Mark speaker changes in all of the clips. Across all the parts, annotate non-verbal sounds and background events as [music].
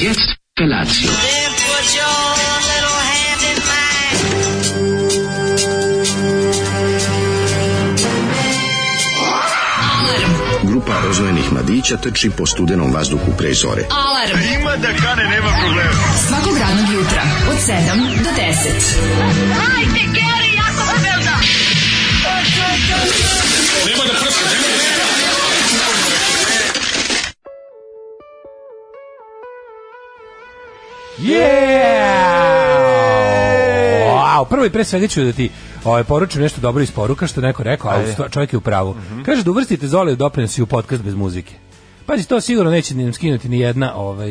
Speaker 1: jetzt Felatio.
Speaker 2: Then put your little hand in mine.
Speaker 3: Grupa rozvojenih mladića trči po studenom vazduhu pre zore.
Speaker 4: Alarm. Ima da kane, nema problema. Svakog radnog jutra, od 7 do 10.
Speaker 5: Yeah! Wow, prvo i pre svega ću da ti ovaj, poručim nešto dobro iz poruka što je neko rekao, a u stva- čovjek je u pravu.
Speaker 6: Mhm.
Speaker 5: Kaže da uvrstite Zoli u doprinosi u podcast bez muzike. Pazi, to sigurno neće nam skinuti ni jedna, ovaj,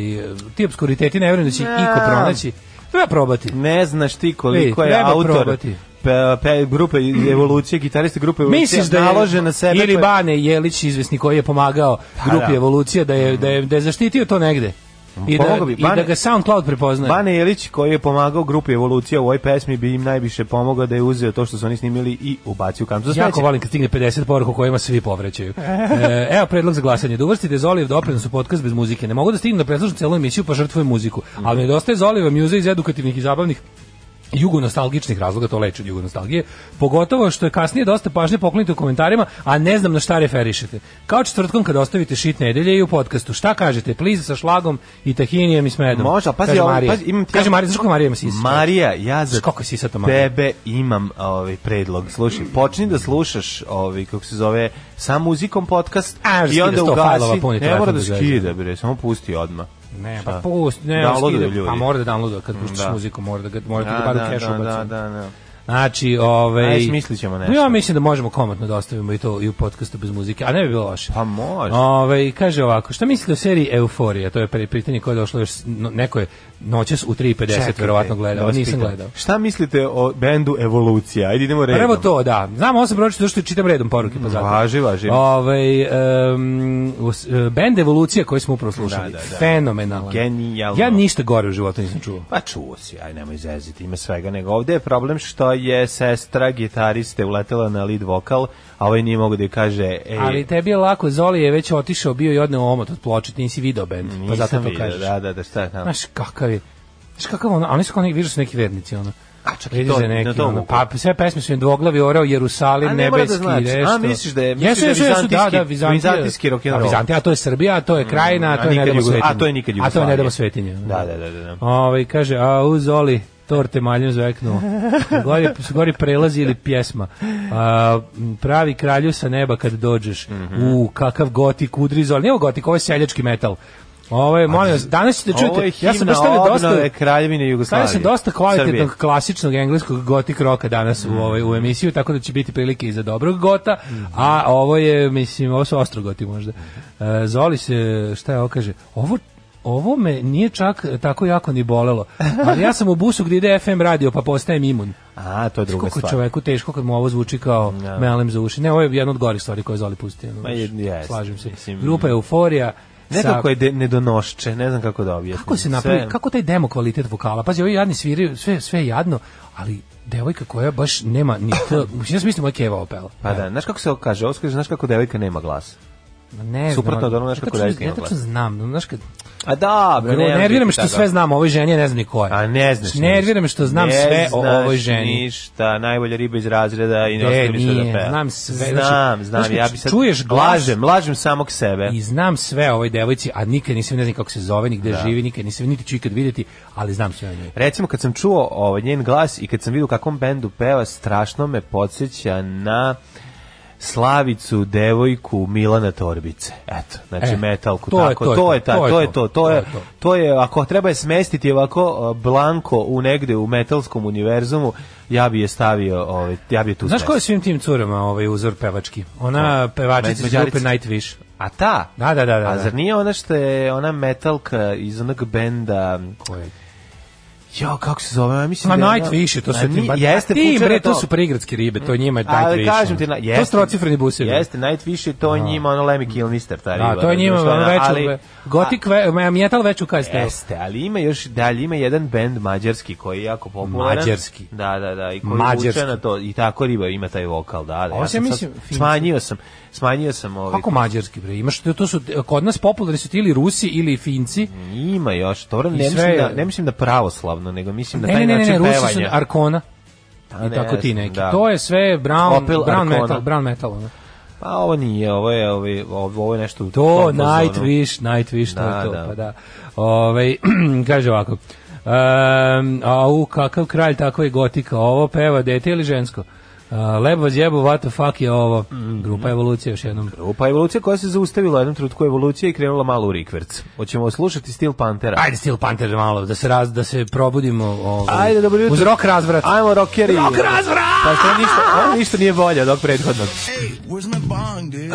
Speaker 5: ti obskuriteti ne vjerujem da će
Speaker 6: Ja.
Speaker 5: iko pronaći. Treba probati.
Speaker 6: Ne znaš ti koliko
Speaker 5: Vidi,
Speaker 6: je
Speaker 5: treba
Speaker 6: autor
Speaker 5: probati.
Speaker 6: pe, pe, grupe evolucije, gitariste grupe evolucije,
Speaker 5: Misliš da je
Speaker 6: naložen na sebe.
Speaker 5: ili
Speaker 6: pa-
Speaker 5: Bane Jelić izvesni koji je pomagao grupi
Speaker 6: da.
Speaker 5: Evolucija da je, da je da je zaštitio to negde. I da,
Speaker 6: Pomogao bi.
Speaker 5: i
Speaker 6: Bane-
Speaker 5: da ga SoundCloud prepoznaje.
Speaker 6: Bane Jelić koji je pomagao grupi Evolucija u ovoj pesmi bi im najviše pomogao da je uzeo to što su oni snimili i ubacio u kantu za
Speaker 5: Jako
Speaker 6: smeće.
Speaker 5: volim kad stigne 50 poruka u kojima se svi
Speaker 6: [laughs]
Speaker 5: povrećaju. E, evo predlog za glasanje. Da uvrstite Zolijev doprinos u podcast bez muzike. Ne mogu da stignem da preslušam celu emisiju pa žrtvujem muziku. Ali nedostaje Zolijeva mjuza iz edukativnih i zabavnih jugonostalgičnih razloga, to leči od jugonostalgije, pogotovo što je kasnije dosta pažnje poklonite u komentarima, a ne znam na šta referišete. Kao četvrtkom kad ostavite šit nedelje i u podcastu. Šta kažete? Please sa šlagom i tahinijem i s medom.
Speaker 6: Može, ali pazi
Speaker 5: Kaže
Speaker 6: ovo,
Speaker 5: Marija.
Speaker 6: pazi, imam ti ja-
Speaker 5: Kaže Marija, znaš kako Marija ima sisa?
Speaker 6: Marija, ja za
Speaker 5: Znaš kako je sisata Marija?
Speaker 6: tebe imam ovaj predlog. Slušaj, počni da slušaš ovaj kako se zove sa muzikom podcast
Speaker 5: A,
Speaker 6: i
Speaker 5: skida
Speaker 6: onda
Speaker 5: 100 failova,
Speaker 6: ugasi.
Speaker 5: puni
Speaker 6: Ne mora
Speaker 5: telefon
Speaker 6: da
Speaker 5: bez veze.
Speaker 6: skida bre, samo pusti odmah.
Speaker 5: Ne,
Speaker 6: Šta?
Speaker 5: pa pust, ne,
Speaker 6: Downloaduju
Speaker 5: skidam,
Speaker 6: ljudi.
Speaker 5: Pa mora da downloaduju, kad puštaš
Speaker 6: Da.
Speaker 5: muziku, mora da ga, mora da, ga
Speaker 6: Da,
Speaker 5: bar u
Speaker 6: da,
Speaker 5: kešu
Speaker 6: da,
Speaker 5: ubacimo.
Speaker 6: da, da, da.
Speaker 5: Znači, ovaj...
Speaker 6: Ajde, smislit ćemo nešto.
Speaker 5: No, Ja mislim da možemo komotno da ostavimo i to i u podcastu bez muzike, a ne bi bilo loše.
Speaker 6: Pa može.
Speaker 5: Ovaj, kaže ovako, šta mislite o seriji Euforija? To je pre- pitanje koje je došlo još, s- no- neko je noćas u 3.50
Speaker 6: Čekajte,
Speaker 5: verovatno gledao,
Speaker 6: da vas
Speaker 5: nisam
Speaker 6: pitam.
Speaker 5: gledao.
Speaker 6: Šta mislite o bendu Evolucija? Ajde idemo redom.
Speaker 5: Prvo to, da. Znam, ovo sam pročito što čitam redom poruke, pa zato.
Speaker 6: Mm, Važi, važi.
Speaker 5: Ovaj, em, us- e, band Evolucija koji smo upravo slušali.
Speaker 6: Da, da, da.
Speaker 5: Fenomenalan.
Speaker 6: Genijalno.
Speaker 5: Ja ništa gore u životu nisam čuo.
Speaker 6: Pa čuo si, aj nemoj zeziti, ima svega, nego ovde je problem što je sestra gitariste uletela na lead vokal, a ovaj nije mogo da je kaže, ej,
Speaker 5: Ali tebi je lako, Zoli je već otišao, bio i odneo omot od ploče, ti nisi video band, pa
Speaker 6: nisam
Speaker 5: zato to
Speaker 6: vidio,
Speaker 5: kažeš.
Speaker 6: Da, da, da, šta je tamo?
Speaker 5: Znaš kakav je, znaš kakav ono, a oni su kao neki, vidiš da su neki vernici, ono.
Speaker 6: A, čak i
Speaker 5: Vidiš
Speaker 6: to,
Speaker 5: da je neki,
Speaker 6: na to
Speaker 5: ono,
Speaker 6: vuku.
Speaker 5: pa sve pesme su im dvoglavi orao, Jerusalim,
Speaker 6: A ne mora da
Speaker 5: nebeski,
Speaker 6: znači. A,
Speaker 5: nešto.
Speaker 6: misliš da je- misliš
Speaker 5: jesu,
Speaker 6: da je
Speaker 5: jesu, jesu, da,
Speaker 6: vizantijski-
Speaker 5: da, Vizantija.
Speaker 6: vizantijski rock and roll.
Speaker 5: A Vizantija, a to je Srbija, a to je krajina, a to je
Speaker 6: nikad
Speaker 5: Nedamo
Speaker 6: Jugo-
Speaker 5: svetinje.
Speaker 6: A to je nikad
Speaker 5: A to je
Speaker 6: Jugoslavija.
Speaker 5: Nedamo svetinje.
Speaker 6: Da, da, da, da, da.
Speaker 5: Ovaj kaže, a u Zoli, torte maljem
Speaker 6: [laughs]
Speaker 5: zveknuo. Gori, gori prelazi ili pjesma. A, m, pravi kralju sa neba kad dođeš.
Speaker 6: Mhm.
Speaker 5: U, kakav gotik udri Zoli. Nije ovo gotik, ovo je seljački metal. Ovo je, molim vas, danas ćete čuti.
Speaker 6: Ovo je
Speaker 5: ja sam
Speaker 6: himna
Speaker 5: baš stavio
Speaker 6: obnove
Speaker 5: dosta,
Speaker 6: Kraljevine Jugoslavije.
Speaker 5: stavio sam dosta kvalitetnog
Speaker 6: Srbije. Mm.
Speaker 5: klasičnog engleskog gotik roka danas u, ovoj, u emisiju, tako da će biti prilike i za dobrog gota, a ovo je, mislim, ovo su ostrogoti možda.
Speaker 6: Mm.
Speaker 5: E, Zoli se, šta je ovo kaže, ovo Ovo me nije čak tako jako ni bolelo, ali ja sam u busu gdje ide FM radio pa postajem imun.
Speaker 6: A, to je druga
Speaker 5: Koliko je
Speaker 6: stvar.
Speaker 5: čoveku teško kad mu ovo zvuči kao
Speaker 6: Da.
Speaker 5: melem za uši. Ne, ovo je jedna od gorih stvari koje je Zoli pustio.
Speaker 6: Ma, jed- jest,
Speaker 5: Slažem se.
Speaker 6: mislim.
Speaker 5: Grupa Euforija. sa-
Speaker 6: Nekako je de, nedonošče, ne znam kako da objasnim.
Speaker 5: kako se napravi,
Speaker 6: Sve-
Speaker 5: kako taj demo kvalitet vokala? Pazi, ovi jadni sviraju, sve, sve je jadno, ali devojka koja baš nema ni
Speaker 6: [laughs]
Speaker 5: t... Mislim, ja sam mislim, ovo je Keva opela.
Speaker 6: Pa da, znaš kako se ovo kaže? Ovo se kaže, znaš kako devojka nema glas.
Speaker 5: Ma Ne, znam,
Speaker 6: Suprotno od onog,
Speaker 5: ja
Speaker 6: znaš kako
Speaker 5: tačno-
Speaker 6: devojka
Speaker 5: Ja
Speaker 6: ima
Speaker 5: tačno
Speaker 6: glas.
Speaker 5: znam, no, znaš kad...
Speaker 6: A da, bre,
Speaker 5: Gro,
Speaker 6: nemam
Speaker 5: nervira me
Speaker 6: ti
Speaker 5: što
Speaker 6: toga.
Speaker 5: sve znam o ovoj ženi, ja ne znam ni ko je. Znači,
Speaker 6: A ne znaš ništa.
Speaker 5: Nervira me što znam
Speaker 6: Ne
Speaker 5: sve o
Speaker 6: znaš
Speaker 5: ovoj ženi.
Speaker 6: ništa, najbolja riba iz razreda i ne
Speaker 5: E,
Speaker 6: ostavi se da
Speaker 5: nije,
Speaker 6: peva.
Speaker 5: znam sve, znači,
Speaker 6: Znam, znam,
Speaker 5: znaš kad
Speaker 6: ja bi sad...
Speaker 5: čuješ glas-
Speaker 6: Lažem, lažem samog sebe.
Speaker 5: I znam sve o ovoj devojci, a nikad nisam, ne znam kako se zove, nigde
Speaker 6: Da.
Speaker 5: živi, nikad nisam, niti ću ikad vidjeti, ali znam sve o njoj.
Speaker 6: Recimo kad sam čuo ovaj njen glas i kad sam vidio u kakvom bendu peva, strašno me podsjeća na Slavicu, devojku Milana Torbice. Eto, znači
Speaker 5: E,
Speaker 6: metalku tako. To, je ta, to je to, to je to je ako treba je smestiti ovako e, blanko u negde u metalskom univerzumu, ja bi je stavio, ovaj ja bi je tu.
Speaker 5: Znaš ko je
Speaker 6: smestio.
Speaker 5: svim tim curama ovaj uzor pevački? Ona pevačica iz
Speaker 6: Mađarica.
Speaker 5: grupe Nightwish.
Speaker 6: A ta?
Speaker 5: Da, da, da, da,
Speaker 6: A
Speaker 5: da.
Speaker 6: zar nije ona što je ona metalka iz onog benda
Speaker 5: Koje?
Speaker 6: Jo, kako se zove? Ja mislim
Speaker 5: Ma
Speaker 6: da je
Speaker 5: night
Speaker 6: ona-
Speaker 5: više, Pa to
Speaker 6: Ma
Speaker 5: su
Speaker 6: ni-
Speaker 5: ti, pa
Speaker 6: jeste
Speaker 5: ti
Speaker 6: pučera
Speaker 5: bre, to su prigradske ribe, to njima je night
Speaker 6: Ali
Speaker 5: više.
Speaker 6: kažem ti, na,
Speaker 5: jeste. To su trocifreni busevi.
Speaker 6: Jeste, najviše to je njima ono Lemmy Kilmister, ta riba.
Speaker 5: A, to je njima
Speaker 6: razumeš,
Speaker 5: ono
Speaker 6: ona, ali-
Speaker 5: veću, gotik, ve, metal veću kaj ste.
Speaker 6: Jeste, ali ima još dalje, ima jedan bend mađarski koji je jako popularan.
Speaker 5: Mađarski.
Speaker 6: Da, da, da, i koji
Speaker 5: Mađarski.
Speaker 6: vuče na to, i tako riba ima taj vokal, da, da.
Speaker 5: Ovo se
Speaker 6: sam
Speaker 5: mislim,
Speaker 6: sad-
Speaker 5: Finci.
Speaker 6: smanjio sam, smanjio sam ovaj.
Speaker 5: Kako mađarski bre? Imaš to su kod nas popularni su ti ili Rusi ili Finci.
Speaker 6: Ima još, to ne
Speaker 5: I sve
Speaker 6: mislim, da,
Speaker 5: je-
Speaker 6: ne mislim da pravoslavno, nego mislim da
Speaker 5: Ne,
Speaker 6: taj
Speaker 5: ne, ne, ne,
Speaker 6: način
Speaker 5: ne, Rusi su
Speaker 6: pevanja.
Speaker 5: Arkona.
Speaker 6: A,
Speaker 5: I
Speaker 6: ne
Speaker 5: tako ti
Speaker 6: znam,
Speaker 5: neki.
Speaker 6: da.
Speaker 5: To je sve brown,
Speaker 6: Opel
Speaker 5: brown
Speaker 6: Arkona.
Speaker 5: metal, brown metal. Ono.
Speaker 6: Pa ovo nije, ovo je, ovo je, ovo je nešto... u
Speaker 5: To
Speaker 6: tom fazonu.
Speaker 5: Nightwish, Nightwish, to
Speaker 6: Da,
Speaker 5: je to,
Speaker 6: da.
Speaker 5: pa da. Ove, [clears throat] kaže ovako, um, au, kakav kralj, takva je gotika, ovo peva dete ili žensko? Uh, lebo zjebo, what the fuck je ovo? Grupa evolucija još jednom.
Speaker 6: Grupa pa evolucija koja se zaustavila u jednom trenutku evolucije i krenula malo u rikverc. Hoćemo slušati Steel Pantera.
Speaker 5: Ajde Steel Panther malo, da se, raz, da se probudimo ovaj,
Speaker 6: Ajde, dobro jutro.
Speaker 5: uz rok razvrat.
Speaker 6: Ajmo rockeri.
Speaker 5: Rock razvrat!
Speaker 6: Pa što ništa, ono ništa nije bolje od ovog prethodnog.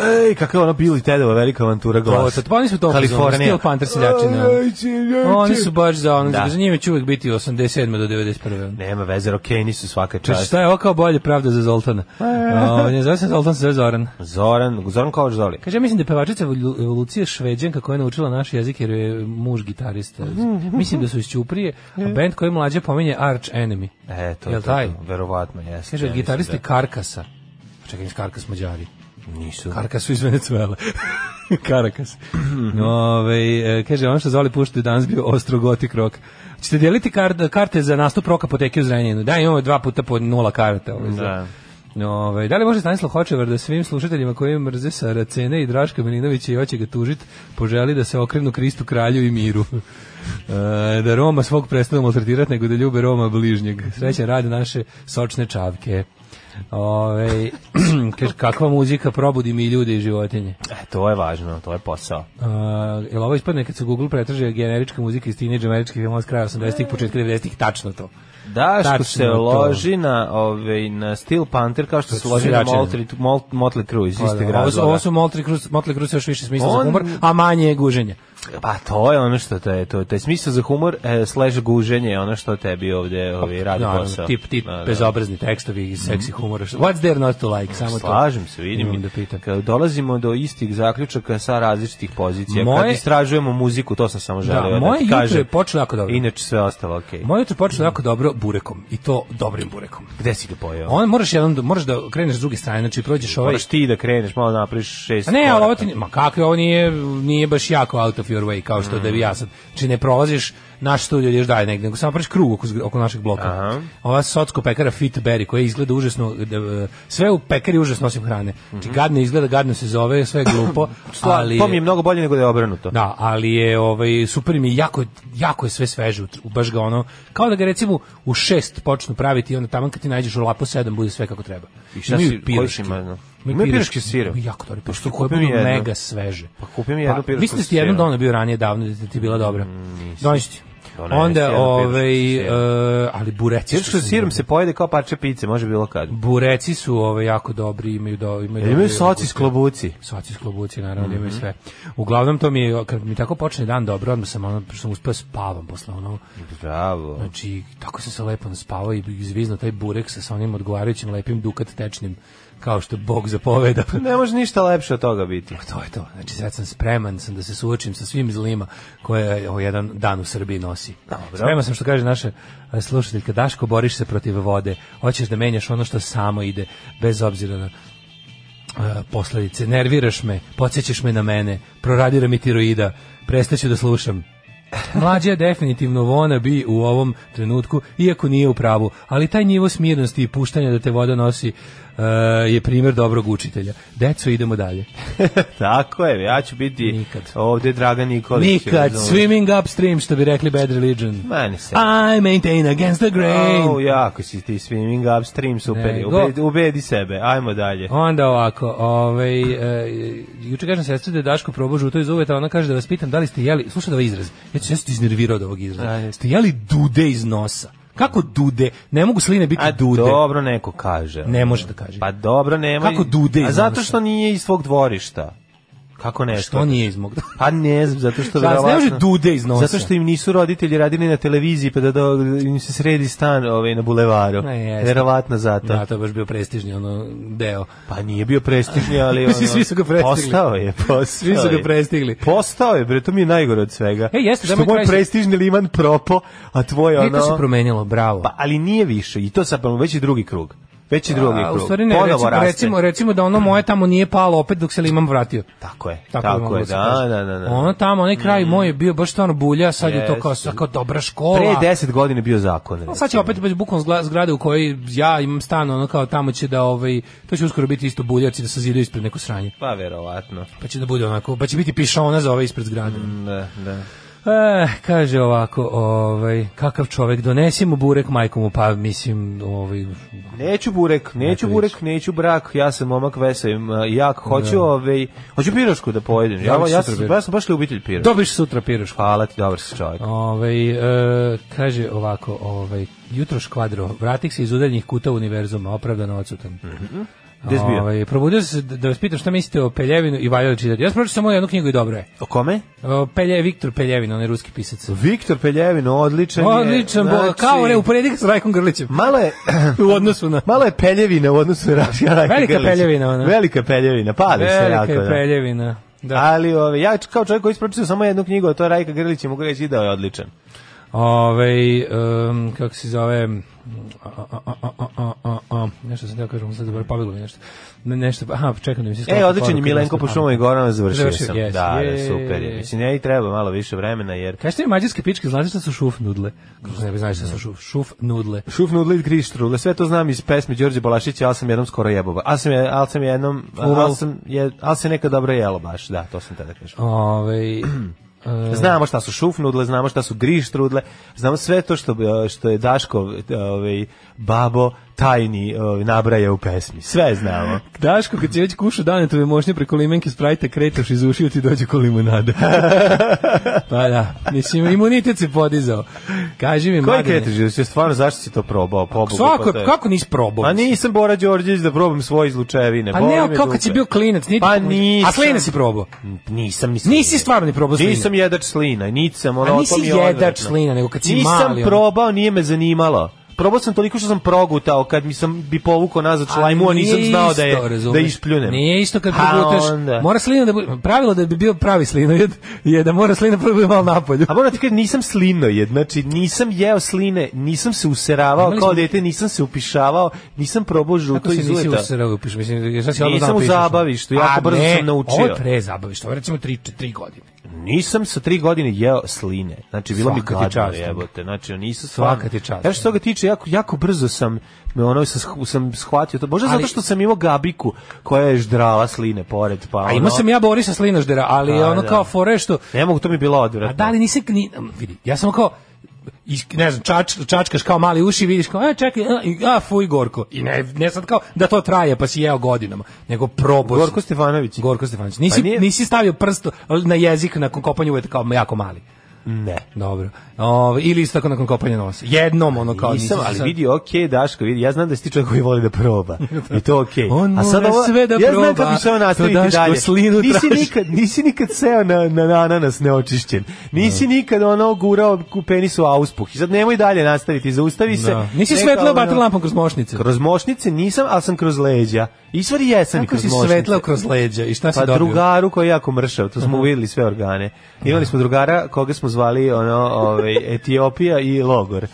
Speaker 6: Ej, kakva je ono Billy Tedova velika avantura
Speaker 5: Ovo,
Speaker 6: glas.
Speaker 5: sad, pa oni smo to
Speaker 6: Kalifornija.
Speaker 5: Steel Panther seljačina.
Speaker 6: Aj, seljači.
Speaker 5: Oni su baš za ono,
Speaker 6: Da.
Speaker 5: za njima će uvijek biti 87. do 91.
Speaker 6: Nema veze, rokeni su svaka
Speaker 5: Češ,
Speaker 6: čast.
Speaker 5: šta je ovo kao bolje pravda za Zoltana? O, ne zove se Zoltan, se zove Zoran.
Speaker 6: Zoran, Zoran Kovač Zoli.
Speaker 5: Kaže, ja mislim da je pevačica evolu- evolucije šveđanka koja je naučila naš jezik jer je muž gitarista. Mislim da su iz Ćuprije, a band koji mlađe pominje Arch Enemy.
Speaker 6: E, to
Speaker 5: Jel
Speaker 6: je
Speaker 5: taj?
Speaker 6: taj? Verovatno, jeste.
Speaker 5: Kaže,
Speaker 6: ja mislim
Speaker 5: gitaristi Karkasa. Pa Čekaj, iz Karkas Mađari.
Speaker 6: da Nisu.
Speaker 5: Karkas su iz
Speaker 6: [laughs]
Speaker 5: Venecuele. Karakas. Ove, e, kaže, ono što Zoli pušta je danas bio ostro gotik rock. Ćete dijeliti kar- karte za nastup roka apoteke u Zrenjaninu? Da, imamo dva puta po nula karata. Ovaj, za-
Speaker 6: Da.
Speaker 5: Ove, da li može Stanislav Hočevar da svim slušateljima koji mrze Saracene i Draška Milinovića i hoće ga tužit, poželi da se okrenu Kristu kralju i miru? [laughs] E, da Roma svog prestanu maltretirati, nego da ljube Roma bližnjeg. Srećan rad naše sočne čavke. Ove, [clears throat] kaže, kakva muzika probudi mi i ljude i životinje.
Speaker 6: E, to je važno, to je posao.
Speaker 5: Uh, jel ovo ispadne kad se Google pretraže generička muzika iz teenage američkih filmova s kraja 80-ih, početka 90-ih, tačno to.
Speaker 6: Daško
Speaker 5: Tačno
Speaker 6: se
Speaker 5: to.
Speaker 6: loži na, ovaj, na Steel Panther kao što se
Speaker 5: su
Speaker 6: loži na
Speaker 5: seljačine.
Speaker 6: Motley, Mol- Motley Crue iz istog
Speaker 5: ovo, su, ovo
Speaker 6: razloga.
Speaker 5: su Motley Crue, Motley Crue su još više smisla
Speaker 6: da. On-
Speaker 5: za humor, a manje je guženje.
Speaker 6: Pa to je ono što te je, to, to je smisao za humor, e, slash guženje je ono što tebi ovde ovaj, radi
Speaker 5: Pa, Naravno,
Speaker 6: posao.
Speaker 5: tip, tip,
Speaker 6: Da, da.
Speaker 5: bezobrazni tekstovi i seksi humor. What's there not to like? Samo
Speaker 6: Slažem
Speaker 5: to.
Speaker 6: se, vidim.
Speaker 5: Imam
Speaker 6: i
Speaker 5: da pitam.
Speaker 6: Kad dolazimo do istih zaključaka sa različitih pozicija. Kad
Speaker 5: Moje-
Speaker 6: istražujemo muziku, to sam samo želeo
Speaker 5: Da,
Speaker 6: da,
Speaker 5: moje
Speaker 6: ti
Speaker 5: jutro
Speaker 6: kažem.
Speaker 5: je počelo jako dobro.
Speaker 6: Inače sve ostalo okej.
Speaker 5: Moje jutro je počelo jako dobro burekom. I to dobrim burekom.
Speaker 6: Gde si ga pojeo?
Speaker 5: On moraš jednom, da- moraš da kreneš s druge strane, znači prođeš ovaj...
Speaker 6: Moraš ti da kreneš, malo napraviš šest znači.
Speaker 5: A ne, ali ovo
Speaker 6: koraka.
Speaker 5: ti, ma kakve, ovo nije, nije baš jako out of your way, kao što da bi ja sad. Znači ne prolaziš naš studio ideš dalje negdje, nego samo praviš krug oko, zgra- oko našeg bloka.
Speaker 6: Aha.
Speaker 5: Ova socko pekara Fit Berry, koja izgleda užasno, e, e, sve u pekari užasno osim hrane. Znači gadno izgleda, gadno se zove, sve je glupo,
Speaker 6: Sla-
Speaker 5: ali...
Speaker 6: Pa, To mi je mnogo bolje nego da je obrnuto.
Speaker 5: Da, ali je ovaj super mi je, jako jako je sve sveže, ut- baš ga ono kao da ga recimo u šest počnu praviti i onda taman kad ti nađeš u lapo 7 bude sve kako treba.
Speaker 6: I šta si- koji si ima, no? Imaju piroški sirop.
Speaker 5: Jako dobro. Pa
Speaker 6: što
Speaker 5: što koje
Speaker 6: kupim
Speaker 5: budu
Speaker 6: jedno?
Speaker 5: mega sveže.
Speaker 6: Pa kupim jednu pirošku Mm,
Speaker 5: Mislim da ti jednom
Speaker 6: sirop.
Speaker 5: donao bio ranije davno da ti je bila dobra. Doneći ti.
Speaker 6: Donesi jednu
Speaker 5: Onda
Speaker 6: pirošku
Speaker 5: ovaj
Speaker 6: sirop.
Speaker 5: e, ali bureci
Speaker 6: Sirop
Speaker 5: su
Speaker 6: sa sirom
Speaker 5: dobri.
Speaker 6: se pojede kao parče pice, može bilo kad.
Speaker 5: bureci su ovaj jako dobri, imaju do imaju.
Speaker 6: Jel imaju
Speaker 5: dobre
Speaker 6: soci Mhm.
Speaker 5: ukuse.
Speaker 6: s klobuci?
Speaker 5: Soci s klobuci, naravno, da imaju sve. Uglavnom, to mi je, kad mi tako počne dan dobro, odmah sam ono, što sam uspeo da spavam posle ono,
Speaker 6: Bravo.
Speaker 5: znači, tako sam se lepo naspavao i izvizno taj burek sa, sa onim odgovarajućim lepim dukat tečnim, kao što Bog zapoveda.
Speaker 6: Ne može ništa lepše od toga biti.
Speaker 5: to je to, znači sad sam spreman sam da se suočim sa svim zlima koje ovo jedan dan u Srbiji nosi. Spreman sam što kaže naša e, slušateljka, Daško, boriš se protiv vode, hoćeš da menjaš ono što samo ide, bez obzira na e, posledice. Nerviraš me, podsjećaš me na mene, proradira mi tiroida, prestaću da slušam. Mlađa je definitivno vona bi u ovom trenutku, iako nije u pravu, ali taj nivo smirnosti i puštanja da te voda nosi e, je primjer dobrog učitelja. Deco, idemo dalje.
Speaker 6: Tako je, ja ću biti
Speaker 5: Nikad.
Speaker 6: ovde Dragan Nikolić.
Speaker 5: Nikad,
Speaker 6: razumeš?
Speaker 5: swimming upstream, što bi rekli Bad Religion.
Speaker 6: Mani se.
Speaker 5: I maintain against the grain.
Speaker 6: Au, jako si ti swimming upstream, super. je.
Speaker 5: Nego-
Speaker 6: Ubedi, ubedi sebe, ajmo dalje.
Speaker 5: Onda ovako, ovaj, e, juče kažem sestri da je Daško probao žuto iz uveta, ona kaže da vas pitam da li ste jeli, slušaj ovaj izraz, ja ću se iznervirao od ovog
Speaker 6: Ajde.
Speaker 5: izraza, ste jeli dude iz nosa? Kako dude? Ne mogu sline biti
Speaker 6: A
Speaker 5: dude.
Speaker 6: dobro neko kaže.
Speaker 5: Ne može da kaže.
Speaker 6: Pa dobro, nema.
Speaker 5: Kako dude
Speaker 6: A
Speaker 5: iz
Speaker 6: zato
Speaker 5: nosa?
Speaker 6: što nije iz svog dvorišta. Kako ne?
Speaker 5: Što nije iz mog...
Speaker 6: Pa ne znam, zato
Speaker 5: [laughs]
Speaker 6: što
Speaker 5: Sad, ne može
Speaker 6: verovatno...
Speaker 5: dude iz nosa.
Speaker 6: Zato što im nisu roditelji radili na televiziji, pa da, da im se sredi stan ovaj, na bulevaru.
Speaker 5: E, jeste.
Speaker 6: Verovatno zato.
Speaker 5: Da, to je baš bio prestižni ono deo.
Speaker 6: Pa nije bio prestižni, ali...
Speaker 5: [laughs]
Speaker 6: Ono,
Speaker 5: Svi- svi su ga prestigli.
Speaker 6: Postao je, postao
Speaker 5: Svi su ga
Speaker 6: je.
Speaker 5: prestigli.
Speaker 6: Postao je, bre, to mi je najgore od svega.
Speaker 5: E, jeste,
Speaker 6: Što
Speaker 5: daj mi
Speaker 6: moj
Speaker 5: kraj-
Speaker 6: prestižni liman propo, a tvoj
Speaker 5: E,
Speaker 6: ono...
Speaker 5: to se promenilo, bravo.
Speaker 6: Pa, ali nije više, i to sad, pa, već je drugi krug. Već je drugi
Speaker 5: A, u
Speaker 6: krug.
Speaker 5: stvari ne,
Speaker 6: Ponovo
Speaker 5: recimo,
Speaker 6: raste.
Speaker 5: recimo, recimo da ono moje tamo nije palo opet dok se li imam vratio.
Speaker 6: Tako je,
Speaker 5: Tako,
Speaker 6: tako,
Speaker 5: bi moglo
Speaker 6: je,
Speaker 5: se kaže.
Speaker 6: da, da, da. da.
Speaker 5: Ono tamo, onaj kraj moj je bio baš stvarno bulja, sad je to kao,
Speaker 6: Jeste.
Speaker 5: sad kao dobra škola.
Speaker 6: Pre 10 godina je bio zakon.
Speaker 5: Pa sad će opet biti bukom zgla- zgrade u kojoj ja imam stan, ono kao tamo će da, ovaj, to će uskoro biti isto buljaci da se zidaju ispred neko sranje.
Speaker 6: Pa, verovatno.
Speaker 5: Pa će da bude onako, pa će biti pišona za ove ispred zgrade.
Speaker 6: Da, da.
Speaker 5: E, kaže ovako, ovaj, kakav čovek, donesi mu burek majkom mu, pa mislim, ovaj,
Speaker 6: Neću burek, neću
Speaker 5: Eto,
Speaker 6: burek, neću brak, ja sam momak vesavim, jak, hoću ovaj, hoću pirošku da pojedem, ja,
Speaker 5: Dobiš
Speaker 6: ja,
Speaker 5: sutra
Speaker 6: sam,
Speaker 5: Da. pirošku.
Speaker 6: ja sam baš ljubitelj pirošku.
Speaker 5: dobiš sutra pirošku.
Speaker 6: Hvala ti, dobar si čovjek.
Speaker 5: Ovaj e, kaže ovako, ovaj jutro škvadro, vratih se iz udaljnih kuta univerzuma, opravdano odsutan.
Speaker 6: Gde si Mhm. bio?
Speaker 5: Ovaj, probudio sam se da da vas pitam šta mislite o Peljevinu i Valjevo čitati. Ja sam pročitao samo jednu knjigu i dobro je.
Speaker 6: O kome?
Speaker 5: O, Pelje, Viktor Peljevin, onaj ruski pisac.
Speaker 6: Viktor Peljevin, odličan je. znači,
Speaker 5: Odličan, bo, kao ne, uporedi ga s Rajkom Grlićem.
Speaker 6: Malo je, [clears throat]
Speaker 5: U odnosu na...
Speaker 6: malo je Peljevina u odnosu na Raška Rajka
Speaker 5: Velika
Speaker 6: Grlića.
Speaker 5: Peljevina, ona.
Speaker 6: Velika Peljevina, pali se
Speaker 5: Velika
Speaker 6: jako.
Speaker 5: je
Speaker 6: da.
Speaker 5: Peljevina. Da.
Speaker 6: Ali ove, ja kao čovjek koji ispročio samo jednu knjigu, a to je Rajka Grlić, mogu reći da je odličan.
Speaker 5: Ovaj em, kako se zove, a, a, a, a, a, a, a, nešto sam teo kažem, sad dobro, pobeglo mi nešto. Ne, nešto, aha, čekam da mi se
Speaker 6: E,
Speaker 5: sklapa
Speaker 6: odličan je
Speaker 5: poruka,
Speaker 6: Milenko
Speaker 5: nešto
Speaker 6: po
Speaker 5: pametno.
Speaker 6: šumama i gorama, završio,
Speaker 5: Završio,
Speaker 6: sam.
Speaker 5: jes,
Speaker 6: da, da,
Speaker 5: je.
Speaker 6: super je. Mislim, ja i treba malo više vremena, jer...
Speaker 5: Kažete mi mađarske pičke, znate šta su šuf nudle? Kako se ne bi znali šta su šuf, šuf nudle?
Speaker 6: Šuf nudlit griš trule, sve to znam iz pesme Đorđe Balašića, ali sam jednom skoro jebova. Ali sam, je, ali sam jednom,
Speaker 5: Uval.
Speaker 6: ali sam, je, ali se nekad dobro jelo baš, da, to sam tada kažem.
Speaker 5: Ovaj
Speaker 6: Znamo šta su šuf nudle, znamo šta su griš trudle, znamo sve to što, e, što je Daško, e, ovaj, babo, tajni ovaj, nabraja u pesmi. Sve znamo.
Speaker 5: [clears throat] Daško, kad si već kušu danetove mošnje preko limenke sprajta, kretaš iz ušiju ti dođe ko [laughs] limonada. pa da, mislim, imunitet se podizao. Kaži mi,
Speaker 6: Koji
Speaker 5: Mladene.
Speaker 6: kretaš, Đorđe? stvarno zašto si to probao? Pobogu,
Speaker 5: Svako,
Speaker 6: pa to je-
Speaker 5: kako nisi probao?
Speaker 6: A nisam Bora Đorđević da probam svoje izlučevine.
Speaker 5: Pa
Speaker 6: boli
Speaker 5: ne,
Speaker 6: me
Speaker 5: ali kao kad
Speaker 6: dupe.
Speaker 5: si bio klinac. Niti,
Speaker 6: Pa nisam.
Speaker 5: A klinac si probao.
Speaker 6: Nisam, nisam.
Speaker 5: Nisi stvarno ni probao slina.
Speaker 6: Nisam jedač slina, nisam. Ono,
Speaker 5: A
Speaker 6: to
Speaker 5: nisi
Speaker 6: mi je
Speaker 5: jedač
Speaker 6: odvratno.
Speaker 5: slina, nego kad si
Speaker 6: nisam
Speaker 5: mali, ono.
Speaker 6: Nisam probao, nije me zanimalo. Probao sam toliko što sam progutao kad mi sam bi povukao nazad šlajmu, a
Speaker 5: nije
Speaker 6: Pa nisam znao da
Speaker 5: isto,
Speaker 6: je da
Speaker 5: razumeš?
Speaker 6: ispljunem.
Speaker 5: Nije isto kad
Speaker 6: Pa
Speaker 5: progutaš.
Speaker 6: onda.
Speaker 5: Mora slina da bude, pravilo da bi bio pravi slinojed [laughs] je da mora slina prvo bude malo napolju.
Speaker 6: A moram ti kažem, nisam slinojed, znači nisam jeo sline, nisam se useravao
Speaker 5: Imali
Speaker 6: kao
Speaker 5: smo-
Speaker 6: dete, nisam se upišavao, nisam probao žuto
Speaker 5: Kako se
Speaker 6: iz
Speaker 5: nisi
Speaker 6: uleta.
Speaker 5: usrao, upiš, mislim, sad si odmah
Speaker 6: Nisam
Speaker 5: znao
Speaker 6: u
Speaker 5: pišeš.
Speaker 6: zabavištu, jako
Speaker 5: A
Speaker 6: brzo
Speaker 5: ne,
Speaker 6: sam naučio.
Speaker 5: Ovo je pre zabavištu, ovo je recimo 3-4 godine.
Speaker 6: Nisam sa tri godine jeo sline. Znači, bilo mi
Speaker 5: Svaka ti
Speaker 6: gadno
Speaker 5: čast.
Speaker 6: jebote. Znači, nisam
Speaker 5: Svaka ti čast.
Speaker 6: Ja što se toga tiče, jako, jako brzo sam, me ono, sam, sh- sam shvatio to. Možda
Speaker 5: Ali-
Speaker 6: zato što sam imao gabiku koja je ždrala sline pored, pa ono...
Speaker 5: A imao sam ja Borisa Slinoždera, ali
Speaker 6: Da,
Speaker 5: ono
Speaker 6: da.
Speaker 5: kao fore što...
Speaker 6: Ne mogu, to mi je bilo odvratno.
Speaker 5: A da li nisi ni vidi, ja sam kao is- ne znam, čač, čačkaš kao mali uši i vidiš kao, e, čekaj, a, i- a, fuj, gorko. I ne, ne sad kao da to traje, pa si jeo godinama, nego probao si.
Speaker 6: Gorko Stefanović.
Speaker 5: Gorko Stefanović. Nisi,
Speaker 6: Pa nije-
Speaker 5: nisi stavio prst na jezik nakon kopanja uveta kao jako mali.
Speaker 6: Ne.
Speaker 5: Dobro. Ove, ili isto tako nakon kopanja nosa. Jednom ono kao nisi
Speaker 6: Nisam,
Speaker 5: se
Speaker 6: ali
Speaker 5: Pa sad-
Speaker 6: vidi, okej, Daško, vidi, ja znam da si ti čovjek koji voli da
Speaker 5: [laughs]
Speaker 6: proba. I to okej.
Speaker 5: On
Speaker 6: A sad
Speaker 5: mora
Speaker 6: ovo,
Speaker 5: sve da
Speaker 6: ja znam
Speaker 5: proba,
Speaker 6: kako će ovo
Speaker 5: to
Speaker 6: nastaviti
Speaker 5: Daško
Speaker 6: dalje.
Speaker 5: slinu
Speaker 6: Nisi
Speaker 5: traži.
Speaker 6: nikad, nisi nikad seo na, na, na ananas neočišćen. Nisi
Speaker 5: Da.
Speaker 6: nikad ono gurao ku penisu auspuh. I sad nemoj dalje nastaviti, zaustavi se.
Speaker 5: Da. Nisi
Speaker 6: Neka
Speaker 5: svetlao
Speaker 6: ono-
Speaker 5: bater lampom kroz mošnice.
Speaker 6: Kroz mošnice nisam, ali sam kroz leđa. I stvari jesam i
Speaker 5: Kako
Speaker 6: kroz
Speaker 5: si
Speaker 6: mošnice.
Speaker 5: svetlao kroz leđa i šta si
Speaker 6: Pa
Speaker 5: dobio? Mhm.
Speaker 6: drugaru koji je jako mršav, to smo uvidjeli sve organe. Imali smo drugara koga smo zvali ono, ovaj, Etiopija i logor.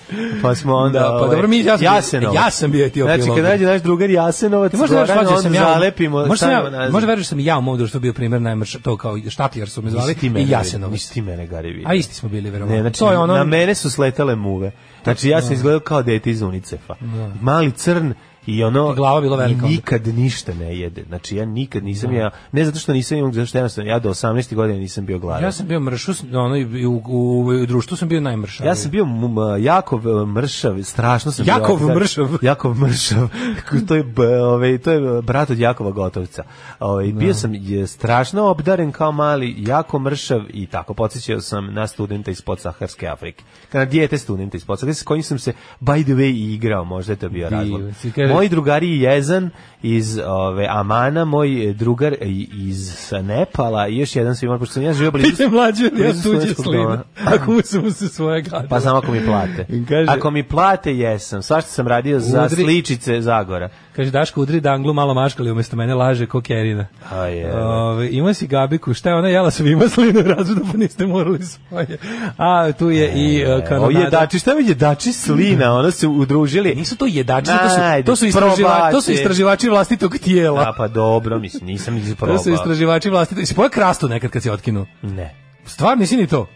Speaker 6: Pa smo onda...
Speaker 5: Da, pa
Speaker 6: ovaj,
Speaker 5: dobro, mi- ja sam bio-
Speaker 6: Jasenovac.
Speaker 5: ja sam bio Etiopija i
Speaker 6: Znači,
Speaker 5: logor.
Speaker 6: kad nađe naš drugar Jasenovac,
Speaker 5: Ti možda veruješ
Speaker 6: Goran,
Speaker 5: mlađe
Speaker 6: onda
Speaker 5: sam ja.
Speaker 6: zalepimo,
Speaker 5: možda, sam
Speaker 6: stavimo
Speaker 5: ja,
Speaker 6: nazad.
Speaker 5: možda veruješ da sam i ja u mom društvu bio primer najmrš, to kao štapljar su me zvali
Speaker 6: Nisi ti mene
Speaker 5: i
Speaker 6: vidio,
Speaker 5: Jasenovac.
Speaker 6: nisi ti mene, Gari, vidio.
Speaker 5: A isti smo bili, verovatno.
Speaker 6: Ne, znači,
Speaker 5: to je ono, Da.
Speaker 6: na mene su sletale muve. Znači, ja sam izgledao kao dete iz Unicefa. Mali crn i ono...
Speaker 5: I glava bila velika Da.
Speaker 6: i Nikad ništa ne jede. Znači, ja nikad nisam ja... Ne zato što nisam imao, zato što jednostavno ja do 18. godine nisam bio gladan.
Speaker 5: ja sam bio mršus, ono, i u, u, u društvu sam bio najmršav.
Speaker 6: Ja sam bio m- m- Jakov e, mršav, strašno sam
Speaker 5: Jakov
Speaker 6: bio.
Speaker 5: mršav.
Speaker 6: [laughs] Jakov mršav. [laughs] to je b- ovaj to je brat od Jakova Gotovca. Ovaj
Speaker 5: Da.
Speaker 6: bio sam je, strašno obdaren kao mali, jako mršav i tako podsećao sam na studenta iz podsaharske Afrike. Na dijete studenta iz podsaharske s kojim sam se by the way i igrao, možda je to bio razlog.
Speaker 5: si, kaže,
Speaker 6: moji drugari Jezan iz ove Amana, moj drugar iz sa Nepala i još jedan svima, pošto sam ja živio blizu...
Speaker 5: Pite mlađe, ja
Speaker 6: blizu
Speaker 5: tuđe
Speaker 6: studentskog
Speaker 5: slina.
Speaker 6: doma.
Speaker 5: [laughs] Ako uzem se svoje gadove.
Speaker 6: Pa samo ako mi plate.
Speaker 5: Kaže-
Speaker 6: ako mi plate, jesam. Svašta sam radio za
Speaker 5: Udri-
Speaker 6: sličice Zagora.
Speaker 5: Kaže, Daško udri danglu, malo maškali, umjesto mene laže ko Kerina.
Speaker 6: A je. da.
Speaker 5: Ove, ima si Gabiku, šta je ona jela svima slinu razredu, pa niste morali svoje. A tu je i uh,
Speaker 6: O,
Speaker 5: kanonada.
Speaker 6: E, jedači, šta mi jedači slina? Ona se
Speaker 5: [laughs]
Speaker 6: udružili.
Speaker 5: Nisu to jedači, to su,
Speaker 6: Ajde,
Speaker 5: to su, istraživači, to su
Speaker 6: probate.
Speaker 5: istraživači vlastitog tijela.
Speaker 6: A pa dobro, mislim, nisam ih probao.
Speaker 5: To su istraživači vlastitog... Jesi pojao krastu nekad kad si otkinu?
Speaker 6: Ne.
Speaker 5: Stvarno nisi ni to?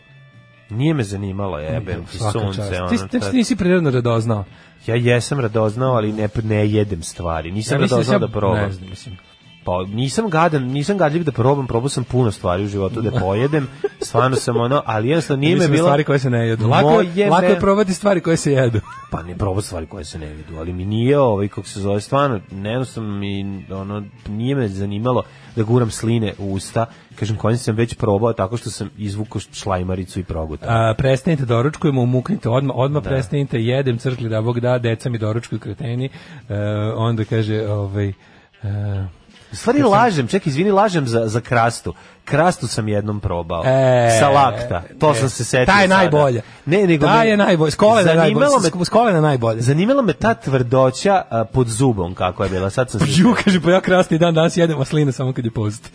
Speaker 6: Nije me zanimalo, jebem ti
Speaker 5: Svaka čast.
Speaker 6: sunce. Ono,
Speaker 5: Ti- Ti,
Speaker 6: šta-
Speaker 5: ti nisi prirodno radoznao.
Speaker 6: Ja jesam radoznao, ali ne, ne jedem stvari. Nisam
Speaker 5: mislim
Speaker 6: radoznao
Speaker 5: sam-
Speaker 6: da probam.
Speaker 5: Ne znam, mislim.
Speaker 6: Pa nisam gadan, nisam gadljiv da probam, probao sam puno stvari u životu
Speaker 5: [laughs]
Speaker 6: da pojedem. Stvarno sam ono, ali jednostavno nije me
Speaker 5: Mislim na
Speaker 6: bilo...
Speaker 5: stvari koje se ne jedu. Lako, je,
Speaker 6: Moje
Speaker 5: lako je
Speaker 6: me-
Speaker 5: probati stvari koje se jedu.
Speaker 6: Pa ne probao stvari koje se ne vidu, ali mi nije ovaj, kako se zove, stvarno, jednostavno mi, ono, nije me zanimalo da guram sline u usta. Kažem, konj sam već probao tako što sam izvukao šlajmaricu i progutao.
Speaker 5: A, prestanite doručkujemo, umuknite odmah, odmah prestanite, jedem crkli da Bog da, deca mi doručkuju kreteni. E, onda kaže, ovaj, e,
Speaker 6: U stvari lažem, čekaj, izvini, lažem za, za krastu. Krastu sam jednom probao.
Speaker 5: E,
Speaker 6: sa lakta. To
Speaker 5: e,
Speaker 6: sam se setio.
Speaker 5: Ta je
Speaker 6: sada.
Speaker 5: najbolja.
Speaker 6: Ne, nego
Speaker 5: ta
Speaker 6: me-
Speaker 5: je najbolja. S kolena
Speaker 6: zanimalo
Speaker 5: najbolja.
Speaker 6: me-
Speaker 5: Me... S kolena najbolja.
Speaker 6: Zanimala me ta tvrdoća a, pod zubom kako je bila. Sad sam se...
Speaker 5: Ju, kaže, pa ja krasni dan danas jedem maslina samo kad je post.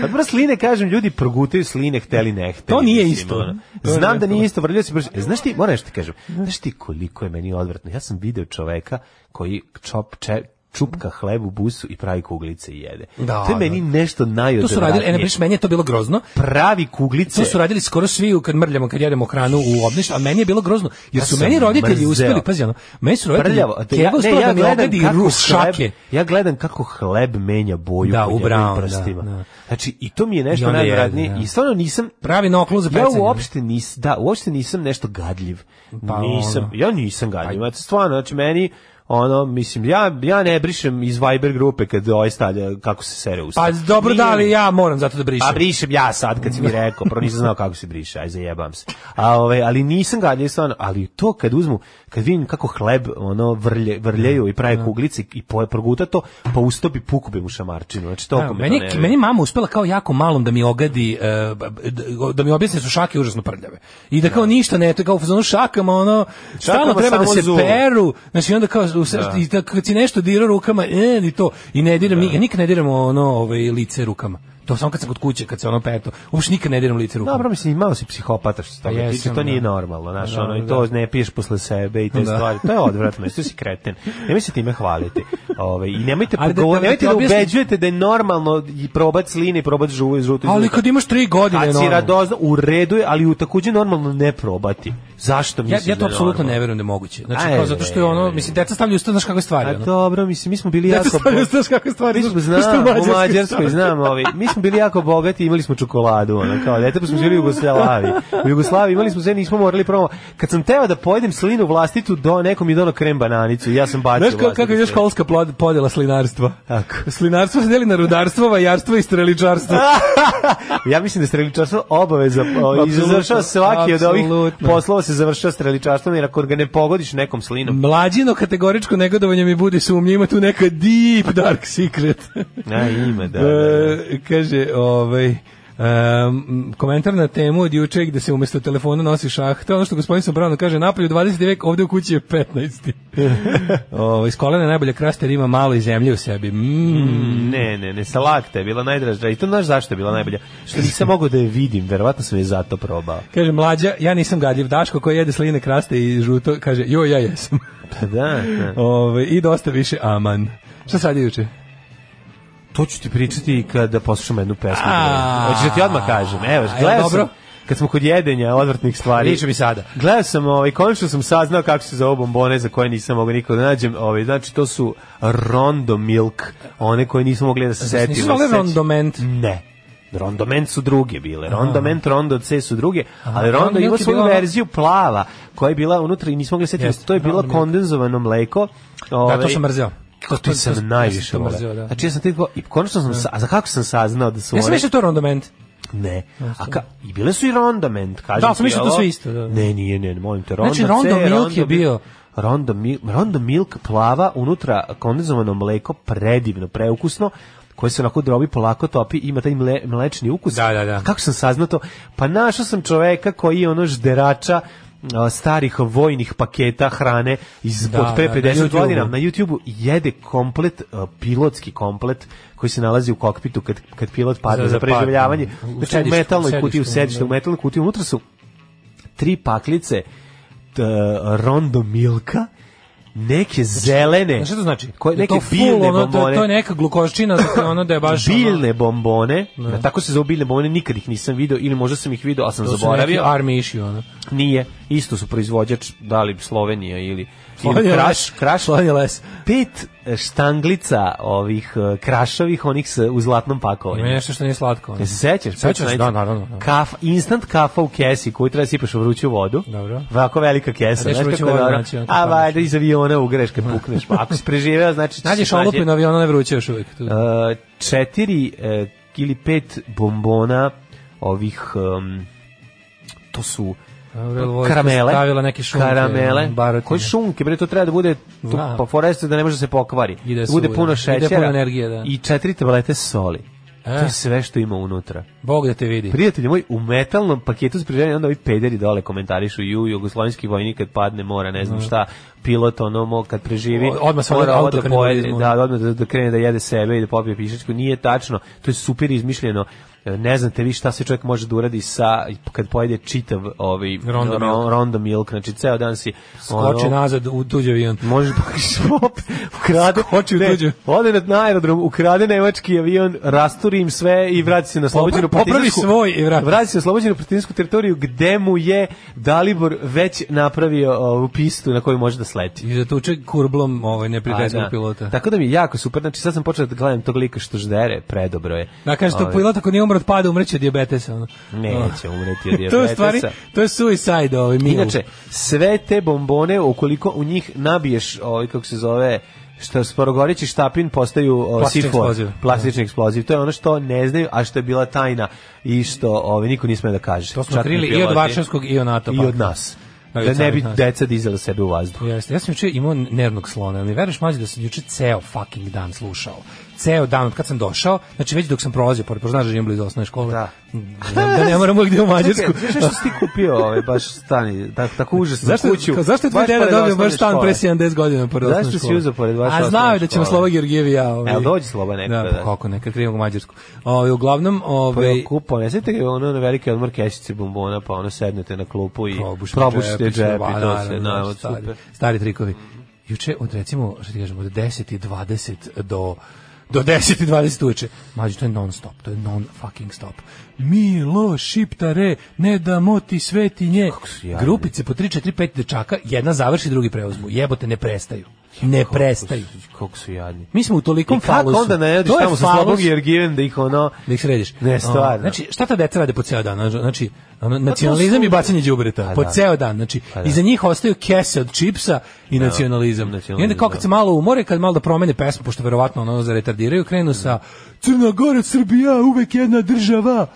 Speaker 6: Pa dobro, sline, kažem, ljudi progutaju sline, hteli ne hteli.
Speaker 5: To nije
Speaker 6: mislim,
Speaker 5: isto.
Speaker 6: ono.
Speaker 5: To je
Speaker 6: Znam da
Speaker 5: nešto.
Speaker 6: nije isto, vrljio se brže. E, Znaš ti, moram nešto ti kažem, znaš ti koliko je meni odvratno. Ja sam video čoveka koji čop, če, čupka hleb u busu i pravi kuglice i jede.
Speaker 5: Da,
Speaker 6: to je
Speaker 5: da.
Speaker 6: meni nešto
Speaker 5: To su
Speaker 6: najodvratnije.
Speaker 5: radili, e, ne priš, meni je to bilo grozno.
Speaker 6: pravi kuglice.
Speaker 5: To su radili skoro svi u- kad mrljamo, kad jedemo hranu u obniš, a meni je bilo grozno, jer
Speaker 6: Ja
Speaker 5: su
Speaker 6: sam
Speaker 5: meni roditelji
Speaker 6: mrzeo.
Speaker 5: uspeli, pazi ono, meni su roditelji,
Speaker 6: prljavo.
Speaker 5: Prljavo,
Speaker 6: Da, ja, ne, ja
Speaker 5: da mi
Speaker 6: gledam
Speaker 5: ogadi
Speaker 6: kako
Speaker 5: rus šake.
Speaker 6: Hleb, ja gledam kako hleb menja boju
Speaker 5: Da,
Speaker 6: po
Speaker 5: u
Speaker 6: njegovim
Speaker 5: brown, da,
Speaker 6: prstima.
Speaker 5: da.
Speaker 6: Znači, i to mi je
Speaker 5: I
Speaker 6: nešto
Speaker 5: onda jede,
Speaker 6: najvratnije.
Speaker 5: da.
Speaker 6: I stvarno nisam...
Speaker 5: Pravi noklu za
Speaker 6: Ja
Speaker 5: pecanje.
Speaker 6: uopšte nis, da, uopšte nisam nešto gadljiv.
Speaker 5: Pa,
Speaker 6: nisam,
Speaker 5: ono.
Speaker 6: ja nisam gadljiv. Eto, stvarno, znači meni ono, mislim, ja, ja ne brišem iz Viber grupe kad ovaj stavlja kako se sere usta.
Speaker 5: Pa dobro,
Speaker 6: Nije
Speaker 5: da
Speaker 6: mi-
Speaker 5: li ja moram zato da brišem.
Speaker 6: pa brišem ja sad kad si mi rekao, prvo nisam znao kako se briše, aj zajebam se. A, ove, ali nisam gadljiv stvarno, ali to kad uzmu, kad vidim kako hleb ono vrlje, vrljeju i
Speaker 5: Da.
Speaker 6: prave kuglice i poje proguta to, pa ustopi pukubi mu šamarčinu. Znači to
Speaker 5: Da, meni, meni je mama uspela kao jako malom da mi ogadi, e, b- b- d- da mi objasni su šake užasno prljave. I da kao ništa ne, to je kao u fazonu šakama, ono, stalno treba da
Speaker 6: samo
Speaker 5: se
Speaker 6: zub.
Speaker 5: peru, znači onda kao, u srst, i da, kad si nešto dirao rukama, e, i to, i ne
Speaker 6: Da.
Speaker 5: diram, nik- nikad ne diram ono, ovaj, lice rukama. To samo kad sam kod kuće, kad se ono peto, uopšte nikad ne diram lice rukama.
Speaker 6: Dobro, mislim, malo si psihopata što se toga
Speaker 5: Jesam,
Speaker 6: tiče, to nije
Speaker 5: da.
Speaker 6: normalno, znaš,
Speaker 5: Da,
Speaker 6: ono, i
Speaker 5: da.
Speaker 6: to ne piješ posle sebe i te
Speaker 5: Da.
Speaker 6: stvari, to je odvratno, jesi si kreten, nemoj se time hvaliti, Ove, i
Speaker 5: [laughs]
Speaker 6: nemojte,
Speaker 5: Ali da-
Speaker 6: pogovor-
Speaker 5: da- da ti
Speaker 6: nemojte da
Speaker 5: objasnim-
Speaker 6: ubeđujete da je normalno i probat sline i probat žuvu, žutu iz
Speaker 5: Ali
Speaker 6: usta.
Speaker 5: kad imaš tri godine,
Speaker 6: da- Kad si
Speaker 5: normalno.
Speaker 6: radozna, u redu je, ali u takođe normalno ne probati. Zašto
Speaker 5: Ja,
Speaker 6: misliš
Speaker 5: ja to
Speaker 6: da je
Speaker 5: apsolutno
Speaker 6: normalno?
Speaker 5: ne verujem da je moguće. Znači,
Speaker 6: Aj,
Speaker 5: kao zato što je ono,
Speaker 6: ej.
Speaker 5: mislim, deca stavljaju usta, znaš kakve stvari.
Speaker 6: A
Speaker 5: ono.
Speaker 6: Pa dobro, mislim, mi smo bili
Speaker 5: Deca
Speaker 6: jako...
Speaker 5: stavljaju
Speaker 6: bo-
Speaker 5: usta, znaš kakve stvari.
Speaker 6: Mi smo,
Speaker 5: znaš,
Speaker 6: znam,
Speaker 5: što
Speaker 6: u Mađarskoj, znam, ovaj, mi smo bili jako bogati, imali smo čokoladu, ono, kao dete, pa smo živjeli u Jugoslaviji. U Jugoslaviji imali smo sve, nismo morali promo. Kad sam teo da pojedem slinu vlastitu, do, nekom je dono krem bananicu, i ja sam bacio
Speaker 5: Znaš kako, kako je još
Speaker 6: školu?
Speaker 5: školska plod- podjela slinarstva?
Speaker 6: Tako.
Speaker 5: Slinarstvo se deli na rudarstvo, vajarstvo i
Speaker 6: [laughs]
Speaker 5: streličarstvo.
Speaker 6: ja mislim da je streličarstvo obaveza o, i
Speaker 5: Apsolutno,
Speaker 6: završava svaki od ovih
Speaker 5: apsolutno.
Speaker 6: poslova se završava streličarstvom jer ako ga ne pogodiš nekom slinom
Speaker 5: Mm. Mlađino kategoričko negodovanje mi budi sumnje, ima tu neka deep dark secret.
Speaker 6: Na ime, da. da, da.
Speaker 5: E, kaže, ovaj, Um, komentar na temu od juče gde se umjesto telefona nosi šah to je ono što gospodin Sobrano kaže napolju 20. vek ovde u kući
Speaker 6: [laughs]
Speaker 5: je 15. o, iz kolena je najbolja krasta jer ima malo i zemlje u sebi mm.
Speaker 6: Ne, ne, ne, sa lakta je bila najdraža i to znaš zašto je bila najbolja. Što nisam mogao da je vidim, verovatno sam je zato probao.
Speaker 5: kaže mlađa ja nisam gadljiv Daško koji jede sline kraste i žuto kaže joj ja jesam
Speaker 6: Pa da, da.
Speaker 5: Ove, I dosta više aman. Šta sad je juče?
Speaker 6: To ću ti pričati kada poslušam jednu pesmu.
Speaker 5: A.
Speaker 6: Hoćeš da ti odmah kažem. Evo,
Speaker 5: A, je
Speaker 6: gledao
Speaker 5: dobro?
Speaker 6: sam, kad smo kod jedenja odvrtnih stvari.
Speaker 5: Priča mi sada.
Speaker 6: Gledao sam, ovaj, konačno sam saznao kako se zove bombone za koje nisam mogao nikog da nađem. Ovaj, znači, to su Rondo Milk, one koje nismo mogli da se Mm. setimo.
Speaker 5: Nisu zvali
Speaker 6: Seći-
Speaker 5: rondoment.
Speaker 6: Ne. Rondoment su druge bile. Rondoment, Rondo C su druge, ali Rondo
Speaker 5: Rondoment
Speaker 6: ima
Speaker 5: je
Speaker 6: svoju
Speaker 5: bila ona-
Speaker 6: verziju plava, koja je bila unutra i nismo mogli setiti.
Speaker 5: Jeste,
Speaker 6: To je bilo
Speaker 5: Rondoment.
Speaker 6: kondenzovano mleko.
Speaker 5: Da,
Speaker 6: ovaj,
Speaker 5: to sam mrzeo.
Speaker 6: To, to
Speaker 5: to- to-
Speaker 6: sam
Speaker 5: to sam
Speaker 6: najviše
Speaker 5: to
Speaker 6: voleo.
Speaker 5: mrzeo, da.
Speaker 6: Znači ja sam tako i konačno sam sa, a za kako sam saznao da su
Speaker 5: Ja sam
Speaker 6: one E.
Speaker 5: mislio da je to rondoment.
Speaker 6: ne. A ka, i bile su i rondament, kažem.
Speaker 5: Da, sam
Speaker 6: ti,
Speaker 5: mislio da
Speaker 6: jel?
Speaker 5: su isto, da.
Speaker 6: Ne, nije, ne, ne, molim te, ronda
Speaker 5: Znači, rondo
Speaker 6: C,
Speaker 5: milk je bio
Speaker 6: Rondo, Mil- Rondo Milk plava unutra kondenzovano mleko, predivno, preukusno koje se onako drobi polako topi, ima taj mle, mlečni ukus.
Speaker 5: Da, da, da.
Speaker 6: A Kako sam saznao to? Pa našao sam čoveka koji je ono žderača a, starih vojnih paketa hrane iz
Speaker 5: Da,
Speaker 6: od pre
Speaker 5: da, na
Speaker 6: 50
Speaker 5: YouTubeu.
Speaker 6: godina na YouTubeu jede komplet a, pilotski komplet koji se nalazi u kokpitu kad kad pilot padne
Speaker 5: Za-
Speaker 6: za,
Speaker 5: za pad,
Speaker 6: preživljavanje
Speaker 5: mm, u
Speaker 6: znači u
Speaker 5: sedištu, u
Speaker 6: metalnoj kutiji u
Speaker 5: sedištu,
Speaker 6: sedištu
Speaker 5: da.
Speaker 6: u metalnoj kutiji unutra su tri paklice t, rondo milka neke zelene
Speaker 5: Znači, Znaš šta to znači?
Speaker 6: koje,
Speaker 5: Da je
Speaker 6: neke
Speaker 5: to full,
Speaker 6: bilne
Speaker 5: ono, to-
Speaker 6: bombone
Speaker 5: To je neka glukoščina, dakle, ono da je
Speaker 6: [laughs]
Speaker 5: baš... ono-
Speaker 6: biljne bombone, da. tako se zove biljne bombone, nikad ih nisam video ili možda sam ih video, ali sam
Speaker 5: To da su neki
Speaker 6: zaboravio.
Speaker 5: army issue, ono.
Speaker 6: Nije, isto su proizvođač, da li Slovenija ili, ili
Speaker 5: Slovenija
Speaker 6: Kraš,
Speaker 5: Les.
Speaker 6: Kraš.
Speaker 5: Slovenija Les.
Speaker 6: Pet e, štanglica ovih e, Krašovih, onih s, u zlatnom
Speaker 5: Ima
Speaker 6: pakovanju.
Speaker 5: nešto što nije slatko. Ono.
Speaker 6: Jel E, se sećaš?
Speaker 5: Sećam se,
Speaker 6: Pet
Speaker 5: da,
Speaker 6: štanglica.
Speaker 5: naravno, da.
Speaker 6: Kaf, instant kafa u kesi koju treba da sipaš u vruću vodu.
Speaker 5: Dobro.
Speaker 6: Ovako velika kesa.
Speaker 5: A gde ćeš
Speaker 6: znaš
Speaker 5: vruću
Speaker 6: kako
Speaker 5: vodu
Speaker 6: dobro?
Speaker 5: naći, ono, kako
Speaker 6: A
Speaker 5: pališ?
Speaker 6: valjda iz aviona ugreš kad pukneš. Pa, ako si preživeo, znači... će
Speaker 5: [laughs] Nađeš
Speaker 6: se naći-
Speaker 5: olupinu aviona, ne vruće još uvijek. Tu.
Speaker 6: Uh, četiri uh, ili pet bombona ovih um, to su eh,
Speaker 5: Avril Vojko
Speaker 6: karamele
Speaker 5: stavila neke šunke,
Speaker 6: karamele
Speaker 5: barutine.
Speaker 6: koje šunke bre to treba da bude tu,
Speaker 5: Da.
Speaker 6: pa foreste da ne može da se pokvari
Speaker 5: I da
Speaker 6: da
Speaker 5: se
Speaker 6: bude
Speaker 5: uda. I da
Speaker 6: puno
Speaker 5: je
Speaker 6: šećera
Speaker 5: puno energije, da.
Speaker 6: i četiri tablete soli
Speaker 5: E.
Speaker 6: to je sve što ima unutra
Speaker 5: Bog da te vidi.
Speaker 6: Prijatelji moji, u metalnom paketu s priželjeni, onda ovi pederi dole komentarišu, ju, jugoslovenski vojnik kad padne mora, ne znam šta, pilot ono mo, kad preživi,
Speaker 5: Da. O- odmah se
Speaker 6: mora
Speaker 5: odmah
Speaker 6: ovo da
Speaker 5: autokrene da
Speaker 6: pojede,
Speaker 5: izmora.
Speaker 6: da, odmah da, da krene da jede sebe i da popije pišačku, nije tačno, to je super izmišljeno, E, ne znate vi šta se čovjek može da uradi sa, kad pojede čitav ovaj,
Speaker 5: Rondo
Speaker 6: ro-
Speaker 5: milk.
Speaker 6: rondo milk, znači ceo dan si,
Speaker 5: Skoči nazad u tuđi avion.
Speaker 6: Može pa [laughs] šop, ukrade,
Speaker 5: Skoči u
Speaker 6: ne,
Speaker 5: tuđe.
Speaker 6: Ode na- na aerodrom, ukrade nemački avion, rasturi im sve i vrati se na slobođenu
Speaker 5: Popra- popravi svoj i vrati.
Speaker 6: Vrati se na slobođenu protinsku teritoriju gde mu je Dalibor već napravio ovu pistu na koju može da sleti.
Speaker 5: I zatuče kurblom ovaj neprijateljskog
Speaker 6: A, da.
Speaker 5: pilota.
Speaker 6: Tako da mi je jako super, znači sad sam počeo da gledam tog lika što ždere, predobro je.
Speaker 5: Da kaže to
Speaker 6: Ovaj,
Speaker 5: pilot ako nije umro od pada, umreće od dijabetesa. Ono.
Speaker 6: Neće umreti od
Speaker 5: [laughs] to je u stvari,
Speaker 6: dijabetesa.
Speaker 5: to je suicide ovaj mil.
Speaker 6: Inače, sve te bombone, ukoliko u njih nabiješ, ovaj, kako se zove, što sporogoreći štapin postaju o,
Speaker 5: Plastični
Speaker 6: C4,
Speaker 5: eksploziv.
Speaker 6: plastični eksploziv. To je ono što ne znaju, a što je bila tajna i što ovaj, niko nije smeo da kaže.
Speaker 5: to smo
Speaker 6: Čak ni
Speaker 5: krili i od
Speaker 6: piloti,
Speaker 5: Varšavskog i od NATO.
Speaker 6: I
Speaker 5: pakta.
Speaker 6: od nas.
Speaker 5: Da, i
Speaker 6: Da
Speaker 5: od
Speaker 6: ne
Speaker 5: samih
Speaker 6: bi
Speaker 5: nas.
Speaker 6: deca dizala sebe u vazduh.
Speaker 5: Jeste, ja sam juče imao nervnog slona, ali veruješ mlađe da sam juče ceo fucking dan slušao. Ceo dan od kad sam došao, znači već dok sam prolazio pored, poznaš da živim blizu osnovne škole.
Speaker 6: Da.
Speaker 5: Da, da ne moram uvijek gde u Mađarsku.
Speaker 6: [laughs] Čekaj, znaš što si ti kupio ovaj, baš stani, tako, tako užasnu
Speaker 5: Zašto,
Speaker 6: kuću?
Speaker 5: kao, zašto je tvoj
Speaker 6: baš
Speaker 5: deda
Speaker 6: pored
Speaker 5: dobio
Speaker 6: osnovne
Speaker 5: baš stan
Speaker 6: škole?
Speaker 5: pre 70 godina pored
Speaker 6: Zašto si
Speaker 5: osnovne škole?
Speaker 6: uzeo pored vaše
Speaker 5: A znao
Speaker 6: osnovne
Speaker 5: je da ćemo
Speaker 6: škole?
Speaker 5: Slova Georgijev i ja. Ovaj.
Speaker 6: Jel dođe Slova nekada?
Speaker 5: Da, pa kako nekad krivog Mađarsku. Ovaj, uglavnom, ovaj,
Speaker 6: Prvo kupo, nesete ga ono na velike odmor kešice bombona, pa ono sednete na klupu i
Speaker 5: probušni
Speaker 6: probušite
Speaker 5: džepić,
Speaker 6: džep
Speaker 5: ba,
Speaker 6: i to se,
Speaker 5: naravno,
Speaker 6: na, od
Speaker 5: znaš, da, stari,
Speaker 6: super.
Speaker 5: Stari trikovi. Juče od recimo, što ti kažem, od 10 i 20 do do 10 i 20 uveče. Mađo, to je non stop, to je non fucking stop. Milo, šiptare, ne damo ti svetinje.
Speaker 6: su jadni.
Speaker 5: Grupice po 3, 4, 5 dečaka, jedna završi, drugi preuzmu. Jebote, ne prestaju. Ne prestaju.
Speaker 6: Kako su jadni.
Speaker 5: Mi smo u
Speaker 6: I
Speaker 5: tolikom
Speaker 6: kako
Speaker 5: falusu.
Speaker 6: onda ne jadiš
Speaker 5: To je
Speaker 6: tamo sa
Speaker 5: falus.
Speaker 6: slabog Jergiven da ih ono...
Speaker 5: Da ih središ.
Speaker 6: Ne, stvarno. Pa
Speaker 5: A, Znači, šta ta deca rade po ceo dan? Znači, ono, nacionalizam
Speaker 6: su-
Speaker 5: i bacanje đubreta.
Speaker 6: Pa
Speaker 5: Po
Speaker 6: da.
Speaker 5: ceo dan. Znači,
Speaker 6: Pa da.
Speaker 5: iza njih ostaju kese od čipsa i nacionalizam. I onda
Speaker 6: nacionalizam,
Speaker 5: kao kad
Speaker 6: da.
Speaker 5: se malo umore, kad malo da promene pesmu, pošto verovatno ono zaretardiraju, krenu sa Crna Gora, Srbija, uvek jedna država.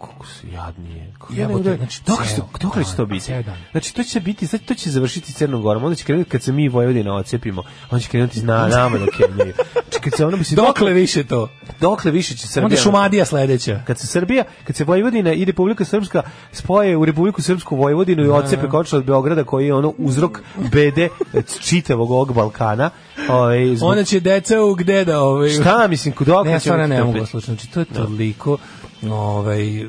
Speaker 6: Kako su jadni je. Kako
Speaker 5: Jebote,
Speaker 6: ne mogu da-
Speaker 5: znači,
Speaker 6: Dokle
Speaker 5: ceo
Speaker 6: će to- dokle će
Speaker 5: dan,
Speaker 6: to biti?
Speaker 5: ceo dan.
Speaker 6: Znači, to će biti, znači, to će završiti Crnom Gorom, onda će krenuti kad se mi Vojvodina ocepimo, onda će krenuti na nama da kemljaju. Znači, kad se ono bi se...
Speaker 5: Dokle više to?
Speaker 6: Dokle više će Srbija...
Speaker 5: Onda je Šumadija sledeća.
Speaker 6: kad se Srbija, kad se Vojvodina i Republika Srpska spoje u Republiku Srpsku Vojvodinu i
Speaker 5: Da,
Speaker 6: odcepe konačno od Beograda koji je ono uzrok bede čitavog ovog Balkana. Ovaj zbog...
Speaker 5: Onda će deca u gde da... Ovaj,
Speaker 6: šta mislim kod dok
Speaker 5: Ne, ja stvarno ne mogu slušati. Znači, to je
Speaker 6: Da.
Speaker 5: toliko ovaj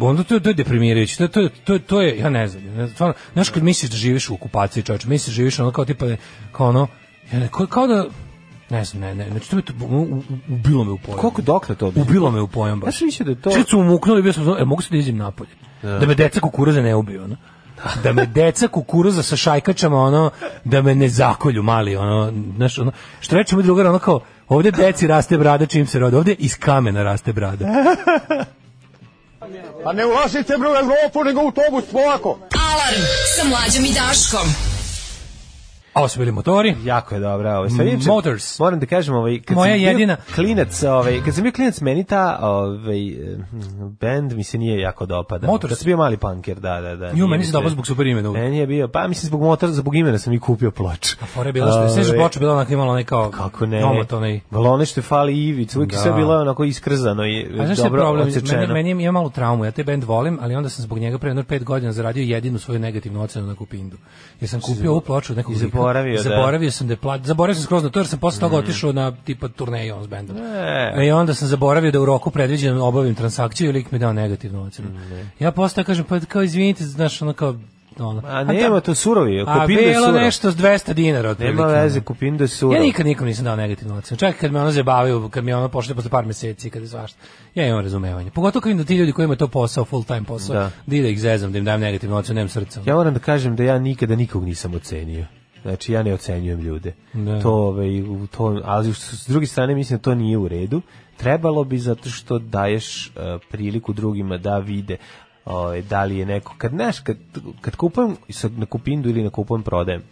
Speaker 5: onda to, to je deprimirajuće. To, to, to, to je ja ne znam. Ja, stvarno, znaš kad misliš da živiš u okupaciji, čoveče, misliš da živiš ono kao tipa da- kao ono ja, ne- kao, kao da ne znam, ne, ne, znači to me to, u- u- ubilo me u pojam.
Speaker 6: Koliko dokle to bi?
Speaker 5: Ubilo me u pojam
Speaker 6: Ja
Speaker 5: baš.
Speaker 6: sam mislio da je to
Speaker 5: Srcu umuknulo i bio sam, e, mogu se da izim napolje. Da me deca kukuruza ne ubiju, ono. Da me deca kukuruza sa šajkačama, ono, da me ne zakolju mali, ono, znaš, ono, što reče moj drugar, ono kao, ovde deci raste brada čim se rode, ovde iz kamena raste brada.
Speaker 1: Pa ne ulazite bre u Evropu, nego u autobus polako.
Speaker 4: Alarm sa mlađom i Daškom.
Speaker 5: A ovo su bili motori.
Speaker 6: Jako je dobra. Ovaj. Sve inače,
Speaker 5: Motors.
Speaker 6: Moram da kažem, ovaj, kad
Speaker 5: Moja
Speaker 6: sam bio
Speaker 5: jedina.
Speaker 6: Klinac, ovaj, kad sam bio klinac, meni ta ovaj, eh, band mi se nije jako dopada.
Speaker 5: Motors.
Speaker 6: Kad sam bio mali punker, da, da, da.
Speaker 5: Ju,
Speaker 6: Nije
Speaker 5: meni
Speaker 6: mi
Speaker 5: se dopada zbog super imena.
Speaker 6: Meni je bio, pa mislim zbog motora, zbog imena sam i kupio ploču.
Speaker 5: A fora je bila što je, sve što
Speaker 6: Ovaj,
Speaker 5: ploča bila onako imala onaj kao...
Speaker 6: Kako ne?
Speaker 5: Omot onaj.
Speaker 6: Bilo ono što je fali Ivic, uvijek je
Speaker 5: Da.
Speaker 6: sve bilo onako iskrzano i
Speaker 5: A znaš šta je
Speaker 6: dobro
Speaker 5: problem? Meni,
Speaker 6: odsečeno.
Speaker 5: meni ima malu traumu, ja taj band volim, ali onda sam zbog njega pre jedno pet godina zaradio jedinu svoju negativnu ocenu na Kupindu. Jer sam kupio ovu ploču od
Speaker 6: I
Speaker 5: nekog lika.
Speaker 6: zaboravio, da. Mm.
Speaker 5: zaboravio sam da je pla... zaboravio sam skroz na to, jer sam posle toga otišao na tipa turneju on s bendom.
Speaker 6: E.
Speaker 5: E, I onda sam zaboravio da u roku predviđenom obavim transakciju i lik mi dao negativnu ocenu.
Speaker 6: Mm,
Speaker 5: Ja posle toga kažem, pa kao izvinite, znaš, ono kao... Ono.
Speaker 6: A nema, to surovi,
Speaker 5: A
Speaker 6: Kupindo je
Speaker 5: bilo
Speaker 6: surov.
Speaker 5: nešto s 200 dinara otprilike.
Speaker 6: Nema veze, kupim da suro.
Speaker 5: Ja nikad nikom nisam dao negativnu ocenu. Čak i kad me ono zabavio, kad mi je ono pošle posle par meseci, kad je svašta. Ja imam razumevanje. Pogotovo kad vidim da ti ljudi koji imaju to posao, full time posao,
Speaker 6: Da.
Speaker 5: da. da ih zezam, da im dajem negativnu ocenu, nemam srca.
Speaker 6: Ja moram da kažem da ja nikada nikog nisam ocenio. Znači ja ne ocenjujem ljude.
Speaker 5: Da.
Speaker 6: To, ovaj, u- to, ali s s druge strane mislim da to nije u redu. Trebalo bi zato što daješ eh, priliku drugima da vide ovaj, da li je neko... Kad, znaš, kad, kad kupujem sa- na kupindu ili na kupujem prodajem,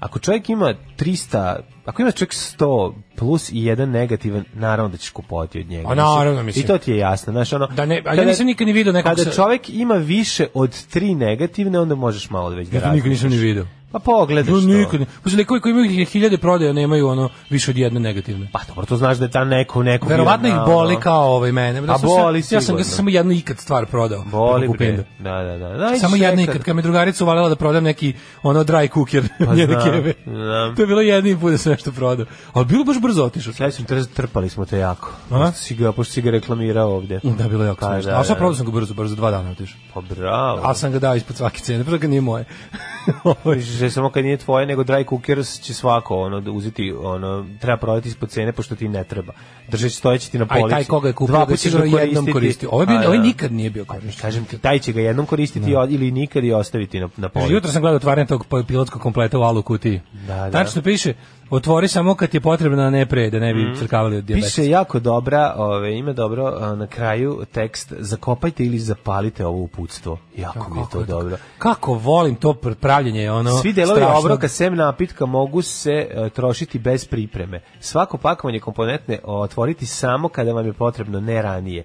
Speaker 6: Ako čovjek ima 300, ako ima čovjek 100 plus i jedan negativan, naravno da ćeš kupovati od njega.
Speaker 5: A Pa naravno, mislim.
Speaker 6: I to ti je jasno. Znaš, ono,
Speaker 5: Da ne, a ja
Speaker 6: kada-
Speaker 5: nisam nikad ni video nekog
Speaker 6: Kada
Speaker 5: sa-
Speaker 6: čovjek ima više od tri negativne, onda možeš malo da već da
Speaker 5: Ja to nikad nisam ni
Speaker 6: razmišljaš.
Speaker 5: vidio.
Speaker 6: Pa pogledaš
Speaker 5: No,
Speaker 6: to.
Speaker 5: nikad. ne. Pa su likovi koji imaju hiljade prodaja, nemaju ono više od jedne negativne.
Speaker 6: Pa dobro, to znaš da je ta neko, neko...
Speaker 5: Pa Verovatno ih
Speaker 6: bio na,
Speaker 5: boli
Speaker 6: ono,
Speaker 5: kao ovaj mene. Da
Speaker 6: A
Speaker 5: sam se-
Speaker 6: boli
Speaker 5: Ja sam
Speaker 6: sigurno.
Speaker 5: ga samo jednu ikad stvar prodao.
Speaker 6: Boli
Speaker 5: preko
Speaker 6: bre.
Speaker 5: Kupinda.
Speaker 6: Da, da, da. da.
Speaker 5: Samo
Speaker 6: ideš
Speaker 5: jedno
Speaker 6: nekad.
Speaker 5: ikad, kad me drugarica uvalila da prodam neki ono dry cooker [laughs]
Speaker 6: Pa
Speaker 5: njene
Speaker 6: znam,
Speaker 5: keve.
Speaker 6: znam.
Speaker 5: To je bilo jedni put da sam nešto prodao. Ali bilo baš brzo otišao.
Speaker 6: Sledećem trz- trpali smo te jako.
Speaker 5: A?
Speaker 6: Pošto si ga, pošto si ga reklamirao ovde.
Speaker 5: Da, bilo je jako
Speaker 6: Pa,
Speaker 5: smešno.
Speaker 6: da,
Speaker 5: Ali sad
Speaker 6: da.
Speaker 5: prodao sam ga brzo, brzo, dva dana otišao.
Speaker 6: Pa bravo.
Speaker 5: Ali sam ga dao ispod svake cene, prvo ga nije
Speaker 6: [laughs]
Speaker 5: moje.
Speaker 6: Misliš da samo kad nije tvoje, nego dry cooker će svako ono da uzeti, ono treba prodati ispod cene pošto ti ne treba. Držeći stojeći ti na
Speaker 5: A
Speaker 6: polici.
Speaker 5: i taj koga je kupio,
Speaker 6: Dva
Speaker 5: ga
Speaker 6: puta
Speaker 5: si
Speaker 6: ćeš
Speaker 5: ga jednom
Speaker 6: koristiti.
Speaker 5: koristio. Ovo je bio,
Speaker 6: A,
Speaker 5: ovo je
Speaker 6: da.
Speaker 5: ovaj nikad Da. nije bio korišten.
Speaker 6: Kažem ti, taj će ga jednom koristiti i- ili nikad i ostaviti na, na polici.
Speaker 5: Jutro sam gledao otvaranje tog pilotskog kompleta u alu kutiji.
Speaker 6: Da, da.
Speaker 5: Tačno piše, otvori samo kad ti je potrebno, a ne pre, da ne bi crkavali od dijabetesa.
Speaker 6: Mhm. Piše jako dobra, ove, ima dobro a, na kraju tekst zakopajte ili zapalite ovo uputstvo. Jako mi je to dobro.
Speaker 5: Kako volim to pr- pravljenje, ono...
Speaker 6: Svi delovi
Speaker 5: strašnog-
Speaker 6: obroka sem napitka mogu se e, trošiti bez pripreme. Svako pakovanje komponentne otvoriti samo kada vam je potrebno, ne ranije.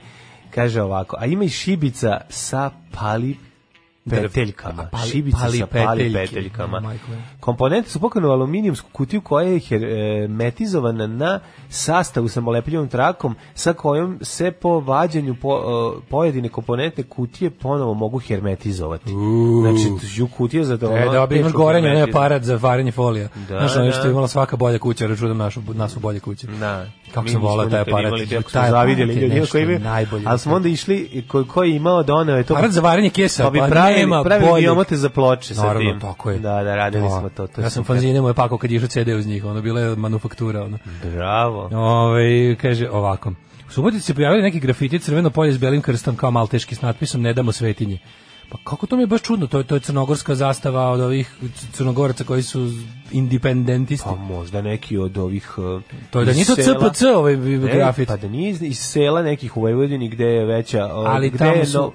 Speaker 6: Kaže ovako, a ima i šibica sa pali peteljkama.
Speaker 5: A pali-
Speaker 6: šibica
Speaker 5: pali
Speaker 6: sa pali
Speaker 5: peteljke.
Speaker 6: peteljkama.
Speaker 5: Majko moja.
Speaker 6: Komponente su pokrenu u aluminijumsku kutiju koja je hermetizovana na sastavu sa molepljivom trakom sa kojom se po vađenju po, e, pojedine komponentne kutije ponovo mogu hermetizovati. Znači, ju kutija za
Speaker 5: E, da, bi imaš
Speaker 6: teško
Speaker 5: gorenje, onaj
Speaker 6: hermetiz-
Speaker 5: aparat za varenje folija.
Speaker 6: Da,
Speaker 5: Znaš, ono
Speaker 6: da.
Speaker 5: što je imala svaka bolja kuća, računam našu, nasu bolje kuće.
Speaker 6: Da.
Speaker 5: pa- Kako
Speaker 6: Mi
Speaker 5: sam
Speaker 6: nismo
Speaker 5: volao taj
Speaker 6: nikad
Speaker 5: aparat.
Speaker 6: Imali,
Speaker 5: Ju,
Speaker 6: tako smo
Speaker 5: taj
Speaker 6: zavidjeli
Speaker 5: aparat je
Speaker 6: ljudi
Speaker 5: nešto
Speaker 6: koji imaju.
Speaker 5: najbolje.
Speaker 6: Ali smo onda išli, ko, ko je imao doneo je to.
Speaker 5: Aparat za varenje kesa,
Speaker 6: pa bi
Speaker 5: pa
Speaker 6: pravili,
Speaker 5: nema
Speaker 6: pravili
Speaker 5: boljeg.
Speaker 6: biomote za ploče sa tim.
Speaker 5: Naravno, tako je.
Speaker 6: Da, da, radili
Speaker 5: Da.
Speaker 6: smo to. to je
Speaker 5: ja sam
Speaker 6: super. Da.
Speaker 5: fanzine moje pakao kad je išao CD uz njih, ono bila je manufaktura. Ono.
Speaker 6: Bravo.
Speaker 5: Ove, Ovaj, kaže ovako. U Subotici se pojavili neki grafiti crveno polje s belim krstom kao malteški s natpisom Ne damo svetinje. Pa kako to mi je baš čudno, to je, to je crnogorska zastava od ovih c- crnogoraca koji su independentisti.
Speaker 6: Pa možda neki od ovih... uh,
Speaker 5: to je da
Speaker 6: iz
Speaker 5: nije to
Speaker 6: sela.
Speaker 5: CPC ovaj bi- bi
Speaker 6: Ne,
Speaker 5: grafit.
Speaker 6: Pa da nije iz, iz sela nekih u Vojvodini gde je veća... uh,
Speaker 5: ali
Speaker 6: gde
Speaker 5: tamo
Speaker 6: je
Speaker 5: su,
Speaker 6: no-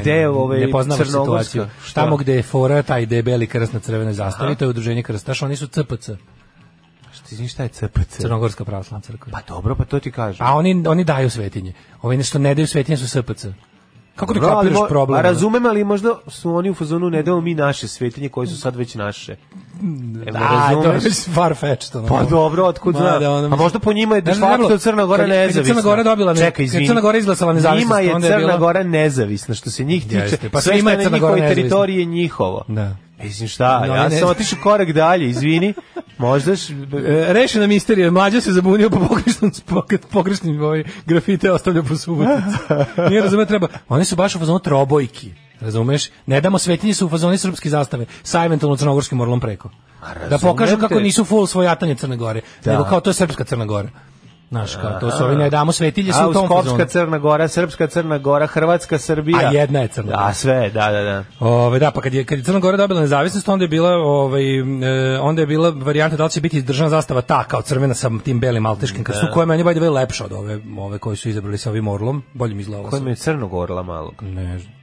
Speaker 6: gde je ovaj
Speaker 5: ne poznavaš
Speaker 6: Crnogorska?
Speaker 5: situaciju.
Speaker 6: Šta?
Speaker 5: Tamo gde je fora, taj gde je beli krst na crvenoj zastavi, to je udruženje krstaša, oni su CPC,
Speaker 6: Šta, izvini, šta je CPC?
Speaker 5: Crnogorska pravoslavna crkva.
Speaker 6: Pa dobro, pa to ti kažem.
Speaker 5: A oni, oni daju svetinje. Ovi nešto ne daju svetinje su SPC. Kako ti
Speaker 6: Dobro, ali
Speaker 5: kapiraš
Speaker 6: mo-
Speaker 5: problem?
Speaker 6: A razumem, ali možda su oni u fazonu ne dao mi naše svetinje koje su sad već naše. E,
Speaker 5: Da,
Speaker 6: me razumeš?
Speaker 5: to je već [laughs] far-fetched. ono.
Speaker 6: Pa dobro, otkud
Speaker 5: Ma,
Speaker 6: zna?
Speaker 5: da, ono,
Speaker 6: A možda po njima je de
Speaker 5: Znaš da je
Speaker 6: facto
Speaker 5: trebalo-
Speaker 6: Crna Gora
Speaker 5: kad je- kad je
Speaker 6: nezavisna.
Speaker 5: Crna Gora dobila ne-
Speaker 6: Čekaj,
Speaker 5: kad je
Speaker 6: izvini.
Speaker 5: Crna Gora izglasala nezavisnost,
Speaker 6: Njima je
Speaker 5: onda je
Speaker 6: Crna
Speaker 5: bila-
Speaker 6: Gora nezavisna, što se njih tiče.
Speaker 5: Jeste, pa
Speaker 6: sve
Speaker 5: svima
Speaker 6: što
Speaker 5: je
Speaker 6: je na
Speaker 5: Crna Gora
Speaker 6: njihovoj
Speaker 5: nezavisna.
Speaker 6: teritoriji je njihovo. E,
Speaker 5: Da.
Speaker 6: Mislim šta,
Speaker 5: No,
Speaker 6: ja
Speaker 5: ne-
Speaker 6: sam otišao korak dalje, izvini. Možda
Speaker 5: [laughs]
Speaker 6: š-
Speaker 5: E, rešena misterija, mlađa se zabunio po pogrešnom, po, pogrešnim ovaj, grafite ostavlja po [laughs] subotici. Nije razume, treba. Oni su baš u fazonu trobojki. Razumeš? Ne damo svetinje su u fazoni srpske zastave sa eventualno crnogorskim orlom preko. Da pokažu
Speaker 6: razumem
Speaker 5: kako
Speaker 6: te.
Speaker 5: nisu full svojatanje Crne Gore, nego kao to je srpska Crna Gora. Znaš, kao to su ovi ne damo svetilje su
Speaker 6: A,
Speaker 5: u tom fazonu.
Speaker 6: Skopska Crna Gora, Srpska Crna Gora, Hrvatska Srbija.
Speaker 5: A jedna je Crna Gora.
Speaker 6: A sve, da, da, da.
Speaker 5: Ove, da, pa kad je, kad je Crna Gora dobila nezavisnost, onda je bila, ovaj, e, onda je bila varijanta da li će biti državna zastava ta, kao crvena sa tim belim malteškim
Speaker 6: Da.
Speaker 5: krstom, koja je meni by the way lepša od ove, ove koje Pa su izabrali sa ovim orlom, bolje mi izgleda ovo.
Speaker 6: Kojim
Speaker 5: sa-
Speaker 6: je Crnogorla malo.
Speaker 5: Ne znam.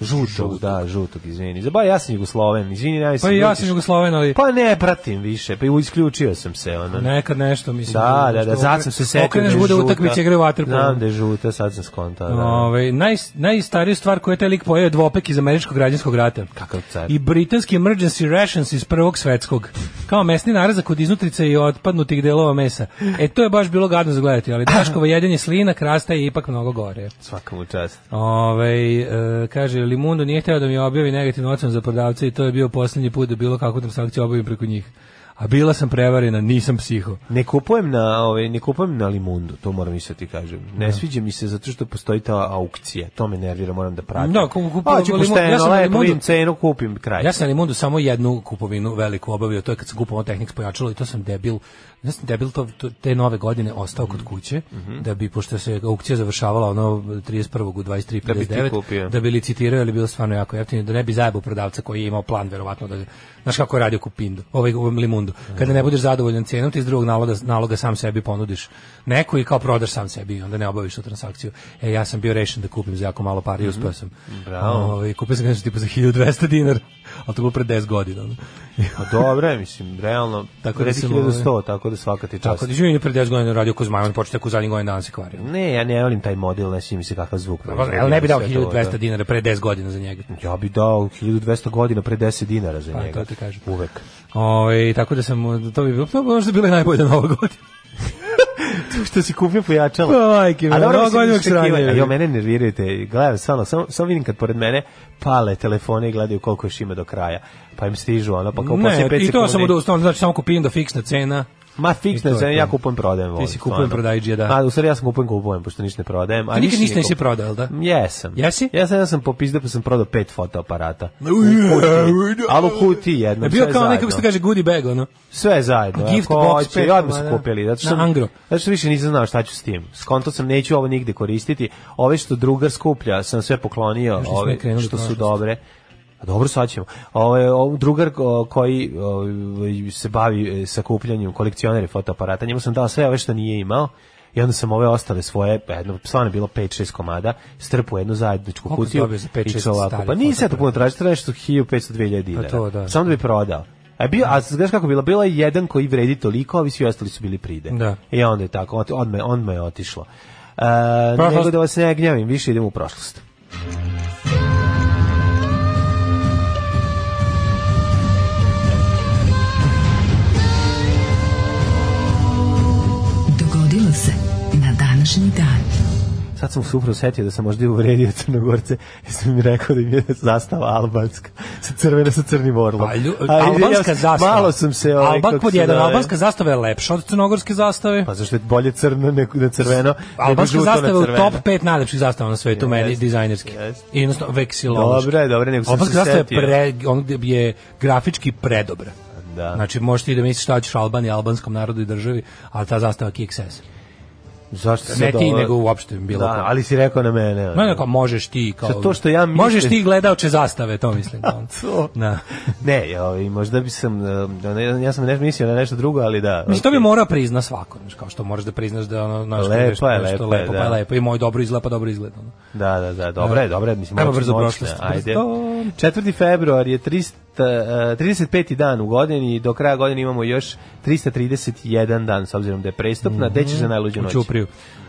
Speaker 6: Žutog, da, žutog, izvini. Zaba, ja sam Jugosloven, izvini, ja
Speaker 5: Pa i ja sam Jugosloven, ali
Speaker 6: Pa ne pratim više, pa isključio sam se, ono.
Speaker 5: nekad nešto, mislim.
Speaker 6: Da, da,
Speaker 5: što
Speaker 6: da, zato sam se setio.
Speaker 5: Okreneš
Speaker 6: da je
Speaker 5: bude
Speaker 6: žuta.
Speaker 5: utakmice igre u vaterpolu.
Speaker 6: Znam da je žuta, sad sam skontao. Da.
Speaker 5: Ove, naj, najstariju stvar koju je taj lik pojeo je dvopek iz američkog građanskog rata.
Speaker 6: Kakav car.
Speaker 5: I britanski emergency rations iz prvog svetskog. Kao mesni narazak od iznutrice i otpadnutih delova mesa. E, to je baš bilo gadno zagledati, ali Daškovo jedenje slina krasta je ipak mnogo gore.
Speaker 6: Svaka mu čast.
Speaker 5: Ove, e, kaže, Limundo nije hteo da mi objavi negativnu ocenu za prodavce i to je bio posljednji put da bilo kakvu transakciju obavim preko njih. A bila sam prevarena, nisam psiho.
Speaker 6: Ne kupujem na, ovaj ne kupujem na Limundu, to moram isto ti kažem.
Speaker 5: Da.
Speaker 6: Ne sviđa mi se zato što postoji ta aukcija. To me nervira, moram da pratim.
Speaker 5: Da, ku- kupujem
Speaker 6: Hoću
Speaker 5: Limun-
Speaker 6: pošteno,
Speaker 5: ja sam na
Speaker 6: lepo,
Speaker 5: Limundu-
Speaker 6: vidim cenu, kupim kraj.
Speaker 5: Ja sam na Limundu samo jednu kupovinu veliku obavio, to je kad sam kupovao Technics pojačalo i to sam debil, ja sam debil to, to- te nove godine ostao kod kuće, da bi, pošto se aukcija završavala ono 31. u 23.59,
Speaker 6: Da bi ti kupio.
Speaker 5: da bi licitirao, ali bilo stvarno jako jeftino, da ne bi zajebao prodavca koji je imao plan, verovatno, da, znaš kako je radio kupindu, ovaj u Limundu, kada ne budeš zadovoljan cenom, ti iz drugog naloga, naloga sam sebi ponudiš neko i kao prodaš sam sebi, i onda ne obaviš tu transakciju. E, ja sam bio rešen da kupim za jako malo pari i uspeo sam.
Speaker 6: Mhm. Bravo.
Speaker 5: Ovaj kupio sam nešto tipa za 1200 dinara, ali to bilo pre 10 godina. ono.
Speaker 6: Pa dobro, je, mislim, realno,
Speaker 5: [laughs] Tako
Speaker 6: tako
Speaker 5: da
Speaker 6: da
Speaker 5: sam,
Speaker 6: 1100, tako da svaka ti čast.
Speaker 5: Tako da živim pre 10 godina radio ko zmaj, on počeo tako u zadnjih godina dana se kvario.
Speaker 6: Ne, ja ne volim taj model, ne sviđa mi se kakav zvuk. proizvodi,
Speaker 5: Pa, Ali ne bi dao
Speaker 6: sve to, da.
Speaker 5: 1200 dinara pre 10 godina za njega.
Speaker 6: Ja bi dao 1200 godina pre 10 dinara za
Speaker 5: Pa,
Speaker 6: njega.
Speaker 5: to ti kažem. [laughs]
Speaker 6: Uvek.
Speaker 5: Ovaj tako da sam, to bi bilo, to bi možda bila i najbolja nova godina.
Speaker 6: Što si kupio pojačalo. [laughs]
Speaker 5: Majke mi,
Speaker 6: A dobro,
Speaker 5: nova
Speaker 6: mislim,
Speaker 5: godina uvek
Speaker 6: očekivanja.
Speaker 5: sranje.
Speaker 6: A Jo, mene nerviraju te, gledam, stvarno, samo, samo vidim kad pored mene pale telefone i gledaju koliko još ima do kraja. Pa im stižu ono, pa kao
Speaker 5: Ne,
Speaker 6: poslije 5
Speaker 5: i to sam
Speaker 6: sekundi.
Speaker 5: odustao, znači samo kupim do fiksna cena.
Speaker 6: Ma
Speaker 5: I
Speaker 6: fiksno,
Speaker 5: to je
Speaker 6: se
Speaker 5: to.
Speaker 6: ja kupujem prodajem. volim,
Speaker 5: si
Speaker 6: stvarno.
Speaker 5: kupujem, prodajđija, da.
Speaker 6: A, u stvari ja sam kupujem, kupujem, pošto ništa ne prodajem. A
Speaker 5: Ti
Speaker 6: ništa
Speaker 5: nikad ništa
Speaker 6: ne
Speaker 5: nisi
Speaker 6: kupujem.
Speaker 5: prodao, jel da?
Speaker 6: Jesam.
Speaker 5: Jesi?
Speaker 6: Jesam, ja sam popizdao pa sam prodao pet fotoaparata. U kutiji. Ali u kutiji jednom.
Speaker 5: Je bio
Speaker 6: sve
Speaker 5: kao
Speaker 6: zajedno.
Speaker 5: nekako se kaže goodie bag, ono.
Speaker 6: Sve zajedno.
Speaker 5: Gift
Speaker 6: ako
Speaker 5: box
Speaker 6: hoće,
Speaker 5: pet
Speaker 6: ja odmah
Speaker 5: komada.
Speaker 6: sam kupili. Zato što,
Speaker 5: Na
Speaker 6: sam-
Speaker 5: Angro.
Speaker 6: Zato što više nisam znao šta ću s tim. Skonto sam, neću ovo nigde koristiti. Ove što drugar skuplja, sam sve poklonio.
Speaker 5: nismo ni
Speaker 6: Ove
Speaker 5: krenuli u
Speaker 6: što su
Speaker 5: prošlost.
Speaker 6: dobre. A dobro, sad ćemo. Ove, ovo drugar o, koji o, se bavi e, sakupljanjem kolekcionere fotoaparata, njemu sam dao sve ove što nije imao. I onda sam ove ostale svoje, pa jedno, stvarno je bilo 5-6 komada, strpu jednu zajedničku
Speaker 5: Koliko si
Speaker 6: kutiju.
Speaker 5: dobio za pet,
Speaker 6: i
Speaker 5: šest
Speaker 6: čovako.
Speaker 5: starih
Speaker 6: Pa nisam ja to
Speaker 5: fotoaparata?
Speaker 6: puno tražio, tražio što 1500-2000 dinara.
Speaker 5: to da.
Speaker 6: Samo da bi prodao. A, bio, a znaš kako je bilo? Bila je jedan koji vredi toliko, a ovi svi ostali su bili pride.
Speaker 5: Da.
Speaker 6: I onda je tako, ot- odmah, odmah je otišlo. E,
Speaker 5: Prošlost.
Speaker 6: nego da vas ne gnjavim, više idemo u prošlost.
Speaker 4: Dogodilo se na današnji dan.
Speaker 6: Sad sam se upravo setio da sam možda i uvredio Crnogorce, jer sam mi rekao da im je zastava albanska, sa crvena sa crnim orlom.
Speaker 5: Pa, lju,
Speaker 6: A, ja
Speaker 5: albanska
Speaker 6: sam-
Speaker 5: zastava.
Speaker 6: Malo sam se... Ovaj,
Speaker 5: Alban
Speaker 6: kako
Speaker 5: pod
Speaker 6: se
Speaker 5: jedan,
Speaker 6: zove,
Speaker 5: albanska zastava je lepša od crnogorske zastave.
Speaker 6: Pa zašto je bolje crno nego na crveno? nego
Speaker 5: Albanska
Speaker 6: žuto na
Speaker 5: zastava je u
Speaker 6: crveno.
Speaker 5: top 5 najlepših zastava na svetu, meni dizajnerski.
Speaker 6: jest.
Speaker 5: I jednostavno veksiloški.
Speaker 6: Dobra je, dobra, nego sam
Speaker 5: Albanska
Speaker 6: se
Speaker 5: zastava je,
Speaker 6: setio.
Speaker 5: pre, on gde je grafički predobra.
Speaker 6: Da.
Speaker 5: Znači, možeš ti da misliš šta ćeš Albaniji, albanskom narodu i državi, ali ta zastava je KXS.
Speaker 6: Da. Zašto
Speaker 5: Ne
Speaker 6: sad
Speaker 5: ti,
Speaker 6: ovo-
Speaker 5: nego uopšte bilo
Speaker 6: Da,
Speaker 5: ko.
Speaker 6: ali si rekao na mene. ono.
Speaker 5: Ma ne, kao možeš ti kao.
Speaker 6: Sad to što ja mislim-
Speaker 5: Možeš ti gledaoče zastave, to
Speaker 6: [laughs]
Speaker 5: mislim. kao.
Speaker 6: To.
Speaker 5: Da.
Speaker 6: Ne, ja, ovaj, možda bi sam, eh, ne, ja sam nešto mislio na nešto drugo, ali da.
Speaker 5: Mislim, to bi mora prizna svako, znaš, kao što moraš da priznaš da ono, znaš,
Speaker 6: Lepo je,
Speaker 5: nešto, nešto
Speaker 6: lepo je,
Speaker 5: lepo, pa
Speaker 6: da.
Speaker 5: je lepo, i moj dobro izgleda, pa dobro izgleda. ono.
Speaker 6: Da, da, da, dobro je, dobro je. Mislim,
Speaker 5: Ajmo
Speaker 6: moć-
Speaker 5: brzo
Speaker 6: moćna,
Speaker 5: prošlost.
Speaker 6: Ajde.
Speaker 5: Brzo.
Speaker 6: 4. februar je 300, eh, 35. dan u godini i do kraja godine imamo još 331 dan, s obzirom da je prestupna. Mm -hmm. Deći za najluđu
Speaker 5: Mhm. U
Speaker 6: noć.
Speaker 5: Ćupriju.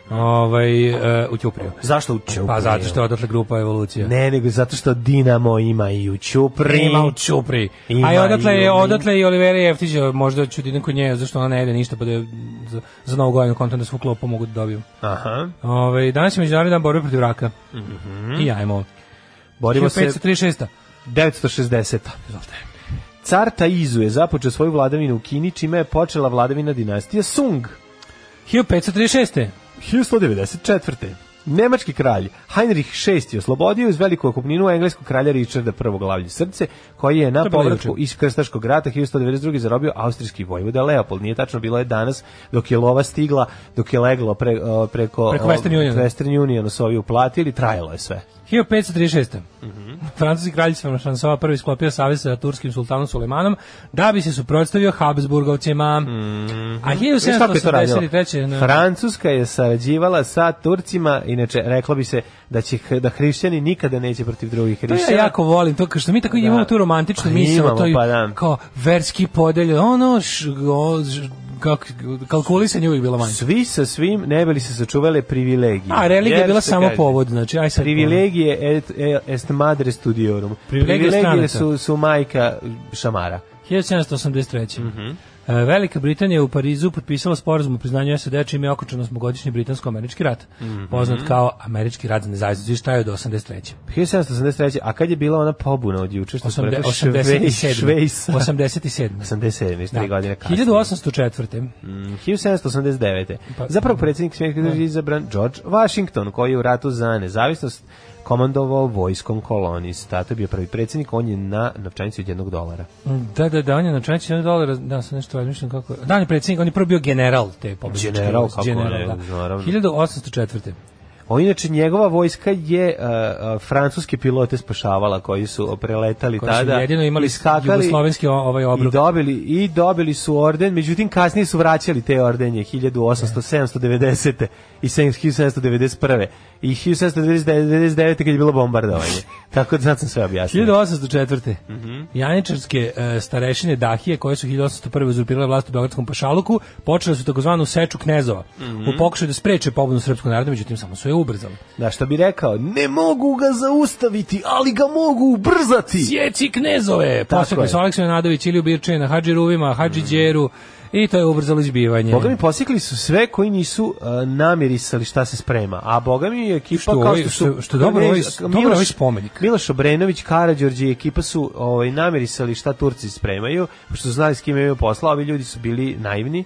Speaker 5: Ovaj, e, u Ćupriju.
Speaker 6: Zašto u Ćupriju?
Speaker 5: Pa zato što je odatle grupa evolucija.
Speaker 6: Ne, nego zato što Dinamo ima i u Ćupri.
Speaker 5: Ima u Ćupri.
Speaker 6: E, Ima
Speaker 5: A i odatle
Speaker 6: i
Speaker 5: je,
Speaker 6: u-
Speaker 5: odatle i Olivera Jeftić, možda ću da idem kod nje, zašto ona ne jede ništa, pa da je za, za novu godinu kontam da svu klopu mogu da dobijem.
Speaker 6: Aha.
Speaker 5: Ove, danas je međunarodni dan borbe protiv raka. I ajmo.
Speaker 6: Mhm. Borimo se
Speaker 5: 536.
Speaker 6: 960. Car Taizu je započeo svoju vladavinu u Kini, čime je počela vladavina dinastija Sung.
Speaker 5: 1536.
Speaker 6: 1194. Nemački kralj Heinrich VI je oslobodio iz veliku okupninu engleskog kralja Richarda I glavlje srce, koji je
Speaker 5: To
Speaker 6: na
Speaker 5: je bilo
Speaker 6: povratku
Speaker 5: juče.
Speaker 6: iz Krstaškog rata 1192. zarobio austrijski vojvoda Leopold. Nije tačno, bilo je danas dok je lova stigla, dok je leglo pre, o, preko,
Speaker 5: Preko Western
Speaker 6: o,
Speaker 5: Uniona.
Speaker 6: Western Uniona su ovi uplatili, trajalo je sve.
Speaker 5: 1536.
Speaker 6: Mhm.
Speaker 5: Francuski kralj François prvi sklopio savez sa turskim sultanom Sulejmanom da bi se suprotstavio Habsburgovcima.
Speaker 6: Mhm.
Speaker 5: A
Speaker 6: Znaš kako je to radilo?
Speaker 5: 1783. na-
Speaker 6: Francuska je sarađivala sa Turcima i inače reklo bi se da će h- da hrišćani nikada neće protiv drugih
Speaker 5: To
Speaker 6: hrišćana.
Speaker 5: ja jako volim, to kao što mi tako
Speaker 6: Da.
Speaker 5: imamo tu romantičnu
Speaker 6: Pa
Speaker 5: misao,
Speaker 6: imamo,
Speaker 5: to je
Speaker 6: pa da.
Speaker 5: kao verski podelje, ono, š, o, ž- kak, kalkulisanje je uvijek bilo manje.
Speaker 6: Svi sa svim ne bili se sačuvale privilegije.
Speaker 5: A religija je
Speaker 6: Jer
Speaker 5: bila
Speaker 6: se
Speaker 5: samo
Speaker 6: kaže,
Speaker 5: povod, znači, aj sad.
Speaker 6: Privilegije et, e- est madre studiorum.
Speaker 5: Privilegije
Speaker 6: Privilegije su,
Speaker 5: stranaca.
Speaker 6: su majka šamara.
Speaker 5: 1783.
Speaker 6: Mhm.
Speaker 5: E, Velika Britanija u Parizu potpisala sporazum o priznanju SAD čime je okončan osmogodišnji britansko-američki rat,
Speaker 6: Mhm.
Speaker 5: poznat kao američki rat za nezavisnost. I šta je od 83.
Speaker 6: 1783. A kad je bila ona pobuna od juče? Što smo
Speaker 5: Osamde-
Speaker 6: rekli?
Speaker 5: 87.
Speaker 6: Švejsa.
Speaker 5: 87.
Speaker 6: 87.
Speaker 5: Da.
Speaker 6: Da. godine kasnije.
Speaker 5: 1804.
Speaker 6: Mm, 1789.
Speaker 5: Pa-
Speaker 6: Zapravo predsjednik svjetske države je izabran George Washington, koji je u ratu za nezavisnost komandovao vojskom kolonista. To je bio prvi predsjednik, on je na novčanici od jednog dolara.
Speaker 5: Da, da, da, on je na čanici jednog dolara, da sam nešto razmišljam kako... Da, on je predsjednik, on je prvo bio general te pobjedičke.
Speaker 6: General,
Speaker 5: vojske,
Speaker 6: kako ne,
Speaker 5: da.
Speaker 6: naravno.
Speaker 5: 1804.
Speaker 6: On, inače, njegova vojska je a, a, francuske pilote spašavala koji su preletali
Speaker 5: Koji su
Speaker 6: tada.
Speaker 5: jedino imali
Speaker 6: Da, iskakali
Speaker 5: jugoslovenski o- ovaj
Speaker 6: I
Speaker 5: obrok.
Speaker 6: dobili, I dobili su orden, međutim kasnije su vraćali te ordenje 1800-790. i 1791. I 1799. kad je bilo bombardovanje. Tako da sad sam sve objasnio.
Speaker 5: 1804.
Speaker 6: Mhm.
Speaker 5: Janičarske e, starešine Dahije, koje su 1801. uzurpirale vlast u Beogradskom pašaluku, počele su takozvanu seču knezova
Speaker 6: Mhm.
Speaker 5: u pokušaju da spreče pobunu srpskog naroda, međutim samo su je ubrzali.
Speaker 6: Da, što bi rekao, ne mogu ga zaustaviti, ali ga mogu ubrzati.
Speaker 5: Sjeci knezove! Posjekli
Speaker 6: je. Mhm.
Speaker 5: su Aleksandar Nadović, Iliju Birče na Hadži Ruvima, Hadži Đeru i to je ubrzalo izbivanje.
Speaker 6: Boga mi posikli su sve koji nisu uh, namirisali šta se sprema. A Boga mi je ekipa
Speaker 5: Što
Speaker 6: kao
Speaker 5: ovaj-
Speaker 6: što su...
Speaker 5: što- što dobro
Speaker 6: Ne,
Speaker 5: ovaj- dobro
Speaker 6: Miloš-
Speaker 5: ovaj spomenik.
Speaker 6: Miloš Obrenović, Karađorđe i ekipa su ovaj, namirisali šta Turci spremaju, što su znali s kim imaju posla, a ovi ljudi su bili naivni.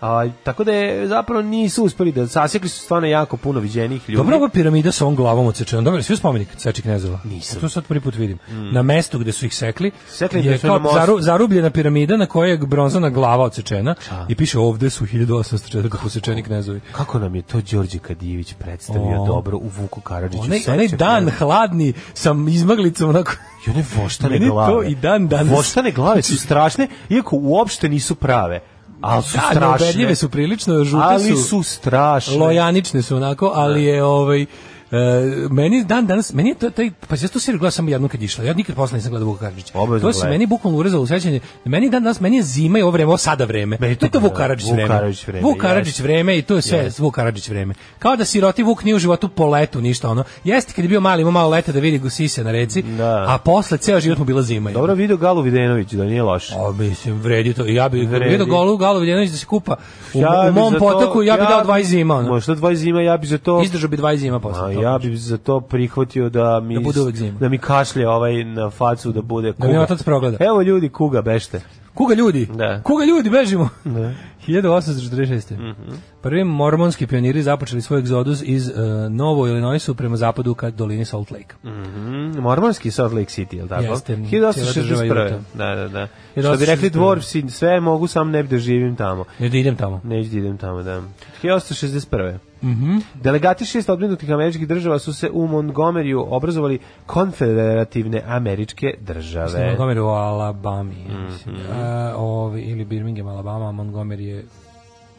Speaker 6: A, tako da je zapravo nisu uspeli da sasekli su stvarno jako puno viđenih ljudi.
Speaker 5: Dobro, ova piramida sa ovom glavom odsečenom. Dobro, svi spomenik Seči Knezova.
Speaker 6: Nisam. Mm.
Speaker 5: To sad prvi put vidim. Na mestu gde su ih sekli,
Speaker 6: Sekli
Speaker 5: je
Speaker 6: da su na
Speaker 5: kao
Speaker 6: mostu.
Speaker 5: zaru- zarubljena piramida na kojoj je bronzana glava odsečena i piše ovde su 1804 posečeni knezovi.
Speaker 6: Kako nam je to Đorđe Kadijević predstavio
Speaker 5: O.
Speaker 6: dobro u Vuku Karadžiću?
Speaker 5: Onaj, onaj dan hladni sa izmaglicom onako...
Speaker 6: I one voštane
Speaker 5: Meni to
Speaker 6: glave.
Speaker 5: i dan danas-
Speaker 6: Voštane glave su strašne, iako uopšte nisu prave. Ali su
Speaker 5: Da,
Speaker 6: strašne.
Speaker 5: neubedljive su prilično, žute
Speaker 6: ali
Speaker 5: su-
Speaker 6: su strašne.
Speaker 5: Lojanične su onako,
Speaker 6: Da.
Speaker 5: ali je ovaj... e, meni dan danas, meni je to, taj, pa ja to seriju gledam samo jednom kad je išla, ja nikad posle nisam gledao Vuka Karadžića.
Speaker 6: Obavezno
Speaker 5: To se
Speaker 6: gledaj.
Speaker 5: meni bukvalno urezalo u sećanje, meni dan danas, meni je zima i ovo vreme, ovo sada vreme.
Speaker 6: Meni
Speaker 5: to je to
Speaker 6: tako,
Speaker 5: Vuk Karadžić
Speaker 6: Vuk
Speaker 5: vreme.
Speaker 6: Karadžić vreme,
Speaker 5: Vuk Karadžić
Speaker 6: jeste.
Speaker 5: vreme i to je sve Vuk Karadžić vreme. Kao da siroti Vuk nije u životu po letu ništa ono. Jeste kad je bio mali, imao malo leta da vidi gusise na reci,
Speaker 6: Da.
Speaker 5: a posle ceo život mu bila zima.
Speaker 6: Dobro video Galu Videnović, da nije loš.
Speaker 5: A mislim vredi to. Ja bih
Speaker 6: Vredi.
Speaker 5: vidio golu Galo Vidjanović da se kupa u,
Speaker 6: Ja
Speaker 5: u
Speaker 6: bi
Speaker 5: mom
Speaker 6: za to-
Speaker 5: potoku, ja bih dao 20 zima. ono.
Speaker 6: Možda dva zima, ja bi za to...
Speaker 5: Izdržao bi 20 zima posle.
Speaker 6: A,
Speaker 5: toga.
Speaker 6: ja bi za to prihvatio da mi
Speaker 5: Da bude uvek zima.
Speaker 6: da mi kašlje ovaj na facu da bude kuga.
Speaker 5: mi otac da. progleda.
Speaker 6: Evo ljudi kuga bešte.
Speaker 5: Kuga ljudi?
Speaker 6: Da.
Speaker 5: Kuga ljudi, bežimo! [laughs] Da. 1846.
Speaker 6: Mhm.
Speaker 5: Prvi mormonski pioniri započeli svoj egzodus iz uh, Novo Illinoisu prema zapadu ka dolini Salt Lake.
Speaker 6: Mhm, Mormonski Salt Lake City, je li tako?
Speaker 5: Jeste, cijela država
Speaker 6: 1861.
Speaker 5: Utah.
Speaker 6: Da, da, da. Što bi
Speaker 5: 1861.
Speaker 6: rekli dvorci, sve mogu, sam ne bi da živim tamo.
Speaker 5: Ne da idem tamo.
Speaker 6: Neću da idem tamo, da. 1861.
Speaker 5: Mhm.
Speaker 6: Delegati šest odbrinutih američkih država su se u Montgomeryu obrazovali konfederativne američke
Speaker 5: Mislim,
Speaker 6: države.
Speaker 5: Montgomery u Alabami. ja mislim.
Speaker 6: Mhm.
Speaker 5: A, ovi, ili Birmingham, Alabama, a Montgomery je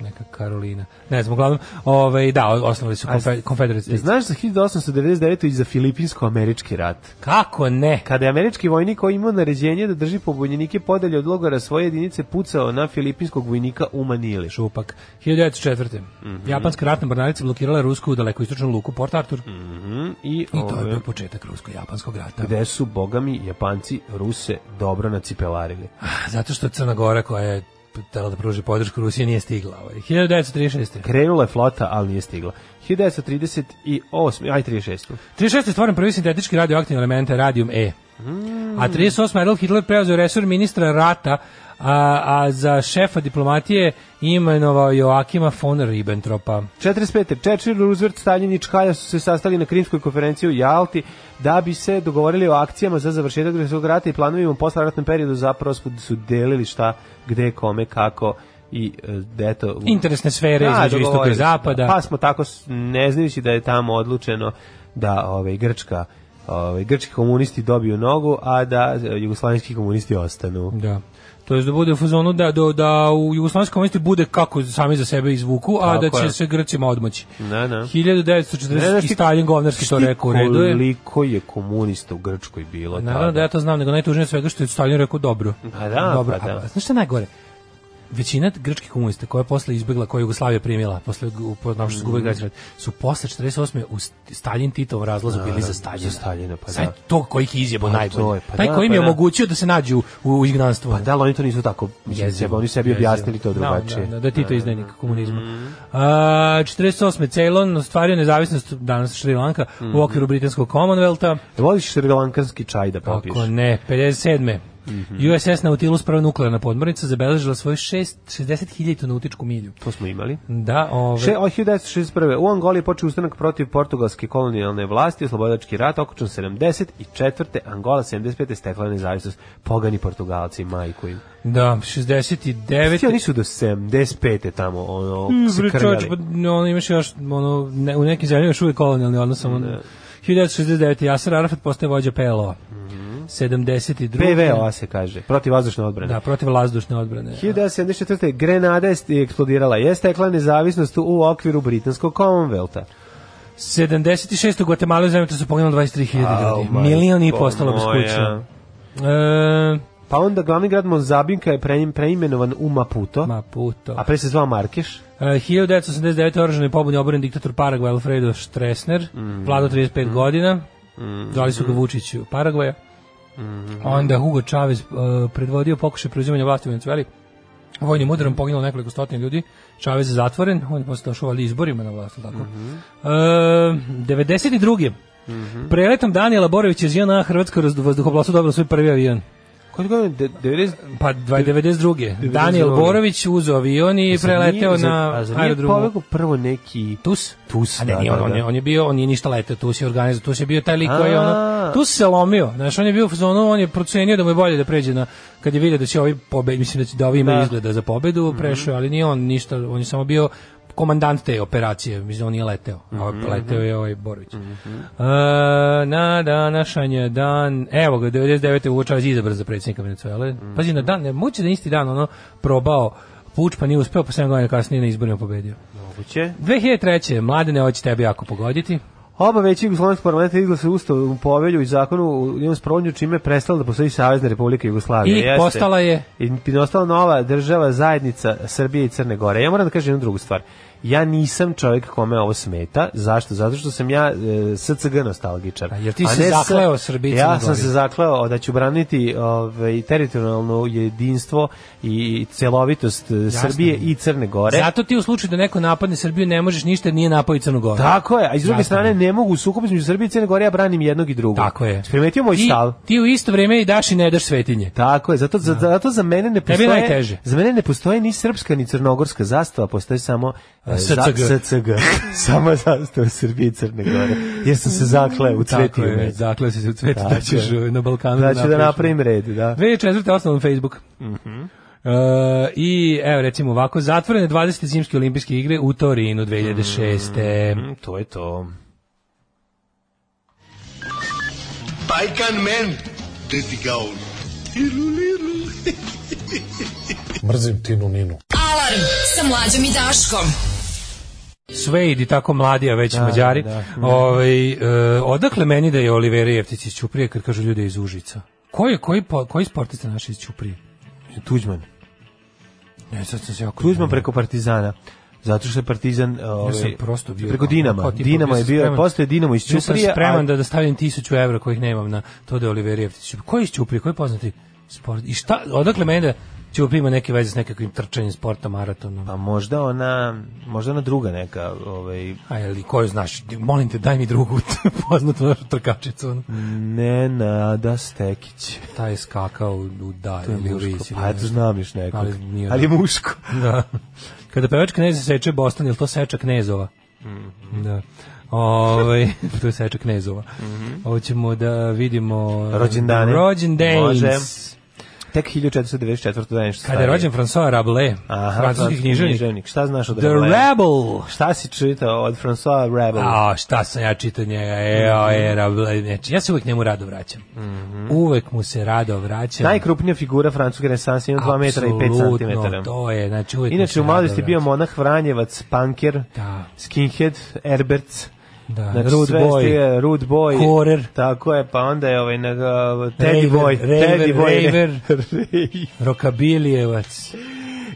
Speaker 5: neka Karolina. Ne znam, uglavnom, ovaj, da, osnovali su konfe, Confederate States.
Speaker 6: Znaš za 1899. i za Filipinsko-američki rat?
Speaker 5: Kako ne?
Speaker 6: Kada je američki vojnik koji je imao naređenje da drži pobunjenike podalje od logora svoje jedinice pucao na filipinskog vojnika u Manili.
Speaker 5: Šupak. 1904. Japanska ratna mornarica blokirala Rusku u daleko istočnom luku Port Arthur.
Speaker 6: Mhm, I,
Speaker 5: I to je
Speaker 6: ove,
Speaker 5: bio početak Rusko-Japanskog rata.
Speaker 6: gde su, bogami, Japanci Ruse dobro nacipelarili.
Speaker 5: Ah, Zato što Crna Gora koja je htela da pruži podršku Rusije nije stigla. Ovaj. 1936.
Speaker 6: Krenula je flota, ali nije stigla. 1938. Aj, 36.
Speaker 5: 36. je stvoren prvi sintetički radioaktivni element radijum E. A 38. Adolf Hitler preuzeo resor ministra rata, a, a za šefa diplomatije imenovao Joakima von Ribbentropa.
Speaker 6: 45. Čečil, Roosevelt, Stalin i Čkalja su se sastali na Krimskoj konferenciji u Jalti da bi se dogovorili o akcijama za završetak Drugog rata i planovima u posleratnom periodu zapravo su- su delili šta, gde, kome, kako i e, eto... u-
Speaker 5: Interesne sfere
Speaker 6: Da,
Speaker 5: između istoka i
Speaker 6: dogovorili su,
Speaker 5: zapada.
Speaker 6: da. Pa smo tako, s- ne znajući da je tamo odlučeno da ovaj, Grčka ovaj, grčki komunisti dobiju nogu, a da e, jugoslavenski komunisti ostanu.
Speaker 5: Da. To jest da bude u fazonu da, da, da u jugoslovenskom vojnosti bude kako sami za sebe izvuku, a da
Speaker 6: Tako
Speaker 5: će
Speaker 6: je.
Speaker 5: se Grcima odmoći.
Speaker 6: Da, da.
Speaker 5: 1940 i Stalin govnarski to rekao u redu je.
Speaker 6: Koliko je komunista u Grčkoj bilo
Speaker 5: Naravno da ja to znam, nego najtužnije od svega što je Stalin rekao dobro.
Speaker 6: Pa da,
Speaker 5: dobro,
Speaker 6: pa da.
Speaker 5: A, znaš šta je najgore? Većina grčkih komunista koja je posle izbegla, koja je Jugoslavija primila, posle u- po našoj mm. rat, su posle 48. u St- Stalin Titovom razlazu bili za Staljina.
Speaker 6: Da, za Staljina, pa
Speaker 5: Sad
Speaker 6: da.
Speaker 5: to koji ih je izjebo
Speaker 6: Pa
Speaker 5: najbolje.
Speaker 6: to je, pa
Speaker 5: Taj
Speaker 6: da,
Speaker 5: koji im
Speaker 6: pa
Speaker 5: je
Speaker 6: da.
Speaker 5: omogućio da se nađu u, u izgnanstvu.
Speaker 6: Pa da, ali oni to nisu tako, mislim, sebe, oni sebi objasnili to
Speaker 5: Jezivo.
Speaker 6: drugačije.
Speaker 5: Da, da, da, da Tito izdajnik komunizma. A, 48. Ceylon ostvario nezavisnost danas Šri Lanka u okviru britanskog Commonwealtha.
Speaker 6: Voliš šrilankanski čaj da popiješ?
Speaker 5: Kako ne, 57. USS Nautilus, prva nuklearna podmornica, zabeležila svoju šest- 60.000 nautičku milju.
Speaker 6: To smo imali.
Speaker 5: Da, ove,
Speaker 6: Še, od 1961. U Angoliji je počeo ustanak protiv portugalske kolonijalne vlasti, oslobodački rat, okučan 74. Angola 75. stekla nezavisnost. Pogani Portugalci, majku im.
Speaker 5: da,
Speaker 6: Svi
Speaker 5: 69.
Speaker 6: oni su do 75. tamo ono, se
Speaker 5: Bre, čoveč,
Speaker 6: krljali.
Speaker 5: pa, ono, imaš još, ono, ne, u nekim zemljama još uvijek kolonijalni odnos, ono, 1969. Jasar Arafat postaje vođa PLO-a. 72.
Speaker 6: PVO se kaže, protiv vazdušne odbrane.
Speaker 5: Da, protiv lazdušne odbrane.
Speaker 6: 1974. Grenada je eksplodirala. Je stekla nezavisnost u okviru britanskog Commonwealtha.
Speaker 5: 76. u Guatemala zemlje su poginulo 23.000 ljudi.
Speaker 6: Au,
Speaker 5: Milion i
Speaker 6: majko
Speaker 5: postalo bez
Speaker 6: moja.
Speaker 5: kuća. E,
Speaker 6: Pa onda glavni grad Mozambika je pre- preimenovan u Maputo,
Speaker 5: Maputo.
Speaker 6: a pre se zvao Markeš.
Speaker 5: E, 1989. oružani pobuni oboren diktator Paragvaja Alfredo Stresner,
Speaker 6: Mhm.
Speaker 5: vladao 35 godina, zvali su ga Vučić Paragvaja.
Speaker 6: Mhm.
Speaker 5: Onda Hugo Chavez e, predvodio pokušaj preuzimanja vlasti u Venezueli. Vojnim udarom poginulo nekoliko stotina ljudi. Chavez je zatvoren, on je posle došao valjda izborima na vlast, jel tako.
Speaker 6: Mhm.
Speaker 5: E, 92. Preletom Danijela Borovića iz JNA Hrvatsko razdu- vazduhoplovstvo dobilo svoj prvi avion.
Speaker 6: Koji godine? De- 90...
Speaker 5: Pa dva- 92. Daniel Borović uzeo avion i
Speaker 6: E, Zar nije-
Speaker 5: preleteo
Speaker 6: zar-
Speaker 5: na
Speaker 6: a zar nije
Speaker 5: aerodromu.
Speaker 6: povegao prvo neki...
Speaker 5: Tus?
Speaker 6: Tus,
Speaker 5: A ne,
Speaker 6: da,
Speaker 5: nije on,
Speaker 6: da,
Speaker 5: on, je,
Speaker 6: da.
Speaker 5: on je bio, on je ništa letao, Tus je organizao, Tus je bio taj lik koji je ono,
Speaker 6: A.
Speaker 5: Tus se lomio, znaš, on je bio u fazonu, on je procenio da mu je bolje da pređe na, kad je vidio da će ovi pobedi, mislim da će da ovi imaju
Speaker 6: Da.
Speaker 5: izgleda za pobedu, prešao, je, ali nije on ništa, on je samo bio komandant te operacije, mislim, da on nije leteo, a
Speaker 6: Mhm,
Speaker 5: leteo je ovaj Borović. E, na današnji je dan, evo ga, 99. uočavac izabran za predsjednika Venezuele, pazi, na
Speaker 6: Mhm.
Speaker 5: dan, ne, moguće da je isti dan ono probao puč, pa nije uspeo, pa 7 godina kasnije na izborima pobedio.
Speaker 6: Moguće.
Speaker 5: 2003. Mladene, ovo će tebi jako pogoditi.
Speaker 6: Oba veći Jugoslovenskog parlamenta izglasa ustav u povelju i zakonu u njom sprovodnju čime je prestala da postoji Savezna Republika Jugoslavija.
Speaker 5: I postala je-
Speaker 6: I postala nova država zajednica Srbije i Crne Gore. Ja moram da kažem jednu drugu stvar. Ja nisam čovjek kome ovo smeta. Zašto? Zato što sam ja e, SCG nostalgičar.
Speaker 5: A jel ti
Speaker 6: A
Speaker 5: si
Speaker 6: ne sa-
Speaker 5: zakleo Srbiji i Crnoj
Speaker 6: Ja sam
Speaker 5: Gori?
Speaker 6: se zakleo da ću braniti ovaj, teritorijalno jedinstvo i celovitost e, Srbije i Crne Gore.
Speaker 5: Zato ti u slučaju da neko napadne Srbiju ne možeš ništa jer nije napao i Crnu Goru.
Speaker 6: Tako je, a iz druge
Speaker 5: Jasno.
Speaker 6: strane ne mogu u sukobu između Srbije i Crne Gore, ja branim jednog i drugog.
Speaker 5: Tako je.
Speaker 6: Primetio moj
Speaker 5: ti,
Speaker 6: stav.
Speaker 5: Ti u isto vrijeme i daš i ne daš svetinje.
Speaker 6: Tako je, zato, za- zato za mene ne
Speaker 5: Da. Tebi je
Speaker 6: postoje...
Speaker 5: najteže.
Speaker 6: Za mene ne postoje ni srpska, ni crnogorska zastava, postoji samo... e,
Speaker 5: SCG.
Speaker 6: za- SCG. [laughs] samo zastava Srbije i Crne Gore. Jer sam se zakleo u
Speaker 5: Tako
Speaker 6: cveti u
Speaker 5: je,
Speaker 6: među.
Speaker 5: zakleo si se u cvetu da
Speaker 6: Tako
Speaker 5: ćeš
Speaker 6: je.
Speaker 5: uh, na Balkanu
Speaker 6: Da ću da
Speaker 5: napraviš.
Speaker 6: napravim Mhm. red, da.
Speaker 5: 2004. osnovan Facebook. E, I evo recimo ovako, zatvorene 20. zimske olimpijske igre u Torinu 2006.
Speaker 6: Mm, To je to.
Speaker 7: Pajkan men, deti gaun.
Speaker 1: Mrzim Tinu Ninu.
Speaker 4: Alarm sa mlađom i Daškom.
Speaker 5: Svejd i tako mladi, a
Speaker 6: Da,
Speaker 5: već mađari. Ovaj, e, odakle meni da je Olivera Jeftić iz Ćuprije, kad kažu ljudi iz Užica? Koji, koji, po- koji sportista naš iz Ćuprije?
Speaker 6: Tuđman.
Speaker 5: Ne, sad sam se jako...
Speaker 6: Tuđman preko Partizana. Zato što je Partizan... ovaj,
Speaker 5: sam prosto bio
Speaker 6: Preko
Speaker 5: kao- kao
Speaker 6: Dinama.
Speaker 5: tipa,
Speaker 6: Dinamo
Speaker 5: bio
Speaker 6: je
Speaker 5: sam
Speaker 6: bio,
Speaker 5: spreman.
Speaker 6: postoje Dinamo iz
Speaker 5: Bio sam
Speaker 6: Ćuprije,
Speaker 5: spreman
Speaker 6: a-
Speaker 5: da, da stavim 1000 evra kojih nemam na to da je Olivera Jeftić. Koji je iz Ćuprije? Koji je poznati sport? I šta, odakle meni da Ćuprije ima neke veze s nekakvim trčanjem sporta, maratonom?
Speaker 6: Pa možda ona, možda ona druga neka, ovaj,
Speaker 5: Aj, ali koju znaš? Molim te, daj mi drugu [laughs] poznatu našu trkačicu. ono.
Speaker 6: Nenada Stekić.
Speaker 5: Taj je skakao u dar ili u ris. ili
Speaker 6: Pa
Speaker 5: ne
Speaker 6: eto,
Speaker 5: znam.
Speaker 6: znam još nekog.
Speaker 5: Ali nije-
Speaker 6: Ali je muško.
Speaker 5: Da. Kada pevač knez seče Boston, jel to seča knezova?
Speaker 6: Mhm.
Speaker 5: Da. Ove, [laughs] to je seča
Speaker 6: Mhm.
Speaker 5: knezova. Hoćemo da vidimo...
Speaker 6: Rođendane.
Speaker 5: Rođendane.
Speaker 6: Može. tek 1494. da je nešto
Speaker 5: Kada je rođen François Rabelais,
Speaker 6: Aha,
Speaker 5: francuski književnik.
Speaker 6: Šta znaš od
Speaker 5: The Rebel.
Speaker 6: Šta si čitao od François Rebel?
Speaker 5: A, šta sam ja čitao njega, eo, e, Rabelais, znači, ja se uvek njemu rado vraćam.
Speaker 6: Mhm.
Speaker 5: Uvek mu se rado vraćam.
Speaker 6: Najkrupnija figura francuske renesanse, ima 2 metra i 5
Speaker 5: Apsolutno,
Speaker 6: cm.
Speaker 5: to je, znači, uvek mu se
Speaker 6: Inače, u
Speaker 5: rado
Speaker 6: mladosti je bio
Speaker 5: vraćam.
Speaker 6: monah, Vranjevac, Panker,
Speaker 5: Da.
Speaker 6: Skinhead, Erberts,
Speaker 5: Da,
Speaker 6: Znači,
Speaker 5: Rude
Speaker 6: sve
Speaker 5: Boy.
Speaker 6: stije, Rude Boy.
Speaker 5: Korer.
Speaker 6: Tako je, pa onda je ovaj, na, Teddy
Speaker 5: Raver,
Speaker 6: Boy.
Speaker 5: Raver,
Speaker 6: Teddy Boy. [laughs]
Speaker 5: Raver.
Speaker 6: Raver.
Speaker 5: Rokabilijevac.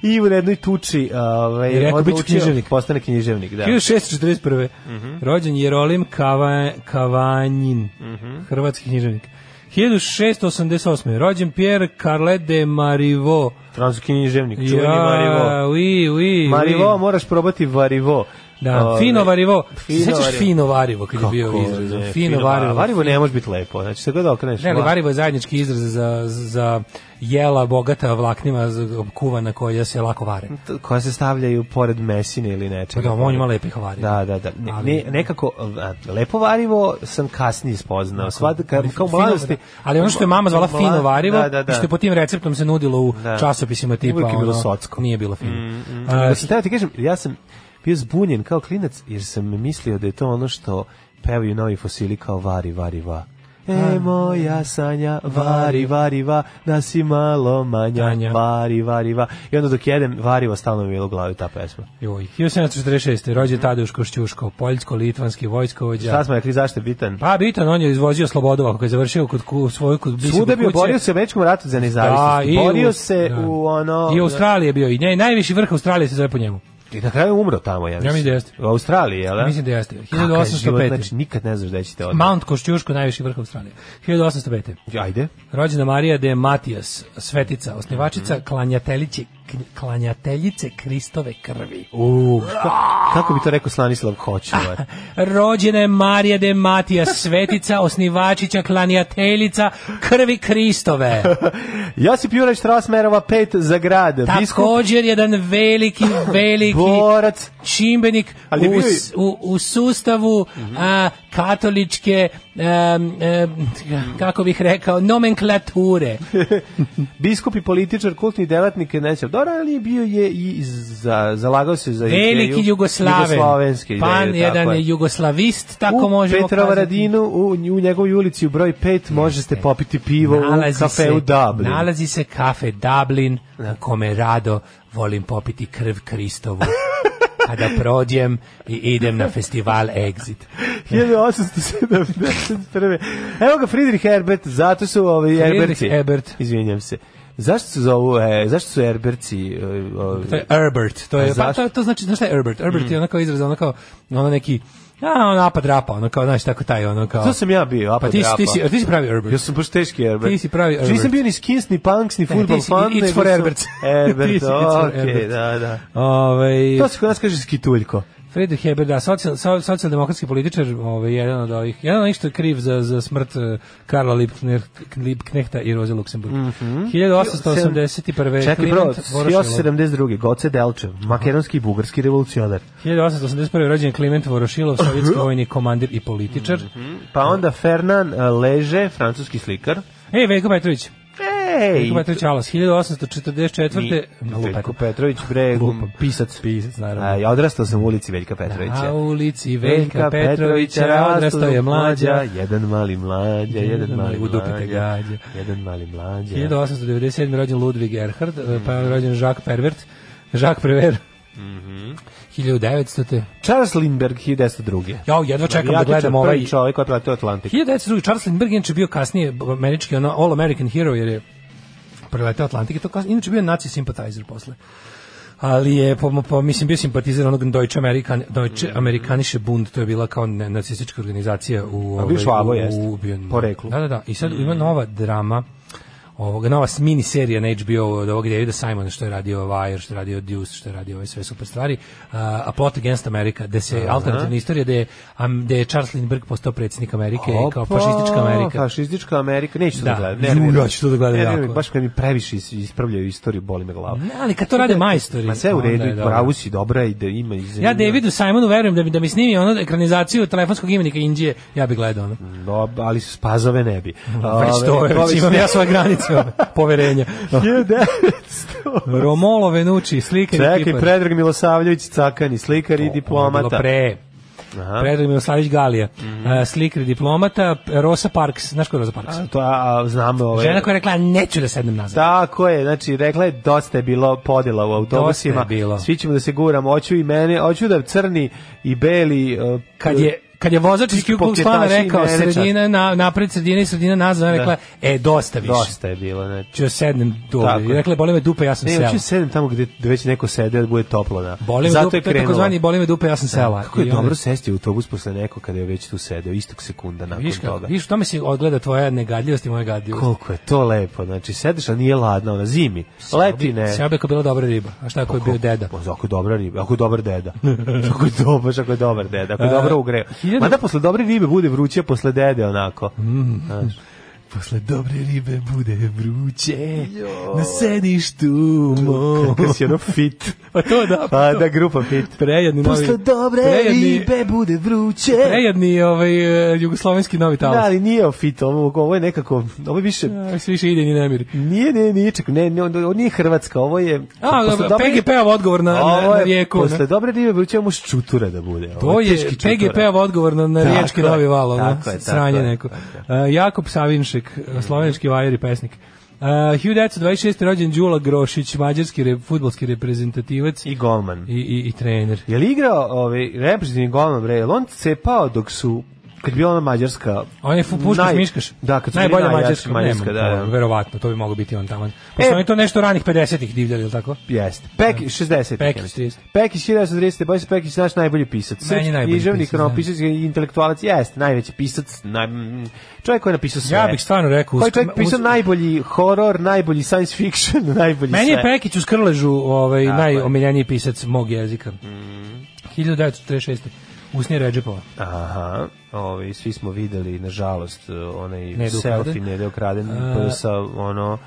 Speaker 6: Da. I u jednoj tuči ovaj,
Speaker 5: I rekao, bit ću književnik.
Speaker 6: Postane književnik, da.
Speaker 5: 1641.
Speaker 6: Mhm.
Speaker 5: Rođen Jerolim Kava, Kavanjin,
Speaker 6: Mhm.
Speaker 5: hrvatski književnik. 1688. Rođen Pierre Carlet de Marivaux.
Speaker 6: Francuski književnik, čuveni Marivo.
Speaker 5: Oui, oui,
Speaker 6: Marivo,
Speaker 5: oui.
Speaker 6: moraš probati Varivo.
Speaker 5: Da,
Speaker 6: Ovaj,
Speaker 5: fino varivo.
Speaker 6: Fino
Speaker 5: Sećaš
Speaker 6: varivo.
Speaker 5: fino varivo kad je bio
Speaker 6: Kako
Speaker 5: izraz.
Speaker 6: ne,
Speaker 5: Fino, varivo.
Speaker 6: Varivo ne može biti lepo. Znači, se god okreneš.
Speaker 5: Ne, ali
Speaker 6: ma-
Speaker 5: varivo je zajednički izraz za, za jela bogata vlaknima za- kuvana koja se lako vare.
Speaker 6: t- koja se stavljaju pored mesine ili
Speaker 5: Pa
Speaker 6: nečega.
Speaker 5: da, on ima lepih variva.
Speaker 6: Da, da, da. Ne,
Speaker 5: Ali-
Speaker 6: ne, nekako, a, lepo varivo sam kasnije spoznao. Svad, ka, kao u
Speaker 5: Fino- da.
Speaker 6: mladosti.
Speaker 5: Ali ono što je mama zvala
Speaker 6: Mla-
Speaker 5: fino varivo,
Speaker 6: da, da, da.
Speaker 5: i što je po tim receptom se nudilo u
Speaker 6: Da.
Speaker 5: časopisima tipa
Speaker 6: Uvijek je bilo
Speaker 5: ono,
Speaker 6: socko. Mm,
Speaker 5: Nije bilo fino.
Speaker 6: Nego
Speaker 5: A,
Speaker 6: sam teo ti kažem, ja sam bio zbunjen kao klinac jer sam mislio da je to ono što pevaju novi fosili kao vari, vari, va. E moja sanja, vari, vari, va, da si malo manja,
Speaker 5: Tanja.
Speaker 6: vari, vari, va. I onda dok jedem, variva stalno mi je bilo u glavi ta pesma.
Speaker 5: joj. 1746. rođen Tadeuš Košćuško, poljsko-litvanski vojskovođa.
Speaker 6: Šta smo rekli, zašto je bitan?
Speaker 5: Pa bitan, on je izvozio Slobodova kako je završio kod ku, svoju kod mislim,
Speaker 6: Svuda je
Speaker 5: kod
Speaker 6: bio,
Speaker 5: kuće.
Speaker 6: borio se u Američkom ratu za
Speaker 5: Da,
Speaker 6: nezavisnost.
Speaker 5: i
Speaker 6: borio
Speaker 5: u-
Speaker 6: se
Speaker 5: da.
Speaker 6: u ono...
Speaker 5: I u Australiji je bio i ne, najviši vrh Australije se zove po njemu.
Speaker 6: I na kraju je umro tamo, ja mislim.
Speaker 5: mislim da jeste.
Speaker 6: U Australiji, jel? da?
Speaker 5: Mislim da jeste.
Speaker 6: Kakav je život,
Speaker 5: 1805.
Speaker 6: Znači, nikad ne znaš da ćete odmah.
Speaker 5: Mount Košćuško, najviši vrh Australije. 1805.
Speaker 6: Ajde.
Speaker 5: Rođena Marija de Matijas, svetica, osnivačica,
Speaker 6: Mhm.
Speaker 5: klanjateljice, klanjateljice Kristove krvi.
Speaker 6: U, šta- kako bi to rekao Slanislav
Speaker 5: [laughs]
Speaker 6: Hočevar?
Speaker 5: Rođena je Marija de
Speaker 6: [laughs]
Speaker 5: Matijas, svetica, osnivačića, klanjateljica krvi Kristove.
Speaker 6: Josip Juraj Štrasmerova 5 za grad. [laughs] Biskup
Speaker 5: Također jedan veliki, veliki
Speaker 6: Borac.
Speaker 5: čimbenik
Speaker 6: Ali je
Speaker 5: u,
Speaker 6: bio i- Mhm.
Speaker 5: s- u, u sustavu a, katoličke, em, em, kako bih rekao, nomenklature.
Speaker 6: Biskup i političar, kultni delatnik, neće dobro, ali bio je i za, zalagao se za
Speaker 5: Veliki
Speaker 6: ideju
Speaker 5: Jugoslaven.
Speaker 6: Jugoslavenske ideje,
Speaker 5: Pan
Speaker 6: tako
Speaker 5: jedan
Speaker 6: je.
Speaker 5: je jugoslavist, tako
Speaker 6: u
Speaker 5: možemo
Speaker 6: Petrova
Speaker 5: kazati.
Speaker 6: Radinu, u, u njegovoj ulici u broj 5 možete popiti pivo u kafeu Dublin.
Speaker 5: Nalazi se kafe Dublin, u kome rado volim popiti krv
Speaker 6: [laughs]
Speaker 5: Kristovu. kada prođem i idem na festival Exit.
Speaker 6: 1871. Evo ga Friedrich Herbert, zato su ovi
Speaker 5: Friedrich
Speaker 6: Herberci.
Speaker 5: Ebert.
Speaker 6: Izvinjam se. Zašto se zovu, e, zašto su Herberci? e, ovi-
Speaker 5: To je Herbert. To je,
Speaker 6: A
Speaker 5: pa,
Speaker 6: zašto? Mm.
Speaker 5: to, to znači, znaš šta je Herbert? Herbert je onako izraz, onako, ono neki, a, ono napad rapa, ono kao, znaš, tako taj, ono kao...
Speaker 6: To sam ja bio, a
Speaker 5: pa ti, si- ti, si, ti si pravi Herbert.
Speaker 6: Ja sam baš teški Herbert.
Speaker 5: Ti si pravi
Speaker 6: Znači,
Speaker 5: Herbert.
Speaker 6: Nisam bio ni skins, ni punks, ni
Speaker 5: ti
Speaker 6: futbol
Speaker 5: si
Speaker 6: fan.
Speaker 5: It's
Speaker 6: nego
Speaker 5: for
Speaker 6: sam- [laughs]
Speaker 5: Herbert. Ti
Speaker 6: Herbert,
Speaker 5: si It's for
Speaker 6: okej,
Speaker 5: Herbert.
Speaker 6: da, da.
Speaker 5: Ovaj,
Speaker 6: To se kod nas kaže skituljko.
Speaker 5: Friedrich Heber, da, socijal, so- socijaldemokratski političar, ovaj, jedan od ovih, jedan od onih što je kriv za, za smrt eh, Karla Liebkner- Liebknehta i Roze Luksemburg. 1881.
Speaker 6: Čekaj, bro,
Speaker 5: Kliment Vorošilov.
Speaker 6: 1872. Goce Delčev, makedonski i bugarski revolucionar.
Speaker 5: 1881. rođen Kliment Vorošilov, sovjetski vojni komandir i političar.
Speaker 6: Pa onda Fernan e, Leže, francuski slikar.
Speaker 5: Ej, Veljko Petrović.
Speaker 6: Ej!
Speaker 5: Veljko Petrović Alas, 1844.
Speaker 6: Veljko Petrović, bre,
Speaker 5: Lupam.
Speaker 6: pisac.
Speaker 5: Pisac, naravno.
Speaker 6: A, ja odrastao sam u ulici Veljka Petrovića.
Speaker 5: Na ulici Veljka Petrovića odrastao je mlađa.
Speaker 6: Jedan mali mlađa, jedan mali
Speaker 5: U dupe te
Speaker 6: mlađa.
Speaker 5: gađa.
Speaker 6: Jedan mali mlađa.
Speaker 5: 1897. rođen Ludwig Erhard, pa je rođen Jacques Pervert, Jacques Prever.
Speaker 6: Mhm.
Speaker 5: 1900.
Speaker 6: Charles Lindbergh 1902.
Speaker 5: Jao, jedva čekam da gledam
Speaker 6: Matičar,
Speaker 5: ovaj.
Speaker 6: Prvi čovjek koji je platio Atlantik.
Speaker 5: 1902. Charles Lindbergh inače bio kasnije američki ono, all American hero jer je preletao Atlantik i to kasnije. Inače bio je nazi simpatizer posle. Ali je, po, po, mislim, bio simpatizer onog Deutsche, Amerikan, Deutsche
Speaker 6: Mhm.
Speaker 5: Amerikanische Bund, to je bila kao ne- nacistička organizacija u... ovaj,
Speaker 6: Švabo,
Speaker 5: u-
Speaker 6: jeste.
Speaker 5: u- bio-
Speaker 6: Poreklu.
Speaker 5: Da, da, da. I sad ima
Speaker 6: Mm.
Speaker 5: nova drama, ovoga, nova mini serija na HBO od ovog Davida Simona što je radio Wire, što je radio Deuce, što je radio ove sve super stvari, uh, A Plot Against America, gde se alternativna istorija, gde je, am, gde je Charles Lindbergh postao predsjednik Amerike i kao
Speaker 6: Opa,
Speaker 5: fašistička Amerika.
Speaker 6: Fašistička Amerika, neću to da,
Speaker 5: Da.
Speaker 6: gledam.
Speaker 5: Ju,
Speaker 6: nervira me.
Speaker 5: ja ću to da gledam
Speaker 6: Nervira me,
Speaker 5: jako.
Speaker 6: Baš kad mi previše is- ispravljaju istoriju, boli me glava.
Speaker 5: Ne, ali kad to rade majstori.
Speaker 6: Ma sve u
Speaker 5: onda
Speaker 6: redu,
Speaker 5: je
Speaker 6: i
Speaker 5: dobro.
Speaker 6: bravu si, dobra i da ima i
Speaker 5: Ja
Speaker 6: zanimljivo.
Speaker 5: Davidu Simonu verujem da bi, da mi snimi ono ekranizaciju telefonskog imenika Indije, ja bi gledao ono.
Speaker 6: No, Da, ali spazove ne bi.
Speaker 5: Već to,
Speaker 6: Ove,
Speaker 5: je, već
Speaker 6: već
Speaker 5: imam
Speaker 6: ne- [laughs]
Speaker 5: ja svoje granice. sve ove poverenja.
Speaker 6: 1900.
Speaker 5: Romolo Venucci, slikar i
Speaker 6: Čekaj,
Speaker 5: kipar.
Speaker 6: Predrag Milosavljević Cakani, slikar i
Speaker 5: Bilo
Speaker 6: diplomata.
Speaker 5: pre.
Speaker 6: Aha. Mhm.
Speaker 5: Predrag Milosavljević Galija, e, slikar i diplomata, Rosa Parks, znaš ko je Rosa Parks?
Speaker 6: A, To Pa, a, a, znam, ovaj.
Speaker 5: Žena koja je rekla, neću da sednem nazad.
Speaker 6: Tako je, znači rekla je dosta je bilo podela u autobusima.
Speaker 5: Dosta je bilo.
Speaker 6: Svi ćemo da se guramo, hoću i mene, hoću da crni i beli uh,
Speaker 5: Kad je kad je vozač iz Ku Klux Klana
Speaker 6: Pokretači i
Speaker 5: rekao
Speaker 6: nerečar.
Speaker 5: sredina na napred sredina i sredina nazad, ona je
Speaker 6: Da.
Speaker 5: rekla e dosta više.
Speaker 6: dosta je bilo, znači
Speaker 5: Ću da sednem dole.
Speaker 6: Tako.
Speaker 5: I rekla je, boli me dupe, ja sam
Speaker 6: Ne,
Speaker 5: sela.
Speaker 6: hoću da sedem tamo gde, gde već neko sede da bude toplo, da.
Speaker 5: Boli me
Speaker 6: Zato
Speaker 5: dupe,
Speaker 6: je
Speaker 5: to je
Speaker 6: krenulo.
Speaker 5: takozvani boli me dupe, ja sam sela.
Speaker 6: Kako je
Speaker 5: I onda-
Speaker 6: dobro sesti u autobus posle neko kada je već tu sedeo, istog sekunda nakon
Speaker 5: Viš kako,
Speaker 6: toga.
Speaker 5: viš, u tome se ogleda tvoja negadljivost i moja gadljivost.
Speaker 6: Koliko je to lepo, znači sedeš, a nije ladno, ona zimi, leti ne.
Speaker 5: Sjao bi ako je bila dobra riba. A šta ako je bio deda?
Speaker 6: Pa, ako je dobra riba, ako je dobar [laughs] deda. ako je dobar, ako je dobar deda, ako je
Speaker 5: E,
Speaker 6: dobro ugreo.
Speaker 5: hiljadu-
Speaker 6: Mada posle dobre ribe bude vruće, posle dede onako. Znaš. Mm. Posle dobre ribe bude vruće na sedištu [laughs] mom. Kako si ono fit.
Speaker 5: Pa to da.
Speaker 6: Pa da, grupa fit.
Speaker 5: Prejedni novi.
Speaker 6: Posle dobre
Speaker 5: prejedni,
Speaker 6: ribe bude vruće.
Speaker 5: Prejedni ovaj, e, jugoslovenski novi
Speaker 6: Da,
Speaker 5: talas.
Speaker 6: ali nije o fit, ovo, ovo je nekako, ovo je više...
Speaker 5: Da, Svi više ide ni nemiri.
Speaker 6: Nije, nije, nije, čak, ne, ne, ovo nije Hrvatska, ovo je...
Speaker 5: A,
Speaker 6: posle
Speaker 5: dobro,
Speaker 6: dobre-
Speaker 5: PGP-ov odgovor na, na,
Speaker 6: Ovo
Speaker 5: na
Speaker 6: je
Speaker 5: rijeku.
Speaker 6: Posle
Speaker 5: ne?
Speaker 6: dobre ribe vruće muš čutura da bude. Ovo
Speaker 5: To je
Speaker 6: teški čutura.
Speaker 5: PGP-ov odgovor na, na
Speaker 6: Tako
Speaker 5: riječki
Speaker 6: je,
Speaker 5: novi val. ono,
Speaker 6: tako je, tako
Speaker 5: sranje
Speaker 6: je,
Speaker 5: neko.
Speaker 6: tako
Speaker 5: Uh, Jakob Savinšek, slovenski vajer i pesnik. Uh, 1926. rođen Đula Grošić, mađarski re, futbolski reprezentativac i,
Speaker 6: I golman.
Speaker 5: i, i trener.
Speaker 6: Je li igrao ovaj, reprezentativni golman, bre? Je li on cepao dok su kad je bila ona mađarska...
Speaker 5: On je fu- Puškaš
Speaker 6: naj-
Speaker 5: Miškaš.
Speaker 6: Da, kad su bili
Speaker 5: Najbolja
Speaker 6: najjači
Speaker 5: mađarska,
Speaker 6: mađarska, da, da.
Speaker 5: Verovatno, to bi moglo biti on tamo. Pa su
Speaker 6: E.
Speaker 5: oni to nešto ranih 50-ih divljali, ili tako?
Speaker 6: Jeste.
Speaker 5: Da.
Speaker 6: Pekić 60.
Speaker 5: Pekić 30.
Speaker 6: Pekić 1930. Boris Pekić naš najbolji pisac.
Speaker 5: Meni najbolji
Speaker 6: Književnik,
Speaker 5: pisac, da.
Speaker 6: pisac i intelektualac. Jeste, najveći pisac. Naj... mm, Čovjek koji je napisao sve.
Speaker 5: Ja bih stvarno rekao...
Speaker 6: Koji je
Speaker 5: uz-
Speaker 6: čovjek pisao
Speaker 5: uz-
Speaker 6: najbolji horor, najbolji science fiction, [laughs] najbolji
Speaker 5: Meni je
Speaker 6: sve.
Speaker 5: Pekić u Skrležu ovaj,
Speaker 6: Tako je. Mm.
Speaker 5: najomiljeniji pisac mog jezika. 1936. Usni Ređepova.
Speaker 6: Aha, ovi, svi smo videli, nažalost, eh, onaj
Speaker 5: Nedo ukraden.
Speaker 6: selfie ne je ukraden
Speaker 5: A-
Speaker 6: sa ono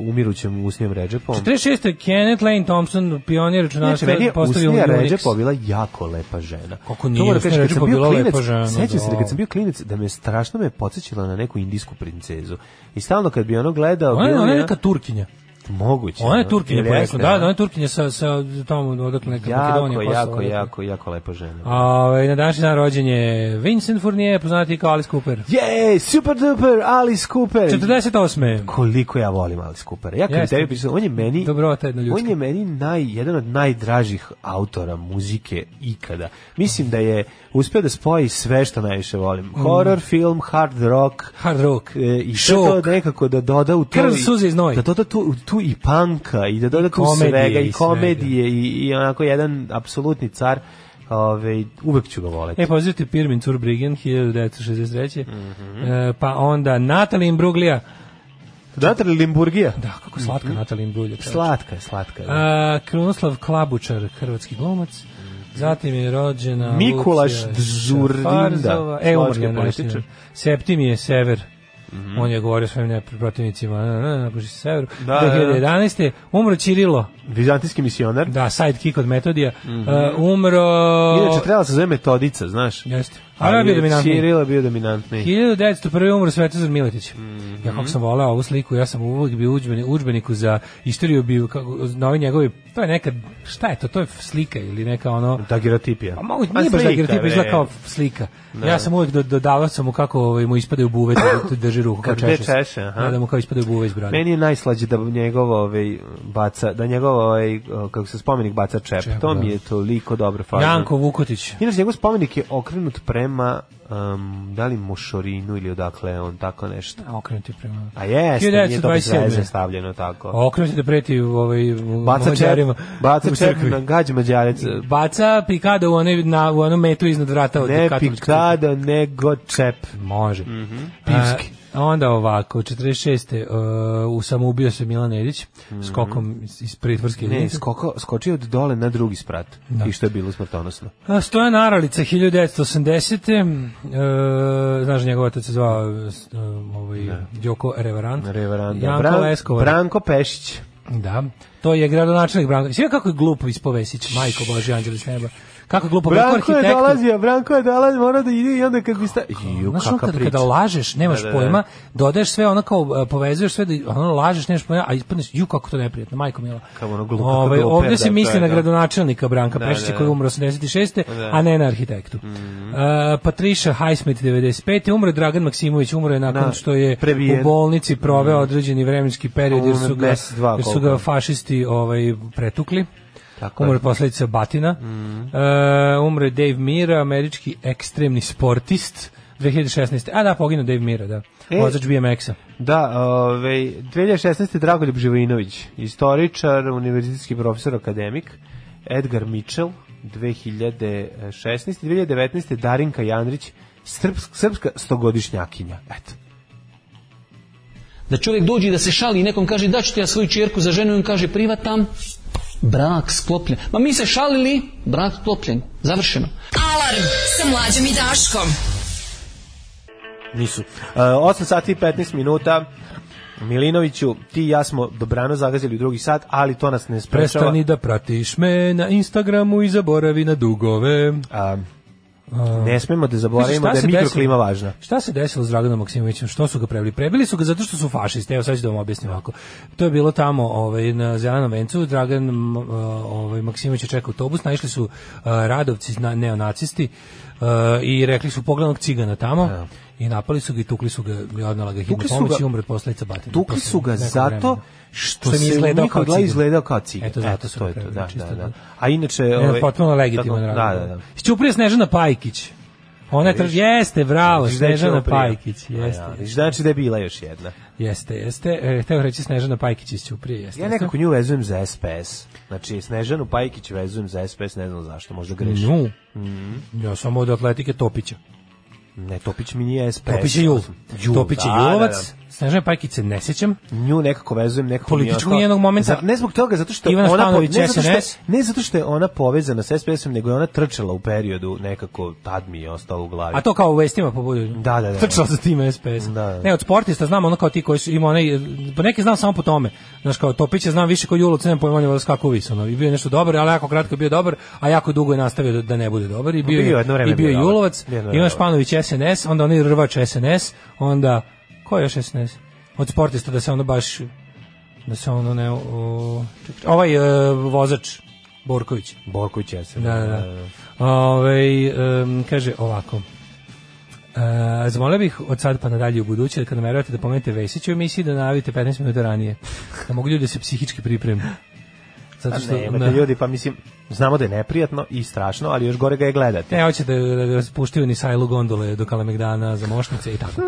Speaker 6: umirućem usnijem Ređepom.
Speaker 5: 36. Kenneth Lane Thompson, pionir
Speaker 6: Inače,
Speaker 5: računarstva,
Speaker 6: Znači, meni je
Speaker 5: postavio
Speaker 6: Usnija
Speaker 5: Unix.
Speaker 6: Ređepo bila jako lepa žena.
Speaker 5: Kako
Speaker 6: To
Speaker 5: nije,
Speaker 6: moram da
Speaker 5: Usnija
Speaker 6: kažem, kad
Speaker 5: Ređepo
Speaker 6: sam bio
Speaker 5: bila lepa
Speaker 6: klinac,
Speaker 5: žena,
Speaker 6: Sećam se da
Speaker 5: da.
Speaker 6: kad sam bio klinac, da me strašno me podsjećala na neku indijsku princezu. I stalno kad bi ono gledao...
Speaker 5: Ona je,
Speaker 6: bilo
Speaker 5: ona je
Speaker 6: mi,
Speaker 5: neka Turkinja.
Speaker 6: Moguće.
Speaker 5: Ona je
Speaker 6: ono,
Speaker 5: Turkinja,
Speaker 6: ili
Speaker 5: porekla.
Speaker 6: jeste,
Speaker 5: Da,
Speaker 6: a?
Speaker 5: da, ona je Turkinja sa, sa tamo odakle neka
Speaker 6: Jako,
Speaker 5: Makedonija. Kosovo,
Speaker 6: jako,
Speaker 5: odakle.
Speaker 6: jako, jako lepa žena.
Speaker 5: A, ovaj, na današnji dan rođen je Vincent Fournier, poznati kao Alice Cooper.
Speaker 6: Jej, super duper, Alice Cooper.
Speaker 5: 48.
Speaker 6: koliko ja volim Alice Coopera. Ja kad bi
Speaker 5: Jeste.
Speaker 6: tebi pisao, on je meni
Speaker 5: Dobrota jedna ljudska.
Speaker 6: On je meni naj jedan od najdražih autora muzike ikada. Mislim da je uspeo da spoji sve što najviše volim. Horror film, hard rock,
Speaker 5: Mm. Hard rock.
Speaker 6: e, i sve to da nekako da doda u to
Speaker 5: Krv,
Speaker 6: i-
Speaker 5: suze i znoj.
Speaker 6: da doda tu, tu i panka i da doda tu
Speaker 5: komedije
Speaker 6: svega
Speaker 5: i
Speaker 6: i
Speaker 5: svega.
Speaker 6: komedije i, i onako jedan apsolutni car Ove, uvek ću ga voleti.
Speaker 5: E, pozivite Pirmin Curbrigen, 1963.
Speaker 6: Mhm.
Speaker 5: e, pa onda Natalie Imbruglia.
Speaker 6: Natalie Limburgija.
Speaker 5: Da, kako slatka Natalie Imbruglia.
Speaker 6: Slatka je, slatka je.
Speaker 5: A, Krunoslav Klabučar, hrvatski glumac. Zatim je rođena
Speaker 6: Mhm. Mikulaš
Speaker 5: Lucija
Speaker 6: Dzurdinda,
Speaker 5: Šafarzova. E, umrli
Speaker 6: slovački
Speaker 5: je
Speaker 6: političar. Mhm.
Speaker 5: političar. Septimije Sever. On je govorio svojim nepr- protivnicima na, na, na, se severu.
Speaker 6: Da, da, da.
Speaker 5: 2011. Umro Čirilo,
Speaker 6: Vizantijski misionar.
Speaker 5: da, sidekick od Metodija.
Speaker 6: Mhm.
Speaker 5: E, umro...
Speaker 6: Inače, trebala se zove metodica, znaš.
Speaker 5: Jeste. Ali je bio dominantniji.
Speaker 6: Cirilo je bio dominantniji.
Speaker 5: 1901. umro Svetozar Miletić.
Speaker 6: Mhm.
Speaker 5: Ja kako sam voleo ovu sliku, ja sam uvijek bio udžbeni, udžbeniku za istoriju, bio kako, na ovoj njegovi, to je neka, šta je to, to je slika ili neka ono...
Speaker 6: Dagirotipija.
Speaker 5: Pa mogu, nije baš da
Speaker 6: slika, e. Da.
Speaker 5: igra,
Speaker 6: bre.
Speaker 5: izgleda kao slika. Ja sam uvijek do, dodavao sam mu kako ovaj, mu ispadaju buve, da da drži ruku, kao
Speaker 6: Kad gde
Speaker 5: češe. se.
Speaker 6: češe, aha.
Speaker 5: Da, da mu kao ispadaju buve iz brade.
Speaker 6: Meni je najslađe da njegov ovaj, baca, da njegov ovaj, kako se spomenik baca čep.
Speaker 5: Čep,
Speaker 6: to
Speaker 5: da.
Speaker 6: mi je toliko dobro fazno.
Speaker 5: Janko Vukotić.
Speaker 6: Inače, njegov spomenik je okrenut prema, um, da li Mošorinu ili odakle je on, tako nešto.
Speaker 5: A, Okrenuti prema...
Speaker 6: A jeste, nije to bez
Speaker 5: 1927.
Speaker 6: veze stavljeno tako.
Speaker 5: Okrenuti da preti ovaj,
Speaker 6: Baca čep,
Speaker 5: mađarima.
Speaker 6: baca
Speaker 5: u
Speaker 6: čep
Speaker 5: crkvi.
Speaker 6: na gađ mađarec.
Speaker 5: Baca pikada u, onoj, na, u onom metu iznad vrata. od
Speaker 6: Ne
Speaker 5: katoličke crkve.
Speaker 6: pikada, nego čep.
Speaker 5: Može.
Speaker 6: Mhm. Pivski.
Speaker 5: A, onda ovako, 46. Uh, u samoubio se Milan Edić skokom iz, iz pritvorske
Speaker 6: Mhm. Ne,
Speaker 5: jedinice.
Speaker 6: skoko, skočio od dole na drugi sprat.
Speaker 5: Da.
Speaker 6: I što je bilo smrtonosno.
Speaker 5: A, Stojan Aralica, 1980. Uh, e, znaš, njegov otac se zvao uh, ovaj, Đoko Reverant.
Speaker 6: Reveranda.
Speaker 5: Janko
Speaker 6: Da. Bran-
Speaker 5: Leskovar.
Speaker 6: Branko Pešić.
Speaker 5: Da. To je gradonačelnik Branko. Sve kako je glupo ispovesić, majko Božji anđeli s neba. Kako je glupo, kako
Speaker 6: Branko je
Speaker 5: arhitektu-
Speaker 6: dolazio, Branko je dolazio, mora da ide i onda kad bi sta... Ju,
Speaker 5: Znaš, ono
Speaker 6: kaka
Speaker 5: kada,
Speaker 6: priča.
Speaker 5: kada lažeš, nemaš
Speaker 6: Da, da, da.
Speaker 5: pojma, dodaješ sve, ono kao e, povezuješ sve, da, ono lažeš, nemaš pojma, a ispadneš, ju kako to neprijatno, majko mila.
Speaker 6: Kao ono glupo,
Speaker 5: Ovaj,
Speaker 6: kako
Speaker 5: ovde
Speaker 6: glupo,
Speaker 5: se
Speaker 6: da,
Speaker 5: misli
Speaker 6: da,
Speaker 5: na
Speaker 6: da.
Speaker 5: gradonačelnika Branka
Speaker 6: Da, da,
Speaker 5: Pešića
Speaker 6: Mhm. da.
Speaker 5: koji je umro 86. a ne na arhitektu. E, Patricia Highsmith 95. Umro je Dragan Maksimović, umro je nakon
Speaker 6: Da,
Speaker 5: što je
Speaker 6: prebijen.
Speaker 5: u bolnici proveo određeni vremenski period jer
Speaker 6: Umro
Speaker 5: su ga,
Speaker 6: mesec, dva,
Speaker 5: jer su
Speaker 6: koliko
Speaker 5: ga
Speaker 6: je.
Speaker 5: fašisti ovaj, pretukli.
Speaker 6: Tako je. Mhm.
Speaker 5: Umro je posledica batina. E, umro je Dave Mira, američki ekstremni sportist. 2016. A da, poginuo Dave Mira, da.
Speaker 6: E.
Speaker 5: Vozač BMX-a.
Speaker 6: Da, ovaj 2016. Dragoljub Živojinović, istoričar, univerzitetski profesor, akademik, Edgar Mitchell, 2016. 2019. Darinka Janrić, srpsk, srpska stogodišnjakinja. Eto.
Speaker 8: Da čovjek dođe i da se šali i nekom kaže da ću ti ja svoju čerku za ženu i on kaže privatam, brak sklopljen. Ma mi se šalili, brak sklopljen, završeno.
Speaker 4: Alarm sa mlađom i Daškom.
Speaker 6: Nisu. E, 8 sati i 15 minuta. Milinoviću, ti i ja smo dobrano zagazili u drugi sat, ali to nas ne sprečava.
Speaker 5: Prestani da pratiš me na Instagramu i zaboravi na dugove.
Speaker 6: A, ne smemo da zaboravimo
Speaker 5: Šta
Speaker 6: da je
Speaker 5: se desilo?
Speaker 6: mikroklima važna.
Speaker 5: Šta se desilo s Draganom Maksimovićem? Što su ga prebili? Prebili su ga zato što su fašisti. Evo sad ću da vam objasnim ovako. To je bilo tamo ovaj, na Zelenom vencu. Dragan m, uh, ovaj, Maksimović je čekao autobus. Naišli su uh, radovci, na, neonacisti uh, i rekli su poglednog cigana tamo. I napali su ga i tukli su ga i odnala ga hitna
Speaker 6: Da. Tukli su
Speaker 5: pomoć
Speaker 6: ga-
Speaker 5: i umre od posledica batina.
Speaker 6: Tukli
Speaker 5: Posle
Speaker 6: su ga
Speaker 5: nekog
Speaker 6: zato
Speaker 5: vremena.
Speaker 6: što,
Speaker 5: Što
Speaker 6: se
Speaker 5: im je
Speaker 6: izgledao kao cigan. izgledao kao cigan.
Speaker 5: Eto, zato su
Speaker 6: to
Speaker 5: ga
Speaker 6: je to,
Speaker 5: prebili,
Speaker 6: da,
Speaker 5: čisto
Speaker 6: da, da.
Speaker 5: to.
Speaker 6: A inače...
Speaker 5: Ovaj, potpuno legitiman
Speaker 6: tako,
Speaker 5: razlog.
Speaker 6: Da, da, da.
Speaker 5: Isćuprija Snežana Pajkić. Ona je traži, jeste, bravo,
Speaker 6: Viš da je čuo
Speaker 5: Snežana
Speaker 6: prije.
Speaker 5: Pajkić,
Speaker 6: A
Speaker 5: jeste.
Speaker 6: Ja, viš znači da je bila još jedna.
Speaker 5: Jeste, jeste. E, hteo reći Snežana Pajkić iz Ćuprije, jeste.
Speaker 6: Ja
Speaker 5: jeste.
Speaker 6: nekako nju vezujem za SPS. Znači, Snežanu Pajkić vezujem za SPS, ne znam zašto, možda grešim. Mhm.
Speaker 5: Nu. Ja samo od Atletike Topića.
Speaker 6: Ne, Topić mi nije SPS.
Speaker 5: Topić je Jul.
Speaker 6: Jul,
Speaker 5: Topić je
Speaker 6: da, da,
Speaker 5: Julovac. Snežana Pajkić se ne sećam.
Speaker 6: nju nekako vezujem nekako mi je
Speaker 5: Političkog
Speaker 6: ostalo-
Speaker 5: njenog momenta.
Speaker 6: Za- ne zbog toga zato što je
Speaker 5: Ivana
Speaker 6: ona po-
Speaker 5: Stanović,
Speaker 6: ne zato što je-
Speaker 5: SNS.
Speaker 6: ne zato što je ona povezana sa SPS-om nego je ona trčala u periodu nekako tad mi je ostalo u glavi
Speaker 5: A to kao u vestima pobudio.
Speaker 6: Da, da, da.
Speaker 5: Trčao za tim SPS.
Speaker 6: Da, da.
Speaker 5: Ne, od sportista znam ono kao ti koji su ima onaj, pa neke znam samo po tome. Znaš kao Topića znam više kao Julo, nemam pojma on je valjda skakao vis, ono. I bio je nešto dobar, ali jako kratko je bio dobar, a jako dugo je nastavio da, da ne bude dobar. I bio,
Speaker 6: Bio je jedno vreme
Speaker 5: i bio je
Speaker 6: bio dobar.
Speaker 5: Julovac,
Speaker 6: Jedno vreme
Speaker 5: Ivan
Speaker 6: dobar.
Speaker 5: Španović SNS, onda onaj Rvač SNS, onda ko je još SNS? Od sportista da se ono baš da se ono ne o, ček, ček, ovaj e, vozač Borković.
Speaker 6: Borković je se
Speaker 5: Da, da, da. Ovaj, em, kaže ovako. E, zamolio bih od sad pa nadalje u buduće kad nameravate da pomenete Vesića u emisiji da najavite 15 minuta ranije. Da mogu ljudi da se psihički pripreme. Zato što
Speaker 6: Ne, imate ljudi, pa mislim, znamo da je neprijatno i strašno, ali još gore ga je gledati.
Speaker 5: Ne, hoće da, da ga spuštaju ni sajlu gondole do Kalemegdana za mošnice i tako.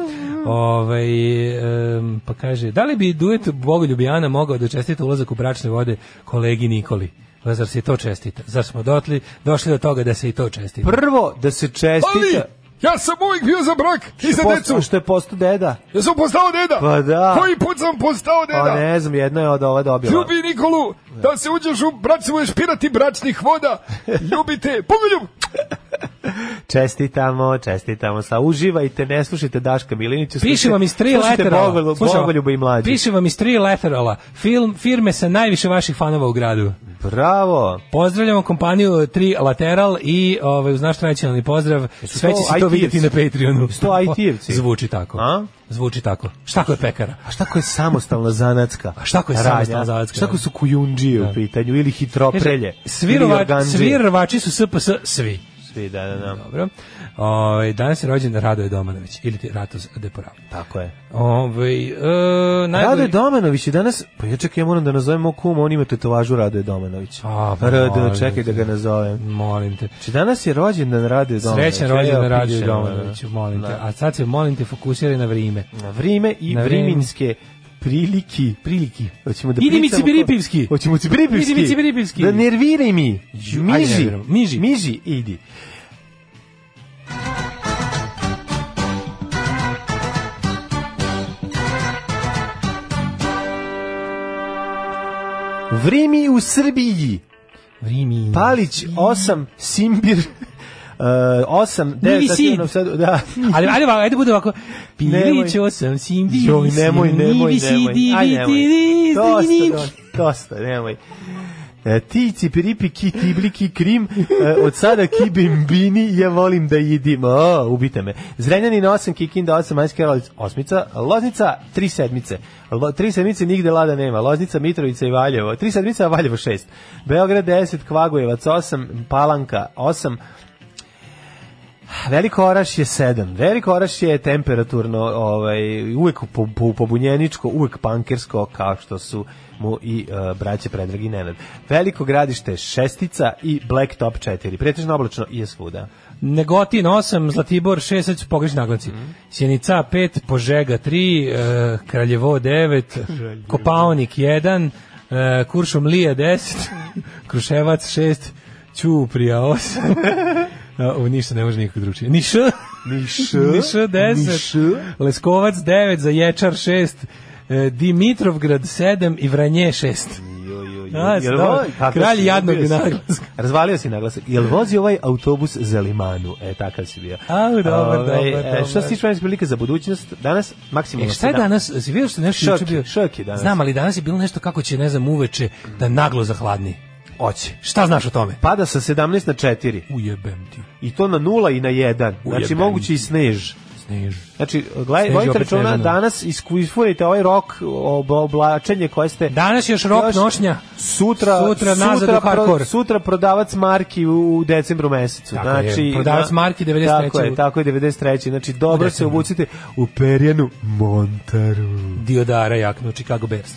Speaker 5: Ove, em, pa kaže, da li bi duet Bogoljubijana mogao da čestita ulazak u bračne vode kolegi Nikoli? Pa zar se i to čestita? Zar smo dotli, došli do toga da se i to čestita?
Speaker 6: Prvo, da se čestita...
Speaker 9: Ja sam uvijek bio za brak i za
Speaker 6: Post-
Speaker 9: decu.
Speaker 6: a što je posto deda?
Speaker 9: Ja sam postao deda.
Speaker 6: Pa da.
Speaker 9: Koji put sam postao
Speaker 6: Pa
Speaker 9: deda?
Speaker 6: ne znam, jedno je od da ova dobila.
Speaker 9: Ljubi Nikolu, da se uđeš u brat, se budeš pirati bračnih voda. Ljubite, pogoljub.
Speaker 6: Čestitamo, čestitamo. Sa uživajte, ne slušajte Daška Milinića.
Speaker 5: Piše
Speaker 6: slušajte-
Speaker 5: vam iz tri
Speaker 6: slušajte
Speaker 5: laterala.
Speaker 6: Bogolju-
Speaker 5: Slušaj,
Speaker 6: Bogoljuba i mlađe.
Speaker 5: Piše vam iz tri laterala. Film, firme sa najviše vaših fanova u gradu.
Speaker 6: Bravo.
Speaker 5: Pozdravljamo kompaniju Tri Lateral i ovaj, uz naš tradicionalni pozdrav sve
Speaker 6: to
Speaker 5: će se to
Speaker 6: IT-evci?
Speaker 5: vidjeti na Patreonu.
Speaker 6: Jesu to IT-evci?
Speaker 5: [laughs] Zvuči tako.
Speaker 6: A?
Speaker 5: Zvuči tako. Šta ko je pekara?
Speaker 6: A šta ko je samostalna zanatska?
Speaker 5: A šta ko je
Speaker 6: radnja?
Speaker 5: samostalna zanatska
Speaker 6: Šta ko su kujundžije u pitanju ili hitroprelje?
Speaker 5: Svi,
Speaker 6: ili
Speaker 5: rova-
Speaker 6: organdžije?
Speaker 5: svi rvači su SPS svi.
Speaker 6: Svi, da, da, da.
Speaker 5: Dobro. Ovaj, danas je rođen Radoje Domanović ili ti Ratos Deporal.
Speaker 6: Tako je.
Speaker 5: Ovaj, e, najbolji-
Speaker 6: Radoje Domanović je danas, pa ja čekaj, ja moram da nazovem mog kuma, on ima tetovažu Radoje Domanović.
Speaker 5: A, pa molim
Speaker 6: Radoje,
Speaker 5: te.
Speaker 6: čekaj da ga nazovem.
Speaker 5: Molim te.
Speaker 6: Či danas je rođendan Radoje Domanović.
Speaker 5: Srećan rođendan
Speaker 6: Evo,
Speaker 5: Radio
Speaker 6: pišemo,
Speaker 5: Domanoviću, molim te.
Speaker 6: Da.
Speaker 5: A sad se molim te fokusiraj na vrijeme.
Speaker 6: Na vrime i
Speaker 5: Na vrime.
Speaker 6: vriminske priliki.
Speaker 5: Priliki.
Speaker 6: Hoćemo da
Speaker 5: Idi mi
Speaker 6: pričamo ko-
Speaker 5: Cibiripivski.
Speaker 6: Hoćemo cibiripivski.
Speaker 5: Idi mi Cibiripivski.
Speaker 6: Da nerviraj mi.
Speaker 5: Ju, ajde,
Speaker 6: Miži.
Speaker 5: nerviram. Miži.
Speaker 6: Miži, idi. Vrimi u Srbiji.
Speaker 5: Vrimi.
Speaker 6: Pa, [laughs] Palić 8, Simbir 8, 9, sad,
Speaker 5: Sid.
Speaker 6: imam sad, da.
Speaker 5: Ali ajde, ovako, ajde bude ovako.
Speaker 6: Nemoj.
Speaker 5: Pilićo sam sim, di,
Speaker 6: Joj, nemoj,
Speaker 5: sim,
Speaker 6: nemoj,
Speaker 5: di, si,
Speaker 6: nemoj.
Speaker 5: di,
Speaker 6: Aj,
Speaker 5: di,
Speaker 6: nemoj.
Speaker 5: di, di, di,
Speaker 6: Dosta, dosta, dosta, nemoj. E, ti cipiripi, ki tibli, ki krim, e, od sada ki bimbini, ja volim da jedim. O, ubite me. Zrenjanin 8, Kikinda 8, Majska Karolica 8, Loznica 3 sedmice. Lo, 3 sedmice nigde lada nema. Loznica, Mitrovica i Valjevo. 3 sedmice, a Valjevo 6. Beograd 10, Kvagojevac 8, Palanka 8, Veliko Oraš je 7. Veliko Oraš je temperaturno, ovaj, uvek po, po, pobunjeničko, uvek pankersko, kao što su mu i e, braće Predrag i Nenad. Veliko gradište je šestica i Blacktop 4. Pretežno oblačno i je svuda.
Speaker 5: Negotin 8, Zlatibor 6, sad ću pogrešiti naglaci.
Speaker 6: Mhm.
Speaker 5: Sjenica 5, Požega 3, e, Kraljevo 9, Kopaonik 1, e,
Speaker 6: [laughs]
Speaker 5: Kuršumlija 10, Kruševac 6, Ćuprija 8,
Speaker 6: [laughs]
Speaker 5: A, U Niš se ne može nikako dručije. Niš,
Speaker 6: Niš,
Speaker 5: Niš 10, Leskovac 9, Zaječar 6, e, Dimitrovgrad 7 i Vranje E, 6. A,
Speaker 6: Jel
Speaker 5: dobro.
Speaker 6: vo- kako
Speaker 5: Kralj
Speaker 6: si,
Speaker 5: jadnog
Speaker 6: ubio si.
Speaker 5: naglaska.
Speaker 6: Razvalio si naglasak. Jel vozi ovaj autobus za limanu? E, takav si bio.
Speaker 5: Au, dobar,
Speaker 6: Ovaj,
Speaker 5: dobar,
Speaker 6: e,
Speaker 5: dobar.
Speaker 6: Što se tiče vremenske prilike za budućnost, danas maksimalno
Speaker 5: E, šta je
Speaker 6: 17.
Speaker 5: danas? Si vidio što je nešto
Speaker 6: Šok
Speaker 5: juče
Speaker 6: je,
Speaker 5: bio?
Speaker 6: šok je danas.
Speaker 5: Znam, ali danas je bilo nešto kako će, ne znam, uveče da naglo zahladni.
Speaker 6: Oće.
Speaker 5: Šta znaš o tome?
Speaker 6: Pada sa 17 na 4.
Speaker 5: Ujebem ti.
Speaker 6: I to na 0 i na 1. Znači
Speaker 5: Ujebem
Speaker 6: moguće i snež.
Speaker 5: Snež.
Speaker 6: Znači, gledaj,
Speaker 5: Snež je
Speaker 6: vodite
Speaker 5: opet
Speaker 6: računa,
Speaker 5: snežano.
Speaker 6: danas isku- isfurajte ovaj rok, ob, oblačenje koje ste...
Speaker 5: Danas je još rok
Speaker 6: Još-
Speaker 5: nošnja.
Speaker 6: Sutra,
Speaker 5: Da. Sutra nazad u
Speaker 6: pro-
Speaker 5: hardcore.
Speaker 6: sutra prodavac marki u decembru mesecu.
Speaker 5: Tako je,
Speaker 6: znači,
Speaker 5: prodavac marki 93.
Speaker 6: Tako je, tako je, 93. Znači, dobro se
Speaker 5: decembru.
Speaker 6: obucite u perjanu Montaru.
Speaker 5: Diodara jaknu, Chicago Bears.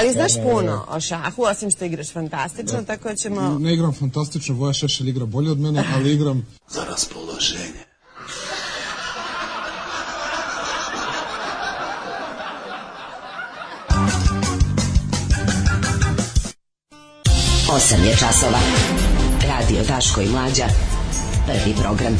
Speaker 10: Ali znaš puno o šahu, osim što igraš fantastično, tako da ćemo...
Speaker 1: Ne igram fantastično, Voja Šešelj igra bolje od mene, ali igram...
Speaker 4: Osam je časova. Radio Daško i Mlađa. Prvi program.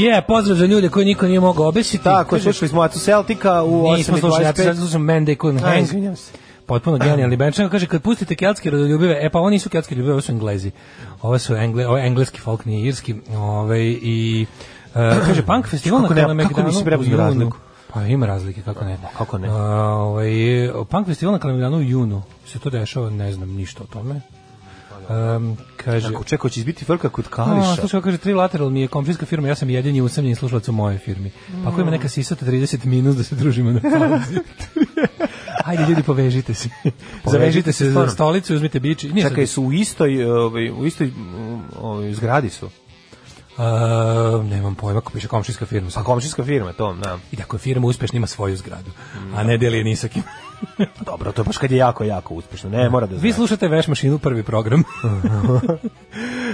Speaker 5: Je, pozdrav za ljude koje niko nije mogao obesiti.
Speaker 6: Tako,
Speaker 5: Kaže,
Speaker 6: slušali smo Atu Celtica u
Speaker 5: Nismo slušali, ja
Speaker 6: 8.25.
Speaker 5: sad slušam Man Day Cool and
Speaker 6: A,
Speaker 5: Hang.
Speaker 6: izvinjam se. [clears throat]
Speaker 5: Potpuno genijalni benčan. Kaže, kad pustite keltske rodoljubive, e pa oni nisu keltske rodoljubive, ovo su englezi. Ovo su engle, ovo je engleski folk, nije irski. Ove, i, e, [clears throat] kaže, punk festival na
Speaker 6: Kako ne-
Speaker 5: Kalemegdanu.
Speaker 6: kako nisi prepoznao
Speaker 5: u junu-
Speaker 6: razliku? Pa,
Speaker 5: Pa ima razlike, kako ne.
Speaker 6: kako ne?
Speaker 5: E, ovaj, punk festival na Kalemegdanu u junu. Se to dešava, ne znam ništa o tome.
Speaker 6: Pa,
Speaker 5: Um, kaže,
Speaker 6: Ako čekao će izbiti frka kod
Speaker 5: A,
Speaker 6: Kališa.
Speaker 5: slušaj, kako kaže, trilateral mi je komšijska firma, ja sam jedini usamljeni slušalac u mojoj firmi. Pa ako ima neka sisata 30 minus da se družimo na
Speaker 6: [laughs]
Speaker 5: pauzi. Ajde ljudi, povežite se. Zavežite se za
Speaker 6: stvarno.
Speaker 5: stolicu i uzmite bići. Nije
Speaker 6: Čekaj,
Speaker 5: sad-
Speaker 6: su u istoj, ovaj, u istoj mm, ovaj, zgradi su.
Speaker 5: A, nemam pojma, ako piše komšijska firma.
Speaker 6: Pa komšijska firma, to, da.
Speaker 5: I da ako je firma uspešna ima svoju zgradu, a ne deli je ni sa kim.
Speaker 6: Pa Dobro, to je baš kad je jako, jako uspešno. Ne, mora [laughs] da
Speaker 5: Vi
Speaker 6: znaš.
Speaker 5: slušate Veš mašinu, prvi
Speaker 6: [laughs]
Speaker 5: program.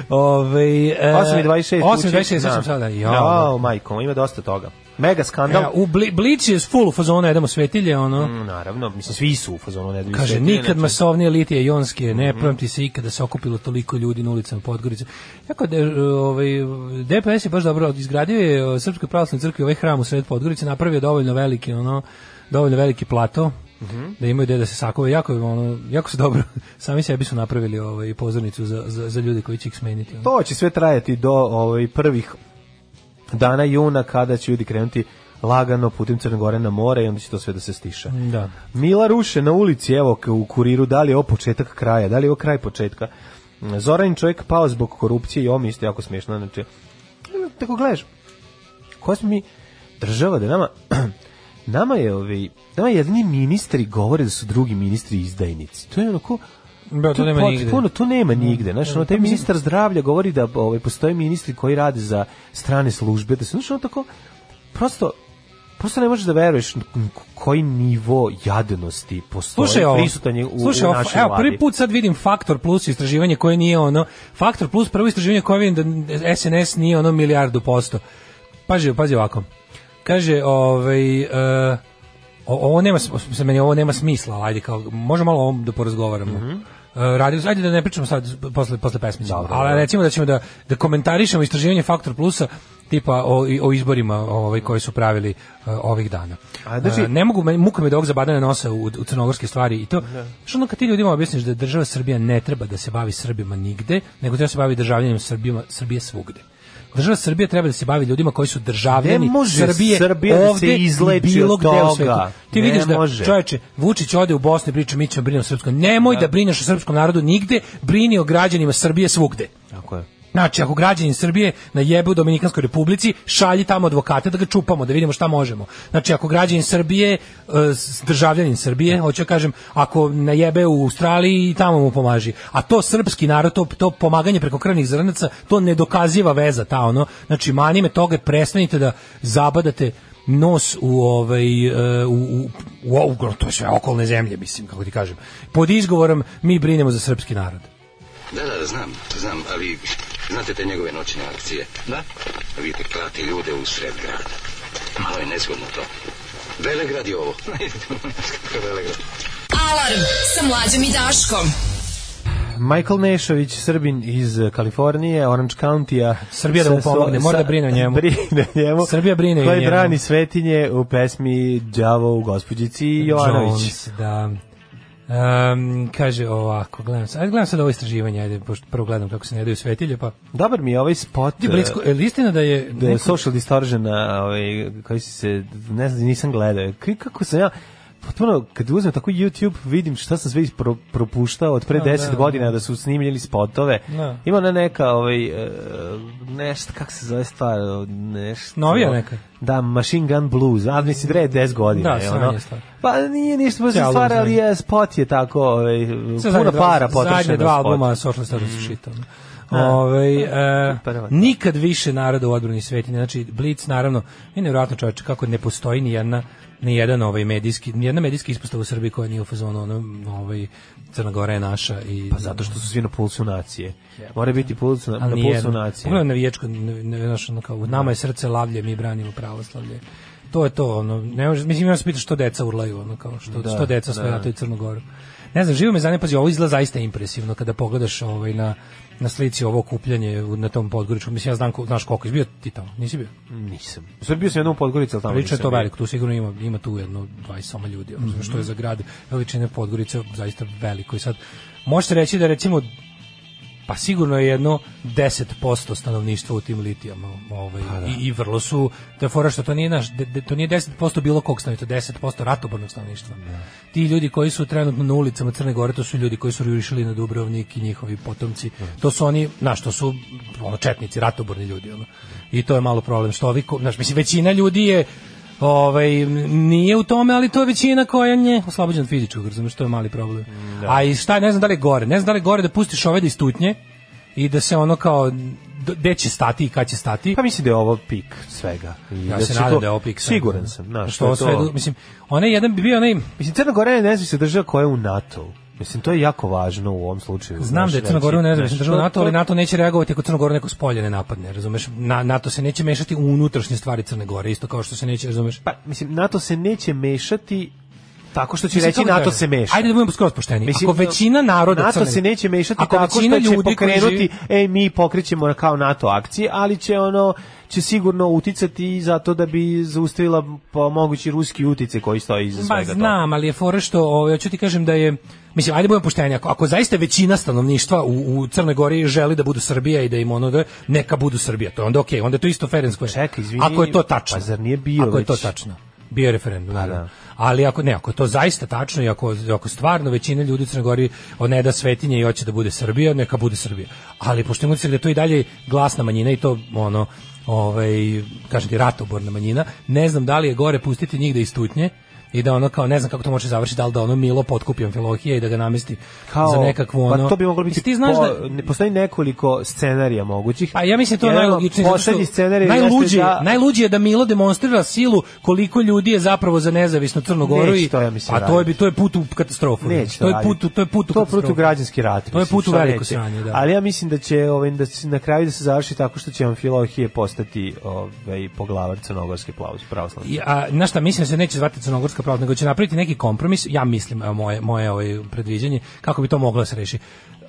Speaker 5: Ove, e,
Speaker 6: 8.26.
Speaker 5: 8.26, sad sam sada.
Speaker 6: Jo,
Speaker 5: Jo,
Speaker 6: Da. majko, ima dosta toga. Mega skandal.
Speaker 5: E, u Bli- Blic je full u fazonu, jedemo svetilje, ono.
Speaker 6: Mm, Naravno, mislim, svi su u fazonu. Ne,
Speaker 5: Kaže,
Speaker 6: Sve-
Speaker 5: nikad
Speaker 6: inače-
Speaker 5: masovnije litije jonske, ne pamti se ikada se okupilo toliko ljudi na ulicama Podgorice. Tako da, e, ovaj, DPS je baš dobro izgradio je e, Srpskoj pravoslavnoj crkvi ovaj hram u sred Podgorice, napravio dovoljno veliki, ono, dovoljno veliki plato, da imaju gde da se sakove jako je, ono jako su dobro [laughs] sami sebi su napravili ovaj pozornicu za, za, za ljude koji će ih smeniti ono.
Speaker 6: To će sve trajati do ovaj, prvih dana juna kada će ljudi krenuti lagano putem Crne Gore na more i onda će to sve da se stiše.
Speaker 5: da
Speaker 6: Mila Ruše na ulici, evo k- u kuriru, da li je ovo početak kraja, da li je ovo kraj početka. Mm, Zoran čovjek pao zbog korupcije i ovo mi je isto jako smiješno. Znači, tako gledaš, koja smo mi država da nama [clears throat] nama je ovi, nama jedni ministri govore da su drugi ministri izdajnici. To je onako
Speaker 5: Da, to
Speaker 6: je
Speaker 5: nema
Speaker 6: pot-
Speaker 5: nigde. Da. Pa
Speaker 6: Puno, to nema nigde. Znaš, ono, taj ministar zdravlja govori da ovaj, postoje ministri koji rade za strane službe, da se, znaš, ono tako, prosto, prosto ne možeš da veruješ n- k- koji nivo jadenosti postoji
Speaker 5: Slušaj ovo.
Speaker 6: prisutan je u,
Speaker 5: slušaj
Speaker 6: u
Speaker 5: ovo,
Speaker 6: našoj
Speaker 5: evo,
Speaker 6: vladi.
Speaker 5: prvi put sad vidim Faktor Plus istraživanje koje nije ono, Faktor Plus prvo istraživanje koje vidim da SNS nije ono milijardu posto. Pazi, pazi ovako. Kaže, ovaj, e, o- ovo nema, s- za meni ovo nema smisla, ali ajde, kao, možemo malo o ovom da porazgovaramo.
Speaker 6: Mhm.
Speaker 5: E, radi, ajde da ne pričamo sad posle, posle pesme ćemo, ali recimo da ćemo da, da komentarišemo istraživanje Faktor Plusa tipa o, i- o izborima ovaj, koje su pravili uh, ovih dana.
Speaker 6: A, znači-
Speaker 5: Uh, ne mogu, meni- muka me dok zabadane nosa u, u crnogorske stvari i
Speaker 6: Da.
Speaker 5: to, što ono kad ti ljudima objasniš da država Srbija ne treba da se bavi Srbima nigde, nego treba da se bavi državljanjem Srbima, Srbije svugde. Država Srbije treba da se bavi ljudima koji su državljani
Speaker 6: Ne može
Speaker 5: Srbije
Speaker 6: Srbija da se
Speaker 5: ovde i
Speaker 6: izleči
Speaker 5: bilo
Speaker 6: od
Speaker 5: gde u
Speaker 6: toga.
Speaker 5: svetu. Ti
Speaker 6: Ne
Speaker 5: vidiš da,
Speaker 6: može.
Speaker 5: čoveče, Vučić ode u Bosnu i priča mi ćemo brinemo o srpskom. Nemoj da brineš o srpskom narodu nigde, brini o građanima Srbije svugde.
Speaker 6: Tako je.
Speaker 5: Znači, ako građani Srbije najebu u Dominikanskoj republici, šalji tamo advokate da ga čupamo, da vidimo šta možemo. Znači, ako građanin Srbije, e, s- državljanin Srbije, hoću da kažem, ako najebe u Australiji, tamo mu pomaži. A to srpski narod, to, to pomaganje preko krvnih zrnaca, to nedokaziva veza, ta ono. Znači, mani me toga, prestanite da zabadate nos u ovaj e, u u, u, u to je sve okolne zemlje mislim kako ti kažem pod izgovorom mi brinemo za srpski narod
Speaker 3: Da, da, znam, znam, ali znate te njegove noćne akcije? Da. Vidite, klati ljude u sred grada. Malo je nezgodno to. Velegrad je ovo. [laughs] Velegrad.
Speaker 4: Alarm sa mlađom i Daškom.
Speaker 6: Michael Nešović, Srbin iz eh, Kalifornije, Orange County-a.
Speaker 5: Srbija da mu
Speaker 6: Sa-
Speaker 5: pomogne,
Speaker 6: sa-
Speaker 5: mora da brine o njemu.
Speaker 6: [laughs] Brine o njemu.
Speaker 5: Srbija brine o
Speaker 6: Koji
Speaker 5: njemu.
Speaker 6: brani svetinje u pesmi Đavo u gospođici Jovanović.
Speaker 5: Jones, da. Um, kaže ovako, gledam sad, ajde gledam sad ovo istraživanje, ajde, pošto prvo gledam kako se ne daju svetilje, pa...
Speaker 6: Dobar mi je ovaj spot.
Speaker 5: Ti, Blitzko, je li istina da je...
Speaker 6: da je
Speaker 5: neko-
Speaker 6: Social Distortion, a, ovaj, koji si se, ne znam, nisam gledao. K- Kako sam ja, potpuno, kad uzmem tako YouTube, vidim šta sam sve ispro- propuštao od pre
Speaker 5: Da,
Speaker 6: 10
Speaker 5: da,
Speaker 6: godina da su snimljeni spotove.
Speaker 5: Da.
Speaker 6: Ima ona neka, ovaj, e, nešto, kako se zove stvar, nešto...
Speaker 5: Novija neka?
Speaker 6: Da, Machine Gun Blues, ali mislim, da je 10 godina.
Speaker 5: Da,
Speaker 6: je,
Speaker 5: sranje
Speaker 6: ono.
Speaker 5: stvar.
Speaker 6: Pa nije ništa posebno
Speaker 5: Album
Speaker 6: stvar, ali
Speaker 5: sranje.
Speaker 6: je, spot je tako, ovaj,
Speaker 5: Sve
Speaker 6: puno
Speaker 5: zadnje dva-
Speaker 6: para potrošeno.
Speaker 5: Zadnje
Speaker 6: na
Speaker 5: dva
Speaker 6: spot. Mm. pa,
Speaker 5: albuma Social Star su šita. Ove, e,
Speaker 6: Prva.
Speaker 5: nikad više naroda u odbrani svetinje. Znači, Blitz, naravno, je nevjerojatno čovječe kako ne postoji ni jedna ni jedan ovaj medijski, ni jedna medijska ispostava u Srbiji koja nije u fazonu ono, ovaj Crna Gora je naša i
Speaker 6: Pa zato što su svi na pulsu nacije. Mora biti pulsu, na, na
Speaker 5: ali nije.
Speaker 6: pulsu nacije. Da.
Speaker 5: Pogledaj navijačko, navi- navi- znaš, ono kao, u nama je srce lavlje, mi branimo pravoslavlje. To je to, ono, ne može, mislim, ja se pitaš što deca urlaju, ono kao, što,
Speaker 6: Da,
Speaker 5: što deca sve na toj Crnogoru. Ne znam, živo me zanima, pazi, ovo izgleda zaista impresivno kada pogledaš ovaj, na, na slici ovo kupljanje u- na tom Podgoričku. Mislim, ja znam, ko- znaš koliko je bio ti tamo, nisi bio?
Speaker 6: Nisam. U Srbiji bio sam jednom u Podgorici, ali tamo
Speaker 5: Priča
Speaker 6: nisam
Speaker 5: je to
Speaker 6: bio. Mhm.
Speaker 5: veliko, tu sigurno ima, ima tu jedno 20 soma ljudi, ono, što je za grad veličine Podgorice zaista veliko. I sad, možete reći da recimo, pa sigurno je jedno 10% stanovništva u tim litijama ovaj, i, i vrlo su, to je fora što to nije, naš, de- de- to nije 10% bilo kog stanovništva, 10% ratobornog stanovništva. Ti ljudi koji su trenutno na ulicama Crne Gore, to su ljudi koji su jurišili na Dubrovnik i njihovi potomci, to su oni, znaš, to su ono, četnici, ratoborni ljudi. Ono. I to je malo problem, što ovi, ko- znaš, mislim, većina ljudi je Ovaj m, nije u tome, ali to je većina koja je oslobođena od fizičkog, razumeš, to je mali problem. A i šta, ne znam da li je gore, ne znam da li je gore da pustiš ove da istutnje i da se ono kao d- gde će stati i kad će stati.
Speaker 6: Pa mislim da je ovo pik svega. I
Speaker 5: ja
Speaker 6: da
Speaker 5: se
Speaker 6: će
Speaker 5: nadam
Speaker 6: to-
Speaker 5: da je opik.
Speaker 6: Siguran sam, znaš,
Speaker 5: što
Speaker 6: što je
Speaker 5: sve,
Speaker 6: to.
Speaker 5: mislim, onaj jedan bi bio onaj
Speaker 6: Mislim, Crna Gora je nezavisna država koja je u NATO. Mislim, to je jako važno u ovom slučaju.
Speaker 5: Znam
Speaker 6: znaš,
Speaker 5: da je Crna
Speaker 6: reći,
Speaker 5: Gora u
Speaker 6: znaš,
Speaker 5: nezavisnoj državi
Speaker 6: to-
Speaker 5: NATO, ali
Speaker 6: to-
Speaker 5: NATO neće reagovati ako Crna Gora neko spolje ne napadne, razumeš? Na, NATO se neće mešati u unutrašnje stvari Crne Gore, isto kao što se neće, razumeš?
Speaker 6: Pa, mislim, NATO se neće mešati tako što će
Speaker 5: Mislim,
Speaker 6: reći
Speaker 5: kako
Speaker 6: NATO
Speaker 5: kažem?
Speaker 6: se meša.
Speaker 5: Ajde da budemo skroz pošteni.
Speaker 6: Mislim,
Speaker 5: ako većina naroda
Speaker 6: NATO
Speaker 5: Crne-
Speaker 6: se neće mešati
Speaker 5: ako
Speaker 6: tako
Speaker 5: većina
Speaker 6: što će
Speaker 5: ljudi koji
Speaker 6: pokrenuti,
Speaker 5: živi-
Speaker 6: ej, mi pokrećemo kao NATO akcije, ali će ono će sigurno uticati i zato da bi zaustavila pa, mogući ruski utice koji stoji iza
Speaker 5: Ma
Speaker 6: svega toga.
Speaker 5: znam, ali je fora što, ovaj, hoću ti kažem da je, mislim, ajde budemo pošteni, ako, ako zaista većina stanovništva u, u Crnoj Gori želi da budu Srbija i da im ono da, neka budu Srbija, to je onda okej, onda je to isto Ferenc koje.
Speaker 6: Čekaj, izvini,
Speaker 5: Ako je to tačno.
Speaker 6: pa zar nije bio
Speaker 5: Ako je to
Speaker 6: već-
Speaker 5: tačno. Bio je referendum, naravno.
Speaker 6: da.
Speaker 5: Ali ako ne, ako je to zaista tačno i ako, ako stvarno većina ljudi u Crnoj Gori ne da svetinje i hoće da bude Srbija, neka bude Srbija. Ali pošto imamo se da je to i dalje glasna manjina i to ono ovaj kažete ratoborna manjina, ne znam da li je gore pustiti njih da istutnje i da ono kao ne znam kako to može završiti, da li da ono Milo potkupi Amfilohije i da ga namesti
Speaker 6: kao
Speaker 5: za nekakvu ono.
Speaker 6: pa to bi moglo biti
Speaker 5: Mislim, ti znaš
Speaker 6: po-
Speaker 5: da
Speaker 6: ne postoji nekoliko scenarija mogućih
Speaker 5: pa ja mislim da je to
Speaker 6: Jedan
Speaker 5: najlogičnije. zato što
Speaker 6: poslednji scenarij
Speaker 5: najluđe,
Speaker 6: jeste da
Speaker 5: najluđe je da Milo demonstrira silu koliko ljudi je zapravo za nezavisnu Crnu Goru
Speaker 6: Neće
Speaker 5: i
Speaker 6: to, ja mislim,
Speaker 5: a to je bi
Speaker 6: raditi.
Speaker 5: to je put u katastrofu.
Speaker 6: Neće
Speaker 5: to je
Speaker 6: raditi.
Speaker 5: put u- to je put u
Speaker 6: to je
Speaker 5: katastrofu.
Speaker 6: put u građanski rat
Speaker 5: To je
Speaker 6: mislim,
Speaker 5: put u
Speaker 6: šta
Speaker 5: veliko
Speaker 6: neće.
Speaker 5: sranje, da.
Speaker 6: ali ja mislim da će ovaj da se na kraju da se završi tako što će Amfilohije postati ovaj poglavar crnogorske plavos pravoslavne
Speaker 5: I, a, znaš šta, mislim da se neće zvati Crnogorska pravda, nego će napraviti neki kompromis, ja mislim, evo, moje, moje ovaj predviđanje, kako bi to moglo da se reši.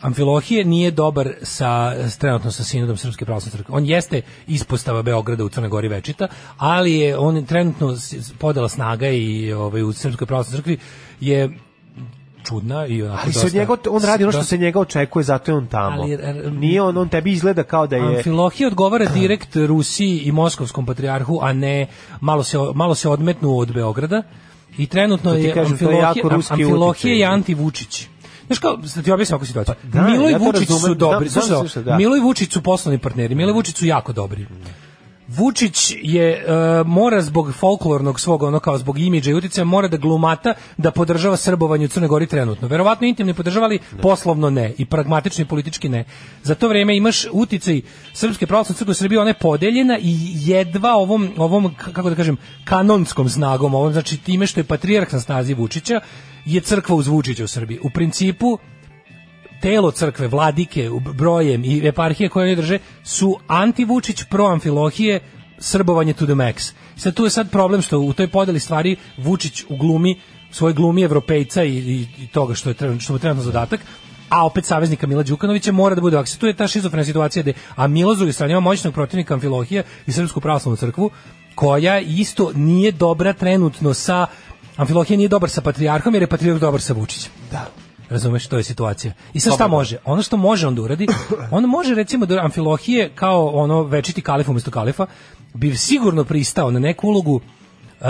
Speaker 5: Amfilohije nije dobar sa trenutno sa sinodom Srpske pravoslavne crkve. On jeste ispostava Beograda u Crnoj Gori večita, ali je on trenutno s- s- podela snaga i ovaj u Srpskoj pravoslavnoj crkvi je čudna i onako
Speaker 6: Ali se od
Speaker 5: dosta-
Speaker 6: njega, on radi ono što
Speaker 5: dosta-
Speaker 6: se njega očekuje, zato je on tamo.
Speaker 5: Ali, er,
Speaker 6: Nije on, on tebi izgleda kao da je... Da.
Speaker 5: Amfilohije odgovara direkt Rusiji i Moskovskom patrijarhu, a ne malo se malo se odmetnu od Beograda i trenutno
Speaker 6: To Da ti
Speaker 5: je
Speaker 6: kažem, to je
Speaker 5: Amfilohije,
Speaker 6: jako ruski da.
Speaker 5: Amfilohije
Speaker 6: utjecaj.
Speaker 5: je anti Vučić. Znaš kao, da ti objasnim ovakvu situaciju.
Speaker 6: da,
Speaker 5: Milo i
Speaker 6: ja to
Speaker 5: Vučić su
Speaker 6: razumem, znam-
Speaker 5: dobri.
Speaker 6: znam
Speaker 5: Slušaj, ovo,
Speaker 6: slušaj, da.
Speaker 5: Milo i Vučić su poslovni partneri. Milo i Vučić su jako dobri. Vučić je e, mora zbog folklornog svog ono kao zbog imidža i uticaja mora da glumata da podržava srbovanje u Crnoj Gori trenutno. Verovatno intimno je podržavali,
Speaker 6: Da.
Speaker 5: poslovno ne i pragmatično i politički ne. Za to vreme imaš uticaj Srpske pravoslavne crkve u Srbiji, ona je podeljena i jedva ovom ovom k- kako da kažem kanonskom snagom, ovom znači time što je patrijarh na snazi Vučića je crkva uz Vučića u Srbiji. U principu telo crkve, vladike, u- brojem i eparhije koje oni drže su anti-Vučić, pro-amfilohije, srbovanje to the max. Sad tu je sad problem što u toj podeli stvari Vučić u glumi, svoj glumi evropejca i, i, i toga što je trenutno, što mu je trenutno zadatak, a opet saveznika Mila Đukanovića mora da bude ovako. Sad Tu je ta šizofrena situacija gde, a Milo s druge strane ima moćnog protivnika Amfilohija i Srpsku pravoslavnu crkvu, koja isto nije dobra trenutno sa Amfilohija nije dobar sa patrijarhom jer je patrijarh dobar sa Vučićem. Razumeš, to je situacija. I sad šta može? Ono što može on da uradi, on može recimo da Amfilohije kao ono večiti kalif umesto kalifa bi sigurno pristao na neku ulogu e,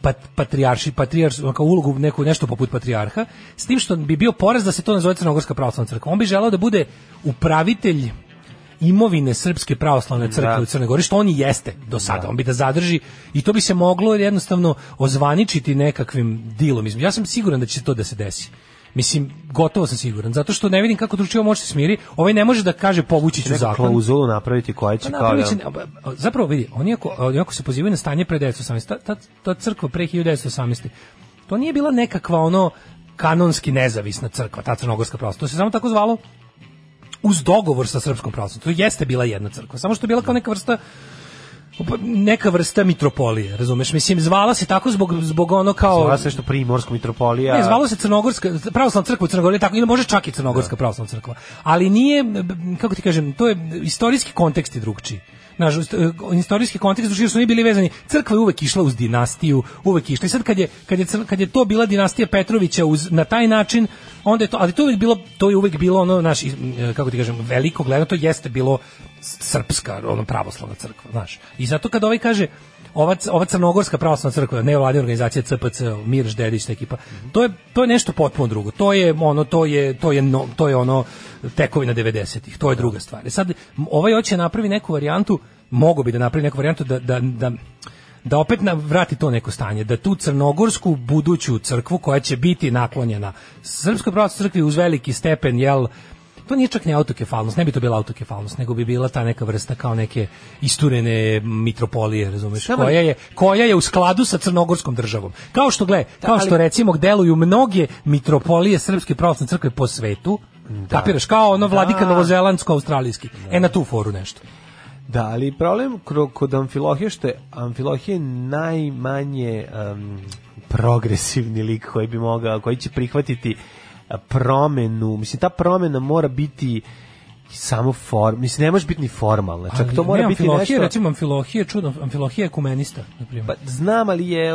Speaker 5: pat, patrijarši, patrijarš, kao ulogu neku, nešto poput patrijarha, s tim što bi bio poraz da se to nazove Crnogorska pravoslavna crkva. On bi želeo da bude upravitelj imovine Srpske pravoslavne crkve
Speaker 6: Da.
Speaker 5: u Crnoj Gori, što on i jeste do sada. On bi da zadrži i to bi se moglo jednostavno ozvaničiti nekakvim dilom. između. Ja sam siguran da će to da se desi. Mislim, gotovo sam siguran, zato što ne vidim kako dručivo može se smiri. Ovaj ne može da kaže povući ću
Speaker 6: neku
Speaker 5: zakon.
Speaker 6: klauzulu napraviti koja će
Speaker 5: Pa
Speaker 6: kao da...
Speaker 5: napravit će- a, a, zapravo vidi, oni ako, oni ako se pozivaju na stanje pre 1918, ta, ta, ta crkva pre 1918, to nije bila nekakva ono kanonski nezavisna crkva, ta crnogorska pravoslavna. To se samo tako zvalo uz dogovor sa srpskom pravoslavnom. To jeste bila jedna crkva, samo što je bila kao neka vrsta pa, neka vrsta mitropolije, razumeš? Mislim, zvala se tako zbog, zbog ono kao...
Speaker 6: Zvala se nešto Primorska mitropolija.
Speaker 5: ovaj- Ne, zvalo se Crnogorska, pravoslavna crkva u Crnoj Gori, tako, ili može čak i Crnogorska pravoslavna crkva. Ali nije, b- kako ti kažem, to je istorijski kontekst je drugčiji. Naš, istorijski kontekst u su oni bili vezani. Crkva je uvek išla uz dinastiju, uvek išla. I sad kad je, kad je, crn- kad je to bila dinastija Petrovića uz, na taj način, onda je to, ali to je uvek bilo, to je uvek bilo ono, naš, kako ti kažem, veliko gledano, to jeste bilo srpska, ono pravoslavna crkva, znaš. I zato kad ovaj kaže, ova, c- ova crnogorska pravoslavna crkva, nevladina organizacija CPC, Mir Ždedić, ta ekipa, pa, to je, to je nešto potpuno drugo. To je ono, to je, to je, no, to je ono tekovina 90-ih, to je druga stvar. E Sad, m- ovaj hoće napravi neku varijantu, mogo bi da napravi neku varijantu da, da, da da opet na, vrati to neko stanje, da tu crnogorsku buduću crkvu koja će biti naklonjena Srpskoj pravoslavnoj crkvi uz veliki stepen, jel, to nije čak ni autokefalnost, ne bi to bila autokefalnost, nego bi bila ta neka vrsta kao neke isturene mitropolije, razumeš,
Speaker 6: Samo-
Speaker 5: koja je, koja je u skladu sa crnogorskom državom. Kao što, gle, kao
Speaker 6: Da, ali-
Speaker 5: što recimo deluju mnoge mitropolije Srpske pravoslavne crkve po svetu,
Speaker 6: Da.
Speaker 5: kapiraš, kao ono vladika novozelandsko-australijski. E na tu foru nešto.
Speaker 6: Da, ali problem kro- kod Amfilohije što je Amfilohije najmanje em, progresivni lik koji bi mogao, koji će prihvatiti e, promenu. Mislim, ta promena mora biti samo form, mislim, ne može biti ni formalna. Čak to
Speaker 5: Ali
Speaker 6: mora
Speaker 5: ne,
Speaker 6: biti
Speaker 5: Amfilohije,
Speaker 6: nešto...
Speaker 5: Recimo Amfilohije, čudno, Amfilohije je kumenista, na primjer.
Speaker 6: Pa znam, ali je e,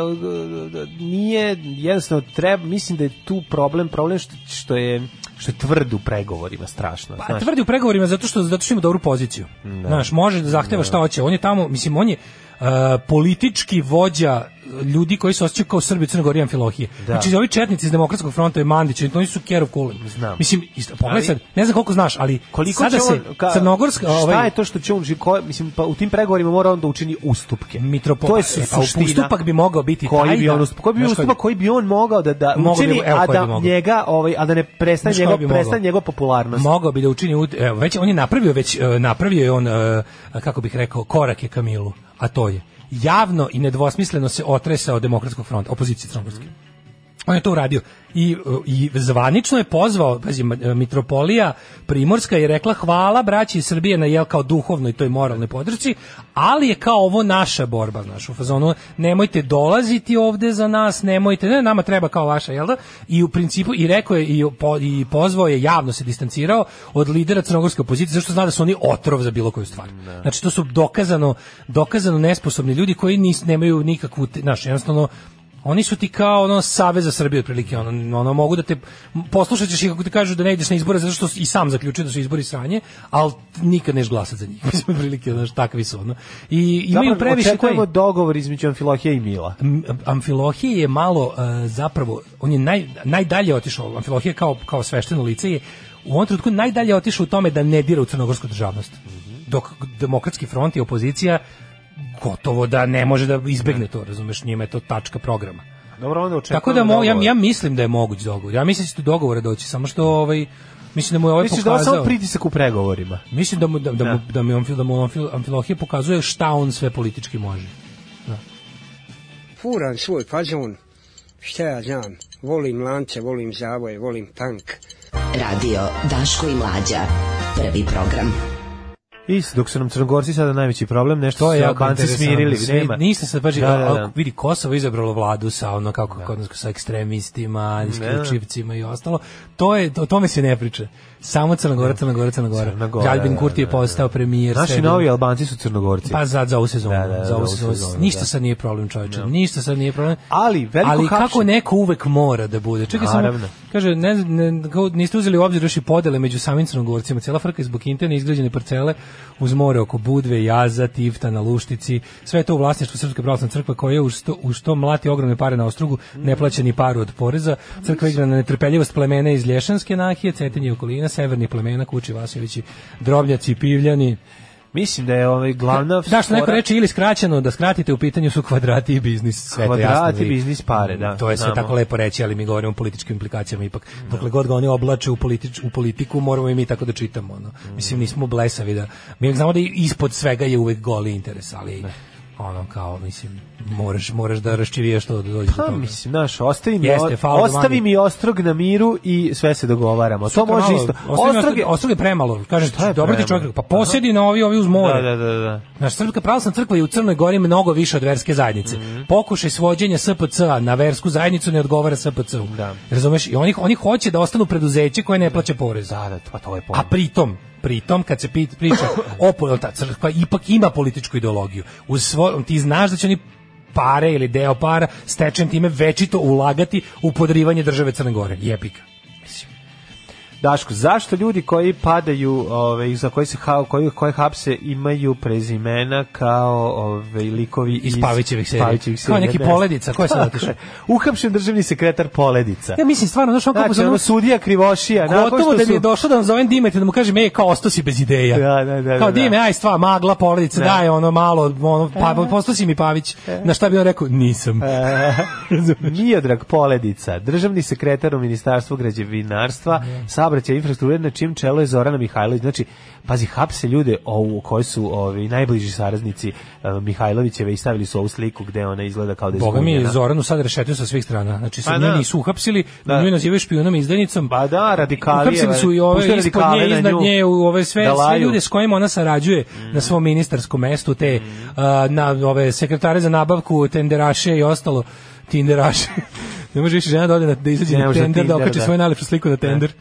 Speaker 6: e, nije jednostavno treba, mislim da je tu problem, problem što, što je što je tvrd u pregovorima strašno.
Speaker 5: Pa
Speaker 6: znaš.
Speaker 5: tvrdi u pregovorima zato što zato što ima dobru poziciju. Znaš, može da zahteva šta hoće. On je tamo, mislim on je uh, politički vođa ljudi koji se osjećaju kao Srbi u Crnoj Gori i Amfilohije.
Speaker 6: Da.
Speaker 5: Znači, ovi četnici iz Demokratskog fronta i Mandić, oni su Kerov Kulin.
Speaker 6: Znam.
Speaker 5: Mislim, isto, pogledaj
Speaker 6: Ali-
Speaker 5: sad, ne znam koliko znaš, ali
Speaker 6: koliko
Speaker 5: sada
Speaker 6: će
Speaker 5: se
Speaker 6: on, ka,
Speaker 5: Crnogorska...
Speaker 6: šta
Speaker 5: ovaj,
Speaker 6: je to što će on ži- ko, mislim pa u tim pregovorima mora on da učini ustupke
Speaker 5: Mitropo-
Speaker 6: to je
Speaker 5: e, pa
Speaker 6: suština
Speaker 5: ustupak bi mogao biti taj
Speaker 6: koji bi
Speaker 5: da-
Speaker 6: on ustup, koji bi
Speaker 5: Znaš koji
Speaker 6: ustupak
Speaker 5: bi-
Speaker 6: koji bi on mogao da da
Speaker 5: Mogao bi-
Speaker 6: učini
Speaker 5: evo
Speaker 6: a
Speaker 5: koji bi
Speaker 6: da
Speaker 5: mogao.
Speaker 6: njega ovaj a da ne prestane
Speaker 5: Znaš koji
Speaker 6: njegov
Speaker 5: bi mogao?
Speaker 6: prestane njegov popularnost
Speaker 5: Mogao bi da učini, ud- evo, već on je napravio već e, napravio je on e, kako bih rekao korake ka Milu, a to je javno i nedvosmisleno se otresao demokratskog fronta, opozicije crnogorske. On je to uradio i, i zvanično je pozvao, pazi, ma- mitropolija Primorska je rekla hvala braći iz Srbije na jel kao duhovnoj toj moralnoj podršci, ali je kao ovo naša borba, znaš, u fazonu nemojte dolaziti ovde za nas, nemojte, ne, nama treba kao vaša, jel da? I u principu, i rekao je, i, po, i pozvao je, javno se distancirao od lidera crnogorske opozicije, zašto zna da su oni otrov za bilo koju stvar. Znači, to su dokazano, dokazano nesposobni ljudi koji nis, nemaju nikakvu, te- znaš, jednostavno, Oni su ti kao ono Savez za Srbiju otprilike, ono, ono mogu da te poslušat ćeš ih kako ti kažu da ne ideš na izbore zato što i sam zaključio da su izbori sranje, ali nikad neš glasat za njih. [laughs] Mislim, otprilike, znaš, takvi su, ono. I imaju
Speaker 6: Zapravo,
Speaker 5: previše
Speaker 6: očekujemo
Speaker 5: koji...
Speaker 6: dogovor između Amfilohije i Mila.
Speaker 5: M- Amfilohije je malo e, zapravo on je naj, najdalje otišao Amfilohije kao kao svešteno lice je u ovom trenutku najdalje otišao u tome da ne dira u crnogorsku državnost. Dok demokratski front i opozicija gotovo da ne može da izbegne to, razumeš, njima je to tačka programa.
Speaker 6: Dobro, onda očekujemo
Speaker 5: Tako da mo, ja,
Speaker 6: dogovor.
Speaker 5: ja mislim da je moguć dogovor. Ja mislim da će do dogovora doći, samo što ovaj mislim da mu je ovaj
Speaker 6: Misliš da je ovo
Speaker 5: pokazao.
Speaker 6: samo pritisak u pregovorima?
Speaker 5: Mislim da mu da, da,
Speaker 6: Da.
Speaker 5: mu, da mi Amfil, da mu Amfil- Amfilohije pokazuje šta on sve politički može.
Speaker 11: furam svoj fazon, šta ja znam, volim lance, volim zavoje, volim tank.
Speaker 4: Radio Daško i Mlađa. Prvi program.
Speaker 6: I s- dok su nam Crnogorci sada najveći problem, nešto
Speaker 5: To
Speaker 6: su
Speaker 5: je
Speaker 6: se
Speaker 5: jako
Speaker 6: Albanci
Speaker 5: interesantno.
Speaker 6: smirili,
Speaker 5: Svi-
Speaker 6: nema.
Speaker 5: Nisam se baš,
Speaker 6: Da, da, da.
Speaker 5: vidi Kosovo je izabralo vladu sa ono kako kod nas sa
Speaker 6: Da.
Speaker 5: ekstremistima, isključivcima i ostalo. To je o tome se ne priča. Samo Crna Gora, Crna Gora, Crna Gora.
Speaker 6: Crna Gora,
Speaker 5: Aljbin
Speaker 6: da,
Speaker 5: Kurti je
Speaker 6: da, da.
Speaker 5: postao premijer.
Speaker 6: Naši
Speaker 5: sebi-
Speaker 6: novi Albanci su Crnogorci.
Speaker 5: Pa za, za ovu sezonu.
Speaker 6: Da, da,
Speaker 5: za
Speaker 6: za
Speaker 5: ovu
Speaker 6: ovu
Speaker 5: sezonu.
Speaker 6: sezonu,
Speaker 5: Ništa
Speaker 6: da.
Speaker 5: sad nije problem čovječe. Ništa sad nije problem.
Speaker 6: Ali, veliko
Speaker 5: Ali kako
Speaker 6: hapšenje.
Speaker 5: neko uvek mora da bude. Čekaj samo,
Speaker 6: Naravno.
Speaker 5: kaže, ne, znam, ne, kao niste uzeli u obzir još i podele među samim crnogorcima. Cijela frka je zbog interne izgrađene parcele uz more oko Budve, Jaza, Tifta, na Luštici. Sve je to u vlasništvu Srpske pravoslavne crkve koja je uz to, uz to mlati ogromne pare na ostrugu,
Speaker 6: Mm.
Speaker 5: ne plaća ni paru od poreza. Crkva igra na netrpeljivost plemena iz Lješanske nahije, Cetinje i okolina, severni plemena, Kuči, Vasovići, Drobnjaci, Pivljani.
Speaker 6: Mislim da je ovaj glavna
Speaker 5: Da, što neko
Speaker 6: fora-
Speaker 5: reče ili skraćeno, da skratite, u pitanju su kvadrati i biznis. Sve to jasno
Speaker 6: Kvadrati,
Speaker 5: vi-
Speaker 6: biznis, pare, da,
Speaker 5: To je sve
Speaker 6: znamo.
Speaker 5: tako lepo reći, ali mi govorimo o političkim implikacijama ipak. Dokle god ga oni oblače u, politič, u politiku, moramo i mi tako da čitamo. Ono. Mislim, nismo blesavi da... Mi uvek znamo da i- ispod svega je uvek goli interes, ali ono kao, mislim, moraš, moraš da raščirijaš to da dođe do
Speaker 6: Pa
Speaker 5: toga.
Speaker 6: mislim, znaš, ostavi mi,
Speaker 5: Jeste, hvala
Speaker 6: ostavi
Speaker 5: vani.
Speaker 6: mi ostrog na miru i sve se dogovaramo. To
Speaker 5: Sutra
Speaker 6: može
Speaker 5: malo,
Speaker 6: isto.
Speaker 5: ostavi mi
Speaker 6: Ostrog je...
Speaker 5: ostrog je premalo. Kažeš,
Speaker 6: Šta je
Speaker 5: dobro ti
Speaker 6: premalo?
Speaker 5: čovjek, pa posjedi na ovi, ovi uz more.
Speaker 6: Da, da, da, da.
Speaker 5: Naš Srpska pravoslavna crkva je u Crnoj Gori mnogo više od verske zajednice.
Speaker 6: Mhm.
Speaker 5: Pokušaj svođenja SPC-a na versku zajednicu ne odgovara SPC-u.
Speaker 6: Da.
Speaker 5: Razumeš? I oni, oni hoće da ostanu preduzeće koje ne plaća porez.
Speaker 6: Da, da, pa to je
Speaker 5: A
Speaker 6: pojma.
Speaker 5: pritom, pritom kad se pit- priča o po- ta crkva ipak ima političku ideologiju. Uz svo, ti znaš da će oni pare ili deo para stečen time večito ulagati u podrivanje države Crne Gore. Jepika.
Speaker 6: Daško, zašto ljudi koji padaju, ovaj za koji se ha, koji koje hapse imaju prezimena kao ovaj likovi iz,
Speaker 5: Iz Pavićevih serija.
Speaker 6: Pavićevih
Speaker 5: Kao neki
Speaker 6: ne znam.
Speaker 5: Poledica, ko je sad
Speaker 6: da, Tako
Speaker 5: otišao?
Speaker 6: je. Uhapšen državni sekretar Poledica.
Speaker 5: Ja mislim stvarno, znaš, ono kao
Speaker 6: Znači,
Speaker 5: pozorno-
Speaker 6: ono sudija Krivošija, nakon
Speaker 5: Gotovo
Speaker 6: što
Speaker 5: da mi
Speaker 6: su...
Speaker 5: je došlo da vam zovem Dimet i da mu kažem, ej, kao osto si bez ideja.
Speaker 6: Da, da, da,
Speaker 5: kao
Speaker 6: da,
Speaker 5: Dime,
Speaker 6: da.
Speaker 5: aj stva, magla, porodica,
Speaker 6: Da. E.
Speaker 5: daj ono malo, ono, pa, postao si mi Pavić. Na šta bi on rekao? Nisam.
Speaker 6: Miodrag Poledica, državni sekretar u Ministarstvu građevinarstva,
Speaker 5: Da.
Speaker 6: saobraćaja i infrastrukture, na čijem čelu je Zorana Mihajlović. Znači, pazi, hapse ljude ovu, koji su ovi, najbliži saraznici uh, Mihajlovićeve i stavili su ovu sliku gde ona izgleda kao da je
Speaker 5: Boga mi je
Speaker 6: zgunjena.
Speaker 5: Zoranu sad rešetio sa svih strana. Znači, su
Speaker 6: Pa
Speaker 5: nju
Speaker 6: da.
Speaker 5: nisu uhapsili,
Speaker 6: Da.
Speaker 5: nju nazivaju špijunom i izdajnicom.
Speaker 6: Ba da, radikali.
Speaker 5: Uhapsili su i ove
Speaker 6: puštaju
Speaker 5: ispod
Speaker 6: radikale
Speaker 5: nje,
Speaker 6: na
Speaker 5: iznad
Speaker 6: nju
Speaker 5: nje, u ove sve,
Speaker 6: da
Speaker 5: sve
Speaker 6: laju. Mm.
Speaker 5: ljude s kojima ona sarađuje na svom ministarskom mestu, te a, na ove sekretare za nabavku, tenderaše i ostalo, tinderaše. [laughs] ne može više žena da ode na, da izađe
Speaker 6: Ne
Speaker 5: na
Speaker 6: može na
Speaker 5: tender, da
Speaker 6: Tinder,
Speaker 5: okači
Speaker 6: da.
Speaker 5: svoju najlepšu sliku na tender.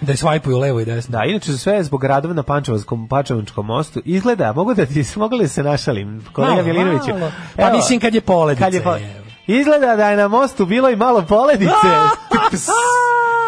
Speaker 5: Da je svajpuju levo i desno.
Speaker 6: Da, inače sve je zbog radova na Pančevačkom Pančevačkom mostu. Izgleda, mogu da ti [laughs] mogu li se našalim, kolega
Speaker 5: Malo,
Speaker 6: Milinoviću.
Speaker 5: malo. Pa mislim kad je poledica,
Speaker 6: Kad je pole-
Speaker 5: evo.
Speaker 6: Izgleda da je na mostu bilo i malo
Speaker 5: [laughs]
Speaker 6: poledice. Pss.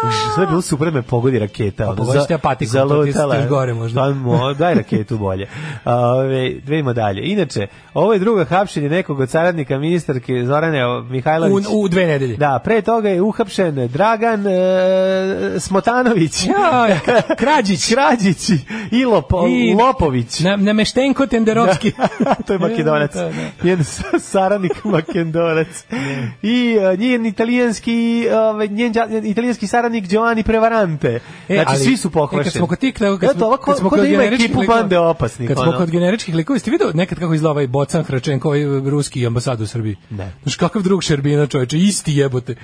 Speaker 6: Uš, Sve je bilo super da me pogodi raketa. ono,
Speaker 5: pogodiš
Speaker 6: za-
Speaker 5: te apatikom, to ti
Speaker 6: zalutala
Speaker 5: stiš
Speaker 6: je.
Speaker 5: gore možda.
Speaker 6: Pa mo, daj raketu
Speaker 5: [laughs]
Speaker 6: bolje. Ove, dvejmo dalje. Inače, ovo je drugo hapšenje nekog od saradnika ministarke Zorane Mihajlović.
Speaker 5: U, u dve nedelje.
Speaker 6: Da, pre toga je uhapšen Dragan e, Smotanović.
Speaker 5: Jaj,
Speaker 6: [laughs]
Speaker 5: Krađić.
Speaker 6: Krađići i, Lopo,
Speaker 5: I-
Speaker 6: Lopović.
Speaker 5: Na, na Meštenko Tenderovski.
Speaker 6: Da, [laughs] to je makedonac.
Speaker 5: Da, da.
Speaker 6: Jedan sa-
Speaker 5: [laughs]
Speaker 6: saradnik makedonac. I e, njen italijanski, ovaj, njen đa- italijanski saradnik Giovanni Prevarante.
Speaker 5: E,
Speaker 6: znači,
Speaker 5: ali-
Speaker 6: svi su
Speaker 5: E, kad
Speaker 6: pokvašeni.
Speaker 5: smo kod tih, kad, kad
Speaker 6: Eto,
Speaker 5: smo,
Speaker 6: ovako,
Speaker 5: kad smo
Speaker 6: ko
Speaker 5: kod
Speaker 6: da ima
Speaker 5: generičkih
Speaker 6: ekipu
Speaker 5: likova-
Speaker 6: bande opasnih.
Speaker 5: Kad smo
Speaker 6: ono.
Speaker 5: kod generičkih likova, jeste video nekad kako izgleda ovaj Bocan Hračenko, ovaj ruski ambasad u Srbiji?
Speaker 6: Da.
Speaker 5: Ne. Znaš kakav drug Šerbina, čoveče, isti jebote.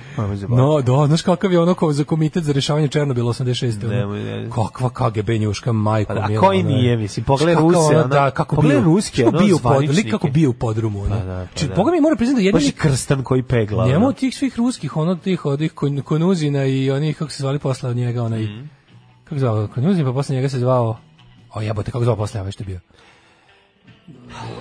Speaker 5: No, da, znaš kakav je ono kao za komitet za rešavanje Černobila 86. ono.
Speaker 6: Nemoj, ne.
Speaker 5: Kakva KGB njuška, majko.
Speaker 6: Da. Pa da,
Speaker 5: mila,
Speaker 6: koji
Speaker 5: ono je.
Speaker 6: nije, mislim, pogledaj
Speaker 5: Šta kao
Speaker 6: Ruse,
Speaker 5: ono,
Speaker 6: ono,
Speaker 5: da, kako
Speaker 6: pogledaj
Speaker 5: bio-
Speaker 6: Ruske,
Speaker 5: što
Speaker 6: ono,
Speaker 5: bio u pod- lik
Speaker 6: zvaničnike.
Speaker 5: kako bio u podrumu, ono.
Speaker 6: Pa da, pa
Speaker 5: Znači,
Speaker 6: da.
Speaker 5: Boga mi mora priznati da jedini
Speaker 6: Baš je krstan koji pegla.
Speaker 5: Njemu
Speaker 6: ono.
Speaker 5: od tih svih ruskih, ono od tih, od tih kon- Konuzina i onih, kako se zvali posle od njega, onaj,
Speaker 6: Mm.
Speaker 5: kako se zvao, Konuzin, pa posle njega se zvao, o jebote, kako se zvao posle, ovaj što je bio?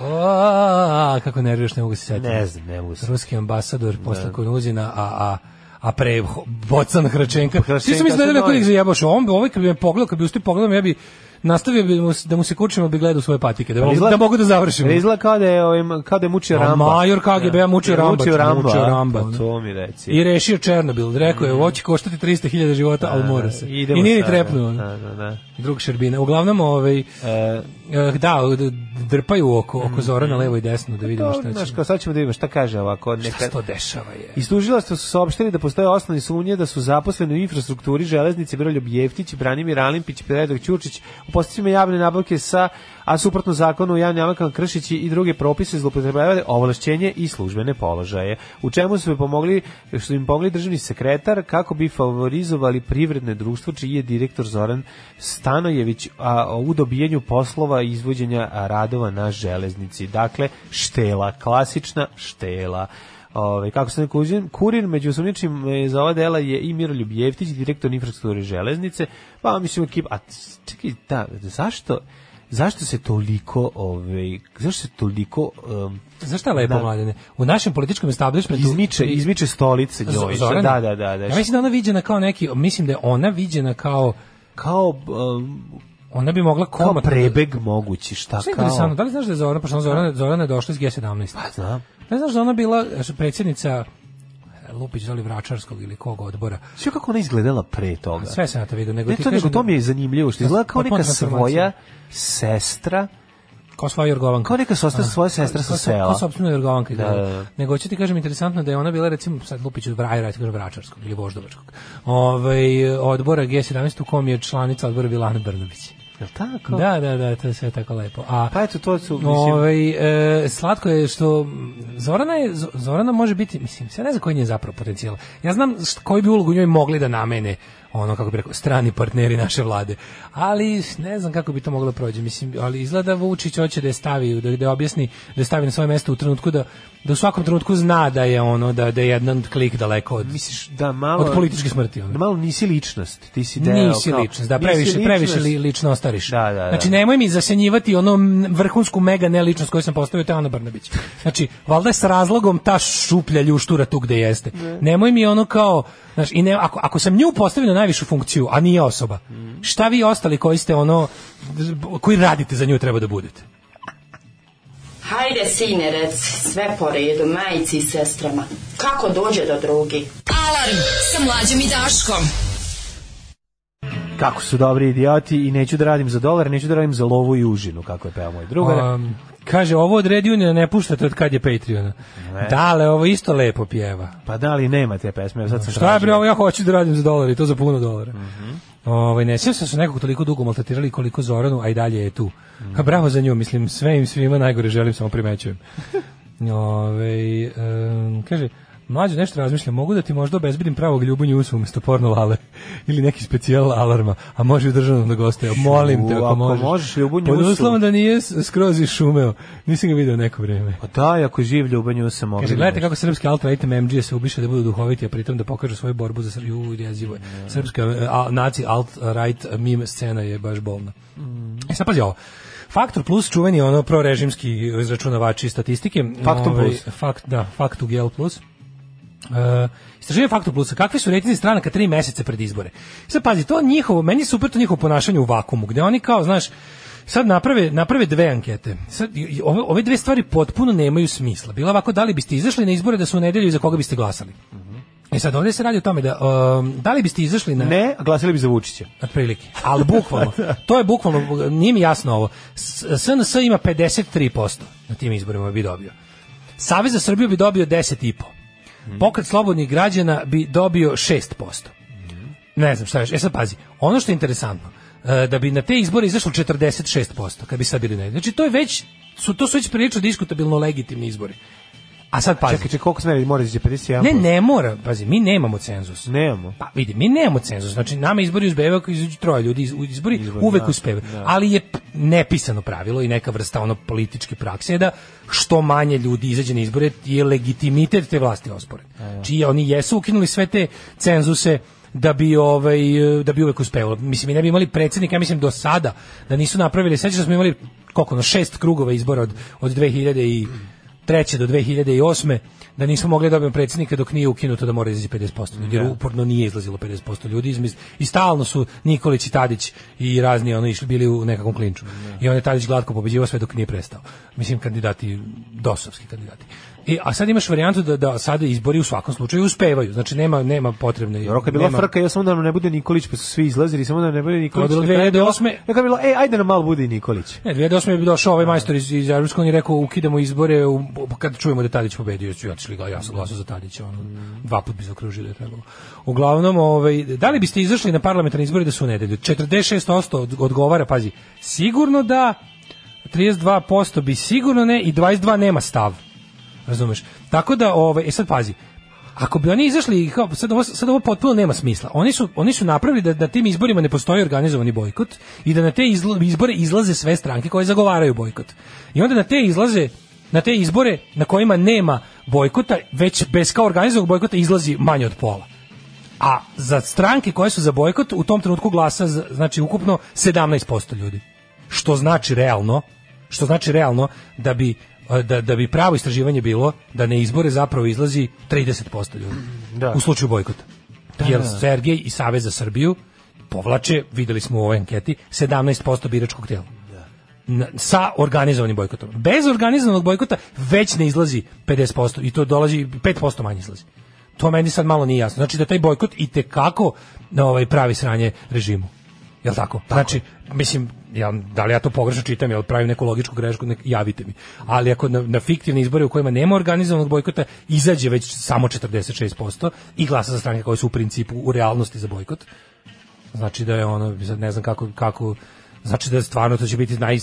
Speaker 5: O, kako nerviraš, ne mogu se setiti.
Speaker 6: Ne znam, ne mogu se.
Speaker 5: Ruski ambasador posle
Speaker 6: Da.
Speaker 5: Konuzina, a, a, a pre Ho- Bocan Hračenka.
Speaker 6: Hračenka
Speaker 5: Svi su mi
Speaker 6: su
Speaker 5: izgledali ako
Speaker 6: novi.
Speaker 5: ih zajebaš. On bi ovaj kad bi me pogledao, kad bi usti pogledao, ja bi nastavio bi mu, s- da mu se kurčimo, bi gledao svoje patike, da,
Speaker 6: Pa
Speaker 5: mogu- da mogu da završim.
Speaker 6: Ali Izgleda kao da je, ovim, kao da je mučio
Speaker 5: A
Speaker 6: Ramba.
Speaker 5: major KGB-a
Speaker 6: Da. Ja.
Speaker 5: mučio
Speaker 6: Je
Speaker 5: Ramba,
Speaker 6: Mučio Ramba.
Speaker 5: mučio
Speaker 6: a?
Speaker 5: Ramba,
Speaker 6: Pa
Speaker 5: ono.
Speaker 6: to mi reci.
Speaker 5: I rešio Černobil. Rekao
Speaker 6: Mm.
Speaker 5: je, ovo će koštati 300.000
Speaker 6: Da,
Speaker 9: Da,
Speaker 5: života, ali mora se. I
Speaker 6: idemo
Speaker 5: nije ni
Speaker 6: sada,
Speaker 5: trepnuo. ono.
Speaker 6: Da, da, da.
Speaker 5: Drug Šerbina. Uglavnom, ovaj,
Speaker 6: E,
Speaker 5: eh, da, d- drpaju oko,
Speaker 6: Mhm,
Speaker 5: oko Zorana levo i desno da vidimo
Speaker 6: To,
Speaker 5: šta
Speaker 6: znaš,
Speaker 5: će.
Speaker 6: kao sad ćemo da vidimo šta kaže ovako. Neka...
Speaker 5: se to dešava je?
Speaker 6: Iz tužilaštva su saopštili da postoje osnovne sumnje da su zaposleni u infrastrukturi železnice Miroljub Jeftić, Branimir Alimpić i Predrag Ćurčić u postupcima javne nabavke sa, a suprotno zakonu o javnim nabavkama kršići i druge propise zloupotrebljavali ovlašćenje i službene položaje. U čemu su im pomogli, što im pomogli državni sekretar kako bi favorizovali privredne društvo čiji je direktor Zoran Stanojević a, u dobijanju poslova i izvođenja a, radova na železnici. Dakle, štela, klasična štela. Ove, kako se ne kužim, kurir među osumnjičim e, za ova dela je i Miroljub Jeftić, direktor infrastrukture železnice, pa mislim ekip, a čekaj, da, zašto, zašto se toliko, ovaj, zašto se toliko... Um,
Speaker 5: Zašto je lepo,
Speaker 6: Da.
Speaker 5: mladene? U našem političkom establishmentu...
Speaker 6: Izmiče, izmiče stolice
Speaker 5: Z-
Speaker 6: njoj.
Speaker 5: Zorana?
Speaker 6: Da, da, da. da.
Speaker 5: Ja mislim da je ona viđena kao neki, mislim da je ona viđena kao...
Speaker 6: Kao...
Speaker 5: ona bi mogla
Speaker 6: kao
Speaker 5: komotno...
Speaker 6: prebeg mogući, šta
Speaker 5: Što je interesantno,
Speaker 6: kao...
Speaker 5: da li znaš da je Zorana, pošto ona Zorana, Zorana je došla iz G17? Pa
Speaker 6: znam.
Speaker 5: Da li znaš da je ona bila eh, predsjednica eh, Lupić, da li Vračarskog ili kog odbora?
Speaker 6: Sve kako ona izgledala pre toga.
Speaker 5: Sve sam ja to vidio, nego
Speaker 6: Da. ne
Speaker 5: ti
Speaker 6: to, nego
Speaker 5: kažem
Speaker 6: to
Speaker 5: da-
Speaker 6: mi je zanimljivo, što izgleda kao
Speaker 5: Potpuna
Speaker 6: neka svoja
Speaker 5: transformacija.
Speaker 6: sestra,
Speaker 5: Kao svoja Jorgovanka.
Speaker 6: Kao neka sostra-
Speaker 5: A,
Speaker 6: svoja sestra sa
Speaker 5: kao so-
Speaker 6: sela.
Speaker 5: Kao sopstvena Jorgovanka.
Speaker 6: Da,
Speaker 5: Da,
Speaker 6: da, da.
Speaker 5: Nego ću ti kažem interesantno da je ona bila recimo sad Lupiću Vrajrać, kažem Vračarskog ili Voždovačkog. Ovaj odbora G17 u kom je članica odbora Vilana Brnović.
Speaker 6: Jel tako?
Speaker 5: Da, da, da, to je sve tako lepo. A
Speaker 6: Pa eto, to su, mislim-
Speaker 5: Ovaj e, slatko je što mm, Zorana je Z- Zorana može biti, mislim, sve ne znam koji nje zapravo potencijal. Ja znam št- koju bi ulogu njoj mogli da namene ono kako bi rekao strani partneri naše vlade. Ali ne znam kako bi to moglo da prođe. Mislim, ali izgleda Vučić hoće da je stavi da da je objasni da je stavi na svoje mesto u trenutku da da u svakom trenutku zna da je ono da da je jedan klik daleko od
Speaker 6: misliš da malo...
Speaker 5: od političke smrti ono.
Speaker 6: Da malo nisi ličnost, ti si deo...
Speaker 5: Nisi
Speaker 6: kao-
Speaker 5: ličnost, da,
Speaker 6: nisi
Speaker 5: previše, previše li,
Speaker 6: ličnost.
Speaker 5: lično ostariš.
Speaker 6: Da, da, da.
Speaker 5: Znači, nemoj mi zasenjivati ono m- vrhunsku mega neličnost koju sam postavio, to je Ana Brnabić. Znači, valjda je s razlogom ta šuplja ljuštura tu gde jeste. Nemoj mi ono kao, znaš, i ne, ako, ako sam nju postavio na najvišu funkciju, a nije osoba,
Speaker 6: Mm.
Speaker 5: šta vi ostali koji ste ono, koji radite za nju treba da budete?
Speaker 12: Hajde, sinerec, sve po redu, majici i sestrama. Kako dođe do drugi?
Speaker 4: Alarm sa mlađom i Daškom.
Speaker 6: Kako su dobri idioti i neću da radim za dolar, neću da radim za lovu i užinu, kako je peo moj drugar.
Speaker 5: Um, kaže, ovo od Red Uniona ne puštate od kad je Patreona.
Speaker 6: Ne.
Speaker 5: Dale, ovo isto lepo pjeva.
Speaker 6: pa da li nema te pesme, evo sad sam
Speaker 5: Šta je bre,
Speaker 6: tražio.
Speaker 5: ovo ja hoću da radim za dolar i to za puno dolara. Ovaj ne sjećam se da su nekog toliko dugo maltretirali koliko Zoranu, a i dalje je tu. A bravo za nju, mislim, sve im svima najgore želim, samo primećujem. Ovaj em, kaže, mlađe nešto razmišljam, mogu da ti možda obezbedim pravog ljubunju usu umjesto porno lale [laughs] ili neki specijal alarma, a može i u državnom da gostuje. Molim te,
Speaker 6: U,
Speaker 5: ako,
Speaker 6: ako
Speaker 5: možeš.
Speaker 6: možeš Ljubunju
Speaker 5: Pod
Speaker 6: usu.
Speaker 5: uslovom da nije s- skroz išumeo. Nisam ga video neko vrijeme.
Speaker 6: Pa da, ako je živ ljubanju se mogu.
Speaker 5: Kaže, gledajte kako srpski alt right MG se ubiše da budu duhoviti, a pritom da pokažu svoju borbu za Srbiju i jezivo je. Srpska e, a, naci alt right meme scena je baš bolna.
Speaker 6: Mm.
Speaker 5: E sad pazi ovo. Faktor plus čuveni ono prorežimski izračunavači statistike.
Speaker 6: Faktum
Speaker 5: Ovaj,
Speaker 6: plus.
Speaker 5: Fakt, da, Faktu GL plus. Uh, istraživanje Faktor Plusa, kakvi su rejtinzi stranaka tri meseca pred izbore. Sad pazi, to njihovo, meni je super to njihovo ponašanje u vakumu, gde oni kao, znaš, sad naprave, naprave dve ankete. Sad, i- i ove, ove dve stvari potpuno nemaju smisla. Bila ovako, da li biste izašli na izbore da su u nedelju i za koga biste glasali? E sad, ovdje se radi o tome da, um, da li biste izašli na...
Speaker 6: Ne, a glasili bi za Vučića.
Speaker 5: Otprilike. Ali bukvalno,
Speaker 6: [laughs] Da.
Speaker 5: to je bukvalno, nije mi jasno ovo. S- SNS ima 53% na tim izborima bi dobio. Savez za Srbiju
Speaker 6: Mhm. Mhm.
Speaker 5: bi dobio 10,5%. Pokret slobodnih građana bi dobio 6%. Ne znam šta još. E sad pazi, ono što je interesantno, e, da bi na te izbore izašlo 46%, kad bi sad bili na Znači, to je već, su, to su već prilično diskutabilno legitimni izbori. A sad pazi.
Speaker 6: Čekaj, čekaj, koliko smeri mora da izaći 51?
Speaker 5: Ne, ne mora, pazi, mi nemamo cenzus.
Speaker 6: Nemamo.
Speaker 5: Pa vidi, mi nemamo cenzus. Znači nama izbori uspevaju ako izađu troje ljudi, iz- izbori uvek
Speaker 6: da,
Speaker 5: uspevaju.
Speaker 6: da.
Speaker 5: Ali je p- nepisano pravilo i neka vrsta ono političke prakse je da što manje ljudi izađe na izbore je legitimitet te vlasti osporen. Čiji oni jesu ukinuli sve te cenzuse da bi ovaj e, da bi uvek uspevalo. Mislim mi ne bi imali predsjednika, ja mislim do sada da nisu napravili, sećaš se da smo imali koliko ono šest krugova izbora od od 2000 i treće do 2008. da nismo mogli da dobijemo predsjednika dok nije ukinuto da mora izaći 50% ljudi, jer
Speaker 6: Da.
Speaker 5: uporno nije izlazilo 50% ljudi izmiz, i stalno su Nikolić i Tadić i razni ono išli bili u nekakvom klinču.
Speaker 6: Da.
Speaker 5: I on je Tadić glatko pobeđivao sve dok nije prestao. Mislim kandidati, dosovski kandidati. I, a sad imaš varijantu da, da sada izbori u svakom slučaju uspevaju, znači nema, nema potrebne...
Speaker 6: Roka je bila
Speaker 5: nema-
Speaker 6: frka, ja samo da nam ne bude Nikolić, pa su svi izlazili, samo da nam ne bude Nikolić.
Speaker 5: To je bilo
Speaker 6: Na kraju
Speaker 5: 2008.
Speaker 6: Neka je bilo, e, ajde nam malo bude i Nikolić.
Speaker 5: Ne, 2008. je došao ovaj majstor iz, iz Evropske unije i rekao ukidamo izbore u, kad čujemo da je Tadić pobedio, ja ću ja ću gla- ja sam glasao za Tadića, ono, dva put bi zaokružio da je trebalo. Uglavnom, ovaj, da li biste izašli na parlamentarne izbore da su u nedelju? 46% od- odgovara, pazi, sigurno da, 32% bi sigurno ne i 22 nema stav. Razumeš? Tako da, ovaj, e sad pazi, ako bi oni izašli, i kao, sad, ovo, sad ovo potpuno nema smisla. Oni su, oni su napravili da na tim izborima ne postoji organizovani bojkot i da na te izla- izbore izlaze sve stranke koje zagovaraju bojkot. I onda na te izlaze na te izbore na kojima nema bojkota, već bez kao organizovanog bojkota izlazi manje od pola. A za stranke koje su za bojkot u tom trenutku glasa za- znači ukupno 17% ljudi. Što znači realno, što znači realno da bi e, da, da bi pravo istraživanje bilo da na izbore zapravo izlazi 30% ljudi.
Speaker 6: Da.
Speaker 5: U slučaju bojkota.
Speaker 6: Da,
Speaker 5: Jer
Speaker 6: da.
Speaker 5: Sergej i Savez za Srbiju povlače, videli smo u ovoj anketi, 17% biračkog tela. Na- sa organizovanim bojkotom. Bez organizovanog bojkota već ne izlazi 50% i to dolazi 5% manje izlazi. To meni sad malo nije jasno. Znači da taj bojkot i te kako ovaj pravi sranje režimu. Jel tako? Znači, mislim, ja, da li ja to pogrešno čitam, jel pravim neku logičku grešku, nek, javite mi. Ali ako na, na fiktivne izbore u kojima nema organizovanog bojkota izađe već samo 46% i glasa za stranke koje su u principu u realnosti za bojkot, Znači da je ono, sad ne znam kako, kako znači da stvarno to će biti naj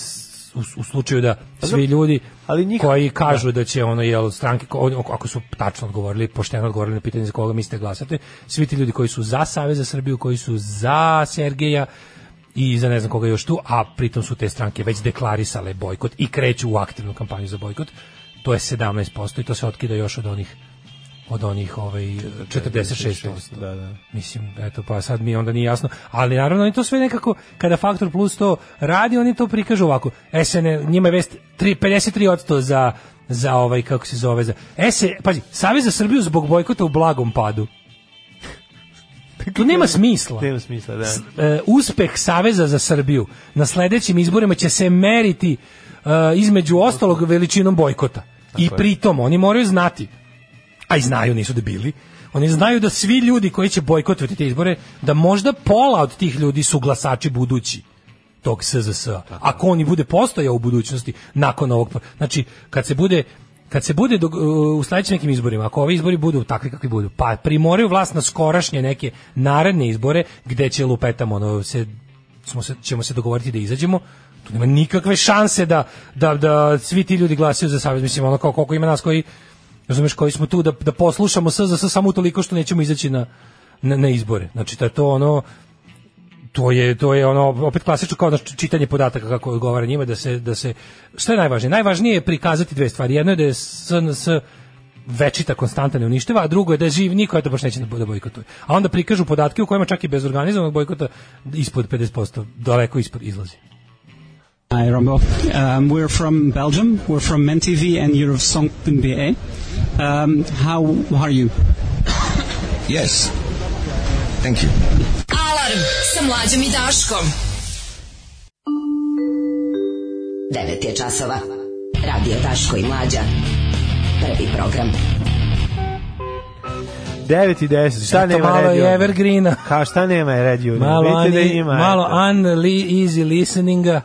Speaker 5: u, u slučaju da svi ljudi ali koji kažu da. će ono jel stranke ko- oni ako su tačno odgovorili pošteno odgovorili na pitanje za koga mislite da glasate svi ti ljudi koji su za Savez za Srbiju koji su za Sergeja i za ne znam koga još tu a pritom su te stranke već deklarisale bojkot i kreću u aktivnu kampanju za bojkot to je 17% i to se otkida još od onih od onih ovaj 46%.
Speaker 6: Da, da.
Speaker 5: Mislim, eto, pa sad mi onda nije jasno. Ali naravno, oni to sve nekako, kada Faktor Plus to radi, oni to prikažu ovako. SN, njima je vest tri- 53% za, za ovaj, kako se zove, za... SN, pazi, Savez za Srbiju zbog bojkota u blagom
Speaker 6: [laughs]
Speaker 5: padu. To nema smisla.
Speaker 6: Nema smisla, da.
Speaker 5: S- e, uspeh Saveza za Srbiju na sledećim izborima će se meriti e, između ostalog veličinom bojkota. I
Speaker 6: je.
Speaker 5: pritom oni moraju znati, a i znaju, nisu debili, oni znaju da svi ljudi koji će bojkotovati te izbore, da možda pola od tih ljudi su glasači budući tog SZS. Ako on i bude postojao u budućnosti nakon ovog, znači kad se bude kad se bude dog- u sledećim nekim izborima, ako ovi izbori budu takvi kakvi budu, pa primoraju vlast na skorašnje neke naredne izbore gde će lupetamo ono se smo se, ćemo se dogovoriti da izađemo, tu nema nikakve šanse da, da, da svi ti ljudi glasaju za savez. Mislim, ono kao koliko ima nas koji, razumeš, koji smo tu da, da poslušamo SZS samo toliko što nećemo izaći na, na, na izbore. Znači, da je to ono, to je to je ono opet klasično kao ono čitanje podataka kako odgovara njima da se da se što je najvažnije najvažnije je prikazati dve stvari jedno je da je SNS večita konstanta ne uništava, a drugo je da je živ niko eto baš neće da bude bojkotuje. A onda prikažu podatke u kojima čak i bez organizovanog bojkota ispod 50%, daleko ispod izlazi.
Speaker 13: Hi, Rombo. Um, we're from Belgium. We're from MenTV and you're of Song.be. Um, how are you? yes. Thank you.
Speaker 4: Alarm sa mlađom i Daškom.
Speaker 14: 9 je časova. Radio Daško i Mlađa. Prvi program.
Speaker 6: 9 i 10, šta
Speaker 5: Eto,
Speaker 6: nema
Speaker 5: malo
Speaker 6: Red
Speaker 5: je
Speaker 6: Juna?
Speaker 5: Evergreena.
Speaker 6: Kao šta nema je Red Juna?
Speaker 5: Malo,
Speaker 6: Vidite da
Speaker 5: ani-
Speaker 6: ima,
Speaker 5: malo
Speaker 6: eto.
Speaker 5: unli, easy listeninga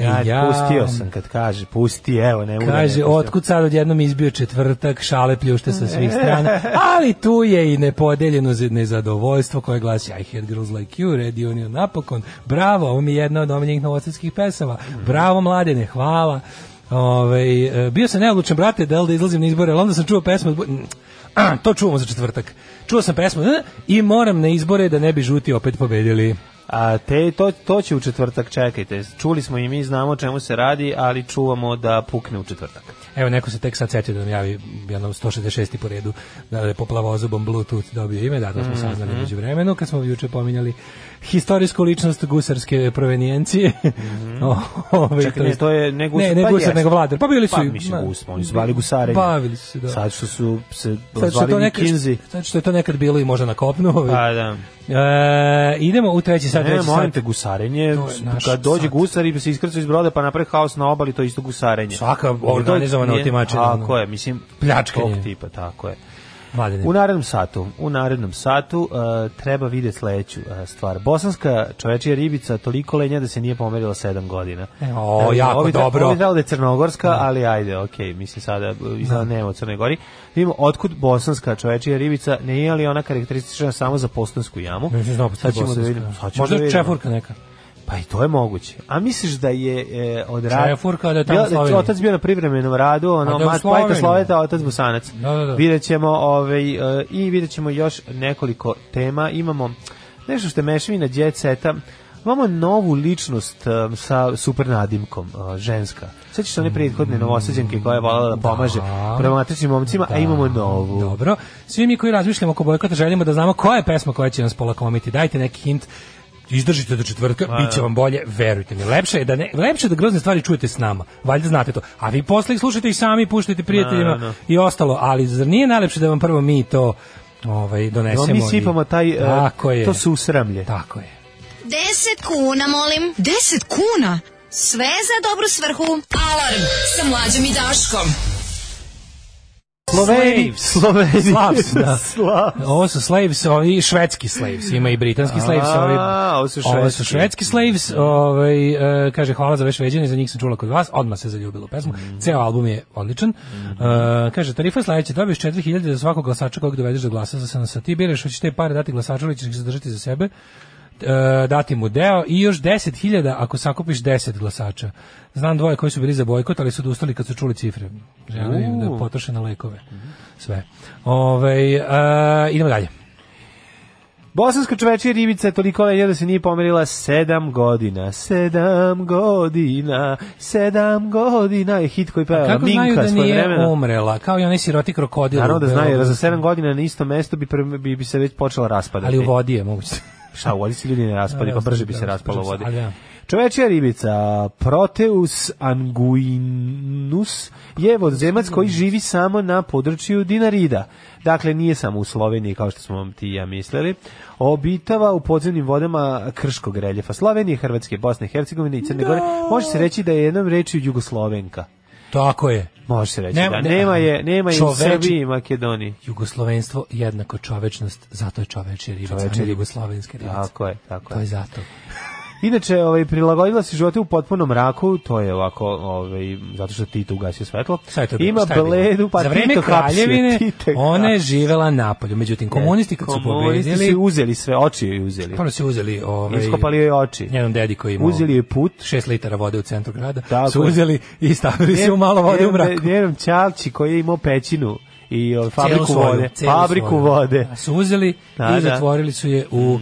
Speaker 6: Ja,
Speaker 5: Ja.
Speaker 6: pustio sam kad kaže, pusti, evo, ne mogu. da ne
Speaker 5: Kaže,
Speaker 6: pustim.
Speaker 5: otkud sad odjednom izbio četvrtak, šale pljušte
Speaker 6: [laughs]
Speaker 5: sa
Speaker 6: E.
Speaker 5: svih strana, ali tu je i nepodeljeno z- nezadovoljstvo koje glasi I hate girls like you, Red Union napokon, bravo, ovo mi je jedna od omiljenih novostatskih pesama, bravo mladene, hvala. Ove, e, bio sam neodlučan, brate, da li da izlazim na izbore, ali onda sam čuo pesmu, od Bu- Mm, ah, [clears throat] to čuvamo za četvrtak. Čuo sam pesmu eh, i moram na izbore da ne bi žuti opet pobedili.
Speaker 6: A te, to, to će u četvrtak, čekajte. Čuli smo i mi, znamo o čemu se radi, ali čuvamo da pukne u četvrtak.
Speaker 5: Evo, neko se tek sad setio da nam javi jednom 166. po redu da je po plavozubom Bluetooth dobio ime, da, to smo
Speaker 6: Mhm.
Speaker 5: saznali među vremenu, kad smo juče pominjali historijsku ličnost gusarske provenijencije. O, [laughs] ove,
Speaker 6: Mhm. Čekaj, ne,
Speaker 5: jest-
Speaker 6: to je ne gusar,
Speaker 5: ne, ne
Speaker 6: pa
Speaker 5: gusar,
Speaker 6: jeste.
Speaker 5: nego vladar. Pa bili su
Speaker 6: Pa,
Speaker 5: i-
Speaker 6: mislim,
Speaker 5: ma,
Speaker 6: gusar, oni su zvali gusarenje.
Speaker 5: Bavili su, se, da.
Speaker 6: Sad što su se
Speaker 5: Sad što, je
Speaker 6: zvali
Speaker 5: to nekad,
Speaker 6: Nikinzi.
Speaker 5: sad što je to nekad bilo i možda na kopnu. ovaj.
Speaker 6: Pa, da.
Speaker 5: E, idemo u treći sat.
Speaker 6: Ne,
Speaker 5: treći
Speaker 6: molim
Speaker 5: sat.
Speaker 6: te, gusarenje,
Speaker 5: To je naš
Speaker 6: kad dođe
Speaker 5: sat.
Speaker 6: gusar i se iskrca iz broda pa napravi haos na obali, to je isto gusarenje.
Speaker 5: Svaka
Speaker 6: Jer to je-
Speaker 5: organizovana
Speaker 6: nije-
Speaker 5: otimačina,
Speaker 6: Tako
Speaker 5: ono.
Speaker 6: je, mislim,
Speaker 5: Pljačkanje.
Speaker 6: tog tipa, tako je.
Speaker 5: Mladene.
Speaker 6: U narednom satu, u narednom satu uh, treba vidjeti sledeću uh, stvar. Bosanska čovečija ribica toliko lenja da se nije pomerila 7 godina.
Speaker 5: E, o, jako
Speaker 6: ovi, tra-
Speaker 5: dobro. Da.
Speaker 6: Ovi trebalo da je crnogorska, ali ajde, okej, mislim sada uh, izgleda nema u Crnoj Gori. Vidimo, otkud bosanska čovečija ribica, ne je li ona karakteristična samo za postansku jamu?
Speaker 5: Nisam znao,
Speaker 6: Sad ćemo da
Speaker 5: Bosanska.
Speaker 6: vidimo. sad ćemo
Speaker 5: Možda
Speaker 6: da
Speaker 5: je
Speaker 6: vidimo.
Speaker 5: čefurka neka.
Speaker 6: Pa i to je moguće. A misliš da je e, od rada...
Speaker 5: Čajfurka, da je tamo
Speaker 6: Bio-
Speaker 5: u Sloveniji.
Speaker 6: Otac bio na privremenom radu, ono,
Speaker 5: A da je u
Speaker 6: mat, majka
Speaker 5: Sloveniji.
Speaker 6: Sloveta, otac Bosanac.
Speaker 5: Da, da, da.
Speaker 6: Vidjet ćemo, ovaj, e, i vidjet ćemo još nekoliko tema. Imamo nešto što je mešavina Jet Seta. Imamo novu ličnost e, sa super nadimkom, e, ženska. Sećaš se one
Speaker 5: Mm.
Speaker 6: prethodne novosađenke koja je volala da pomaže problematičnim momcima, a
Speaker 5: Da.
Speaker 6: imamo novu.
Speaker 5: Dobro. Svi mi koji razmišljamo oko bojkota želimo da znamo koja je pesma koja će nas polakomiti. Dajte neki hint. Izdržite do četvrtka,
Speaker 6: Ma,
Speaker 5: bit će
Speaker 6: da.
Speaker 5: vam bolje, verujte mi. Lepše je da ne, lepše je da grozne stvari čujete s nama. Valjda znate to. A vi posle ih slušajte i sami, puštajte prijateljima
Speaker 6: Da, da, da.
Speaker 5: i ostalo, ali zar nije najlepše da vam prvo mi to ovaj donesemo?
Speaker 6: Da mi
Speaker 5: i-
Speaker 6: sipamo taj, e,
Speaker 5: Tako je.
Speaker 6: to susramlje.
Speaker 5: Tako je.
Speaker 4: Deset kuna, molim. Deset kuna? Sve za dobru svrhu. Alarm sa mlađom i Daškom.
Speaker 5: Sloveni,
Speaker 6: Sloveni.
Speaker 5: Slavs, da.
Speaker 6: [laughs] Slavs.
Speaker 5: Ovo su slaves, ovi švedski slaves, ima i britanski slaves,
Speaker 6: A,
Speaker 5: ovi.
Speaker 6: ovo su
Speaker 5: Ovo
Speaker 6: švedski. Da.
Speaker 5: su švedski slaves, ovaj e, kaže hvala za vaše veđenje, za njih sam čula kod vas, odmah se zaljubilo pesmu.
Speaker 6: Mm.
Speaker 5: Ceo album je odličan. E, kaže tarifa je sledeća, dobiješ 4000 za svakog glasača kojeg dovedeš da glasa za SNS. Ti biraš hoćeš te pare dati glasaču ili ćeš ih zadržati za sebe. e, dati mu deo i još 10.000 ako sakupiš 10 glasača. Znam dvoje koji su bili za bojkot, ali su odustali kad su čuli cifre. Želim im da
Speaker 6: U.
Speaker 5: potroše na lekove.
Speaker 6: Mhm.
Speaker 5: Sve. Ove, a, idemo dalje.
Speaker 6: Bosanska čovečija ribica je toliko lenja da se nije pomerila sedam godina. Sedam godina, sedam godina je hit koji peva
Speaker 5: Kako znaju
Speaker 6: Minka
Speaker 5: da
Speaker 6: svoje
Speaker 5: nije
Speaker 6: vremena.
Speaker 5: umrela? Kao i onaj siroti krokodil.
Speaker 6: Naravno da
Speaker 5: u
Speaker 6: znaju, jer
Speaker 5: Beogradu.
Speaker 6: za sedam godina na isto mesto bi, pre- bi, bi se već počela raspadati.
Speaker 5: Ali u vodi je moguće. [laughs]
Speaker 6: Šta, u vodi se ljudi ne raspali,
Speaker 5: A,
Speaker 6: pa
Speaker 5: da,
Speaker 6: brže bi se
Speaker 5: da,
Speaker 6: raspalo u
Speaker 5: brže
Speaker 6: vodi.
Speaker 5: se, ali da.
Speaker 6: Čovečija ribica, Proteus anguinus, je vodzemac koji živi samo na području Dinarida. Dakle, nije samo u Sloveniji, kao što smo vam ti i ja mislili. Obitava u podzemnim vodama Krškog reljefa Slovenije, Hrvatske, Bosne i Hercegovine i Crne Gore. Može se reći da je jednom reči Jugoslovenka.
Speaker 5: Tako je.
Speaker 6: Može se reći
Speaker 5: Ne-
Speaker 6: da.
Speaker 5: ne-
Speaker 6: Nema je, nema je i u
Speaker 5: Čoveči-
Speaker 6: Srbiji i Makedoniji.
Speaker 5: Jugoslovenstvo jednako čovečnost, zato je čoveče ribica,
Speaker 6: Čoveče
Speaker 5: a ne
Speaker 6: ribica.
Speaker 5: jugoslovenska ribica.
Speaker 6: Tako je, tako
Speaker 5: To je zato.
Speaker 6: Inače, ovaj prilagodila se životu u potpunom mraku, to je ovako, ovaj zato što Tito ugasio svetlo.
Speaker 5: Šta je to bilo?
Speaker 6: Ima
Speaker 5: Šta je bilo?
Speaker 6: bledu, pa
Speaker 5: Za vreme
Speaker 6: Tito hapsio,
Speaker 5: kraljevine
Speaker 6: Tito je
Speaker 5: ona je
Speaker 6: hapsio.
Speaker 5: živela napolju. Međutim, komunisti kad su
Speaker 6: Komunisti
Speaker 5: pobedili...
Speaker 6: su uzeli sve, oči joj uzeli.
Speaker 5: Prvo su uzeli ovaj
Speaker 6: Iskopali joj oči.
Speaker 5: Jedan dedi koji je imao
Speaker 6: Uzeli joj put,
Speaker 5: 6 litara vode u centru grada.
Speaker 6: Tako
Speaker 5: su
Speaker 6: je.
Speaker 5: uzeli i stavili se u malo vode u mraku.
Speaker 6: Njenom Ćalči koji je imao pećinu i ovaj, fabriku
Speaker 5: Celu svoju,
Speaker 6: vode.
Speaker 5: celu
Speaker 6: Fabriku
Speaker 5: svoju.
Speaker 6: vode.
Speaker 5: Su uzeli
Speaker 6: Da, da.
Speaker 5: i zatvorili su je u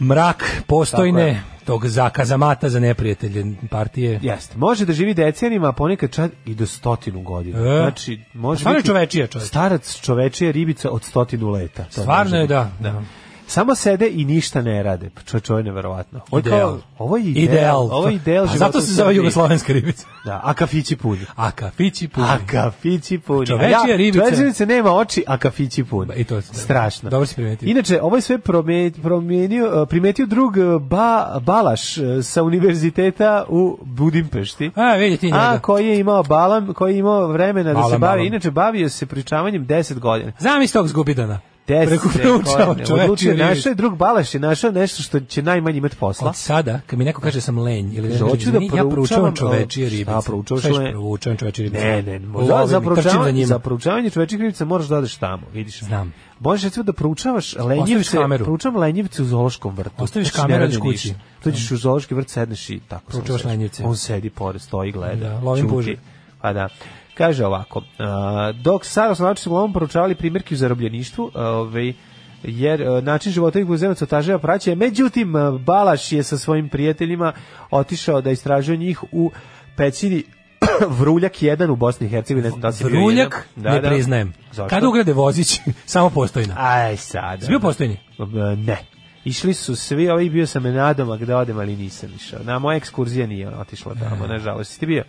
Speaker 5: mrak
Speaker 6: Tako
Speaker 5: postojne
Speaker 6: je.
Speaker 5: tog zakazamata za neprijatelje partije.
Speaker 6: Jeste. Može da živi decenijima, a ponekad čak i do stotinu godina.
Speaker 5: E.
Speaker 6: Znači, može
Speaker 5: Stvarno je
Speaker 6: biti
Speaker 5: čovečija čovjek.
Speaker 6: Starac čovečija ribica od stotinu leta. To
Speaker 5: Stvarno
Speaker 6: može
Speaker 5: je,
Speaker 6: biti.
Speaker 5: da. Da.
Speaker 6: Samo sede i ništa ne rade. Pa Čo, čo je neverovatno. Ovo je,
Speaker 5: Ideal.
Speaker 6: kao, ovo je ideal. Ovo je ideal
Speaker 5: Pa
Speaker 6: života
Speaker 5: zato
Speaker 6: u
Speaker 5: se zove
Speaker 6: Srbiji.
Speaker 5: jugoslovenska ribica.
Speaker 6: Da, a kafići puni.
Speaker 5: A kafići puni.
Speaker 6: A kafići puni.
Speaker 5: Čovečija
Speaker 6: A ja,
Speaker 5: ribica.
Speaker 6: čovečija ribica nema oči, a kafići puni.
Speaker 5: I to je
Speaker 6: Strašno.
Speaker 5: Dobro si primetio.
Speaker 6: Inače, ovo je sve prome- promijenio, e, primetio drug eh, ba, Balaš eh, sa univerziteta u Budimpešti.
Speaker 5: A, vidi ti njega.
Speaker 6: A, koji je imao balam, koji je imao vremena da se
Speaker 5: Balam,
Speaker 6: bavi.
Speaker 5: balam.
Speaker 6: Inače, bavio se pričavanjem 10 godina.
Speaker 5: Zamisli tog zgubidana.
Speaker 6: test.
Speaker 5: Preko znači
Speaker 6: se
Speaker 5: proučao
Speaker 6: korne.
Speaker 5: čoveče,
Speaker 6: Odlučio,
Speaker 5: vidi.
Speaker 6: našao je drug Balaš je našao nešto što će najmanje imati posla.
Speaker 5: Od sada, kad mi neko kaže da sam lenj ili
Speaker 6: Kaže,
Speaker 5: nešto,
Speaker 6: hoću da
Speaker 5: da ja proučavam
Speaker 6: proučavam,
Speaker 5: čovečije ribice.
Speaker 6: a, proučavaš
Speaker 5: Kažeš,
Speaker 6: lenj.
Speaker 5: proučavam čovečije ribice.
Speaker 6: Ne, ne, mo- za, za,
Speaker 5: Lovim i trčim za
Speaker 6: proučavanje,
Speaker 5: njima.
Speaker 6: za proučavanje čovečih ribica moraš da odeš tamo, vidiš. Znam. Možeš recimo da proučavaš
Speaker 5: Ostaviš
Speaker 6: lenjivce,
Speaker 5: kameru.
Speaker 6: proučavam lenjivce u zoološkom vrtu. Znači,
Speaker 5: Ostaviš
Speaker 6: ne
Speaker 5: kameru,
Speaker 6: radiš
Speaker 5: odeš kući.
Speaker 6: ništa. Tu ćeš u zoološki vrt, sedneš i tako. samo
Speaker 5: Proučavaš
Speaker 6: sedneš.
Speaker 5: lenjivce.
Speaker 6: On sedi pored, stoji, gleda.
Speaker 5: Da, lovim
Speaker 6: ćuti.
Speaker 5: puževe.
Speaker 6: Pa da. Kaže ovako, a, dok sada osnovači su uglavnom poručavali primjerke u zarobljeništvu, a, ovaj, jer a, način života ih uzemaca otažava praćaja, međutim, a, Balaš je sa svojim prijateljima otišao da istražuje njih u pećini [clears throat] Vruljak 1 u Bosni i Hercegovini, ne znam da li si bio
Speaker 5: Vruljak
Speaker 6: jedan. Da,
Speaker 5: ne priznajem.
Speaker 6: Zašto?
Speaker 5: Kada ugrade vozić, [laughs] samo postojna.
Speaker 6: Aj, sada.
Speaker 5: Si bio postojni?
Speaker 6: E, Ne. Išli su svi, ovaj bio sam nadoma gde odem, ali nisam išao. Na moja ekskurzija nije otišla tamo, nažalost. Si ti bio?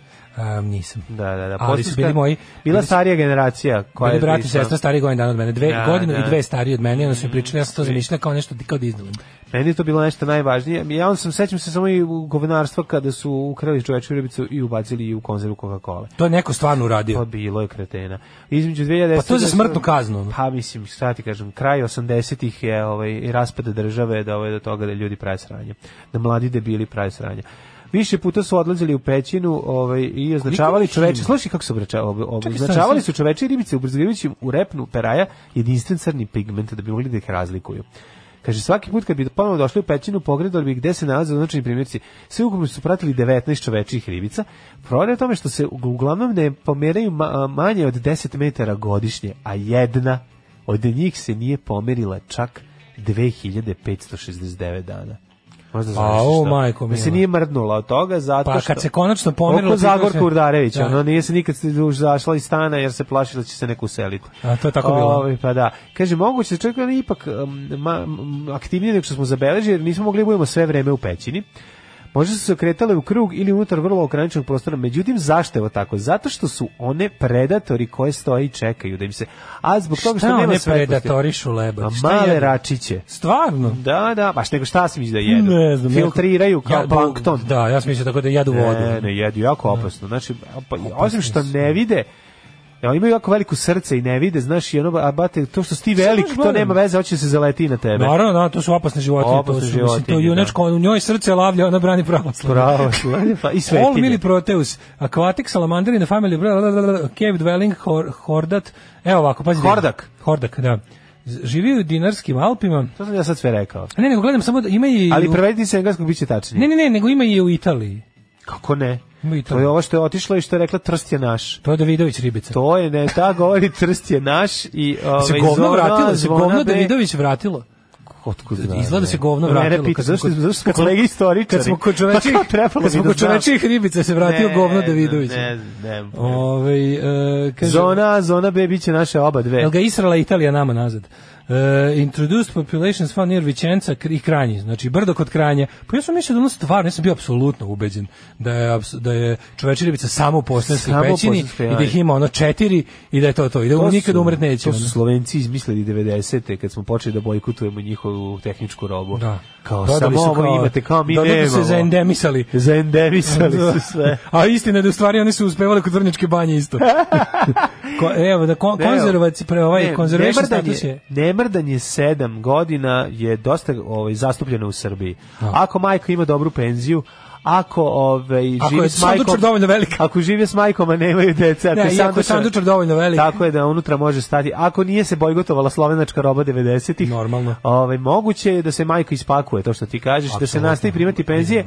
Speaker 5: Um, nisam.
Speaker 6: Da, da, da.
Speaker 5: Ali su
Speaker 6: Postojska-
Speaker 5: bili moji...
Speaker 6: Bila
Speaker 5: bili su-
Speaker 6: starija generacija. Koja
Speaker 5: Bili
Speaker 6: je
Speaker 5: brat i
Speaker 6: išla-
Speaker 5: sestra stariji godin dana od mene. Dve
Speaker 6: Da,
Speaker 5: godine
Speaker 6: da.
Speaker 5: i dve stariji od mene. Onda su mi pričali, ja sam to zamišljala kao nešto kao da Disneyland.
Speaker 6: Meni je to bilo nešto najvažnije. Ja on sam, sećam se samo i u govenarstva kada su ukrali čovečku ribicu i ubacili i u konzervu Coca-Cola.
Speaker 5: To je neko stvarno uradio.
Speaker 6: Pa bilo je kretena. Između 2010
Speaker 5: Pa to je za smrtnu kaznu.
Speaker 6: da Pa mislim, šta ti kažem, kraj 80-ih je ovaj, i raspad države da ovaj, do toga da ljudi prave sranje. Da mladi debili prave sranje. Više puta su odlazili u pećinu ovaj, i označavali
Speaker 5: ih
Speaker 6: čoveče.
Speaker 5: ima?
Speaker 6: Slušaj kako su obrača- ob- ob-
Speaker 5: Čekaj, stani,
Speaker 6: označavali
Speaker 5: stani.
Speaker 6: su čoveče i ribice ubrizgavajući u repnu peraja jedinstven crni pigment da bi mogli da ih razlikuju. Kaže, svaki put kad bi ponovo došli u pećinu, pogledali bi gde se nalaze označeni primjerci. Sve ukupno su pratili 19 čovečih ribica. Problem je u tome što se ug- uglavnom ne pomeraju ma- manje od 10 metara godišnje, a jedna od njih se nije pomerila čak 2569 dana. Možda znaš
Speaker 5: Au,
Speaker 6: šta.
Speaker 5: majko
Speaker 6: Da se
Speaker 5: mila.
Speaker 6: nije mrdnula od toga, zato
Speaker 5: Pa
Speaker 6: što...
Speaker 5: kad se konačno pomerila,
Speaker 6: Oko Zagorka
Speaker 5: prihvatila-
Speaker 6: Urdarević,
Speaker 5: Da.
Speaker 6: ono, nije se nikad duž zašla iz stana jer se plašila da će se neko useliti.
Speaker 5: A, to je tako bilo.
Speaker 6: Ovaj, pa da. Kaže, moguće da čovjek je ipak um, ma, m, aktivnije nego što smo zabeležili, jer nismo mogli da budemo sve vreme u pećini. Možda su se okretale u krug ili unutar vrlo ograničenog prostora. Međutim, zašto je ovo tako? Zato što su one predatori koje stoje i čekaju da im se... A zbog toga što
Speaker 5: Šta
Speaker 6: nema
Speaker 5: one
Speaker 6: svetlosti-
Speaker 5: predatorišu lebac?
Speaker 6: A
Speaker 5: Šta
Speaker 6: male
Speaker 5: jedu?
Speaker 6: račiće.
Speaker 5: Stvarno?
Speaker 6: Da, da, baš nego šta si misli da jedu?
Speaker 5: Ne znam,
Speaker 6: Filtriraju kao
Speaker 5: jako-
Speaker 6: plankton. E,
Speaker 5: Da, ja sam mislio tako da jedu vodu.
Speaker 6: Ne, ne, jedu jako opasno. Znači, pa, osim što ne vide, Ja, imaju jako veliko srce i ne vide, znaš, i ono, a bate, to što si ti velik,
Speaker 5: Samo
Speaker 6: to
Speaker 5: gledam.
Speaker 6: nema veze, hoće da se zaleti na tebe.
Speaker 5: Naravno, da, to su opasne životinje.
Speaker 6: Opasne
Speaker 5: to su, mislim, to
Speaker 6: životinje, da.
Speaker 5: je junačko, u njoj srce lavlja, ona brani
Speaker 6: [laughs]
Speaker 5: pravoslavlje.
Speaker 6: Pravoslavlje, pa i svetinje.
Speaker 5: All mili proteus, aquatic salamander in the family, bla, bla, bla, bla, cave dwelling, hor, hordat, evo ovako, pazi.
Speaker 6: Hordak.
Speaker 5: Hordak, da. Z- Živi u dinarskim Alpima.
Speaker 6: To sam ja sad sve rekao.
Speaker 5: Ne, nego gledam samo da ima i...
Speaker 6: Ali
Speaker 5: u-
Speaker 6: prevedite se engleskog, bit će tačnije.
Speaker 5: Ne, ne, ne, nego ima i u Italiji.
Speaker 6: Kako ne?
Speaker 5: Ima i
Speaker 6: To je ovo što je otišlo i što je rekla Trst je naš.
Speaker 5: To je Davidović ribica.
Speaker 6: To je, ne, ta govori Trst je naš i... ovaj, Ove,
Speaker 5: Da se govno vratilo, se govno Davidović vratilo.
Speaker 6: Otkud
Speaker 5: Izgleda da se govno
Speaker 6: Mene
Speaker 5: vratilo.
Speaker 6: pita,
Speaker 5: Kad smo
Speaker 6: zašto-
Speaker 5: kod-
Speaker 6: zašto smo
Speaker 5: kad smo-
Speaker 6: kolege istoričari?
Speaker 5: Kad smo
Speaker 6: Pa
Speaker 5: kod
Speaker 6: to
Speaker 5: čovečih,
Speaker 6: trebalo
Speaker 5: kad smo
Speaker 6: bi da
Speaker 5: kod čovečih
Speaker 6: znaš.
Speaker 5: ribica se vratio
Speaker 6: Ne,
Speaker 5: govno
Speaker 6: ne,
Speaker 5: Davidović.
Speaker 6: ne, ne, ne.
Speaker 5: Ovaj, e, kaže,
Speaker 6: Zona, zona B bit će naše oba dve.
Speaker 5: Jel ga Israela i Italija nama nazad? E, introduced populations found near Vicenza i Kranji, znači brdo kod Kranja. Pa ja sam mislio da ono stvarno, ja sam bio apsolutno ubeđen da je, aps- da je čovečiribica samo u postanskoj
Speaker 6: Samo u
Speaker 5: pećini
Speaker 6: Postanskoj,
Speaker 5: i da ih
Speaker 6: aj.
Speaker 5: ima ono četiri i da je to to. I da on
Speaker 6: su-
Speaker 5: nikad umret neće.
Speaker 6: To
Speaker 5: ono.
Speaker 6: su Slovenci izmislili 90. kad smo počeli da bojkotujemo njihovu tehničku robu.
Speaker 5: Da.
Speaker 6: Kao
Speaker 5: Dodali
Speaker 6: samo
Speaker 5: su
Speaker 6: ovo imate, kao mi
Speaker 5: dodali
Speaker 6: nemamo.
Speaker 5: su se zaendemisali.
Speaker 6: Zaendemisali
Speaker 5: [laughs]
Speaker 6: su sve.
Speaker 5: A istina je da u stvari oni su uspevali kod Vrnjačke
Speaker 6: [laughs]
Speaker 5: banje isto. Ko, evo, da kon,
Speaker 6: Ne, evo.
Speaker 5: konzervac, pre ovaj
Speaker 6: Ne,
Speaker 5: konzervation
Speaker 6: nemrdan
Speaker 5: status je...
Speaker 6: Nemrdan je sedam godina je dosta ovaj, zastupljeno u Srbiji.
Speaker 5: Da.
Speaker 6: Ako majka ima dobru penziju, ako ovaj
Speaker 5: Ako
Speaker 6: živi
Speaker 5: je
Speaker 6: s majkom
Speaker 5: sandučar dovoljno velik.
Speaker 6: ako žive s majkom a nemaju dece ako
Speaker 5: Ne,
Speaker 6: je
Speaker 5: i ako je sandučar dovoljno velik.
Speaker 6: tako je da unutra može stati ako nije se bojgotovala slovenačka roba 90-ih normalno ovaj moguće je da se majka ispakuje to što ti kažeš da se
Speaker 5: Apsolutno.
Speaker 6: nastavi primati penzije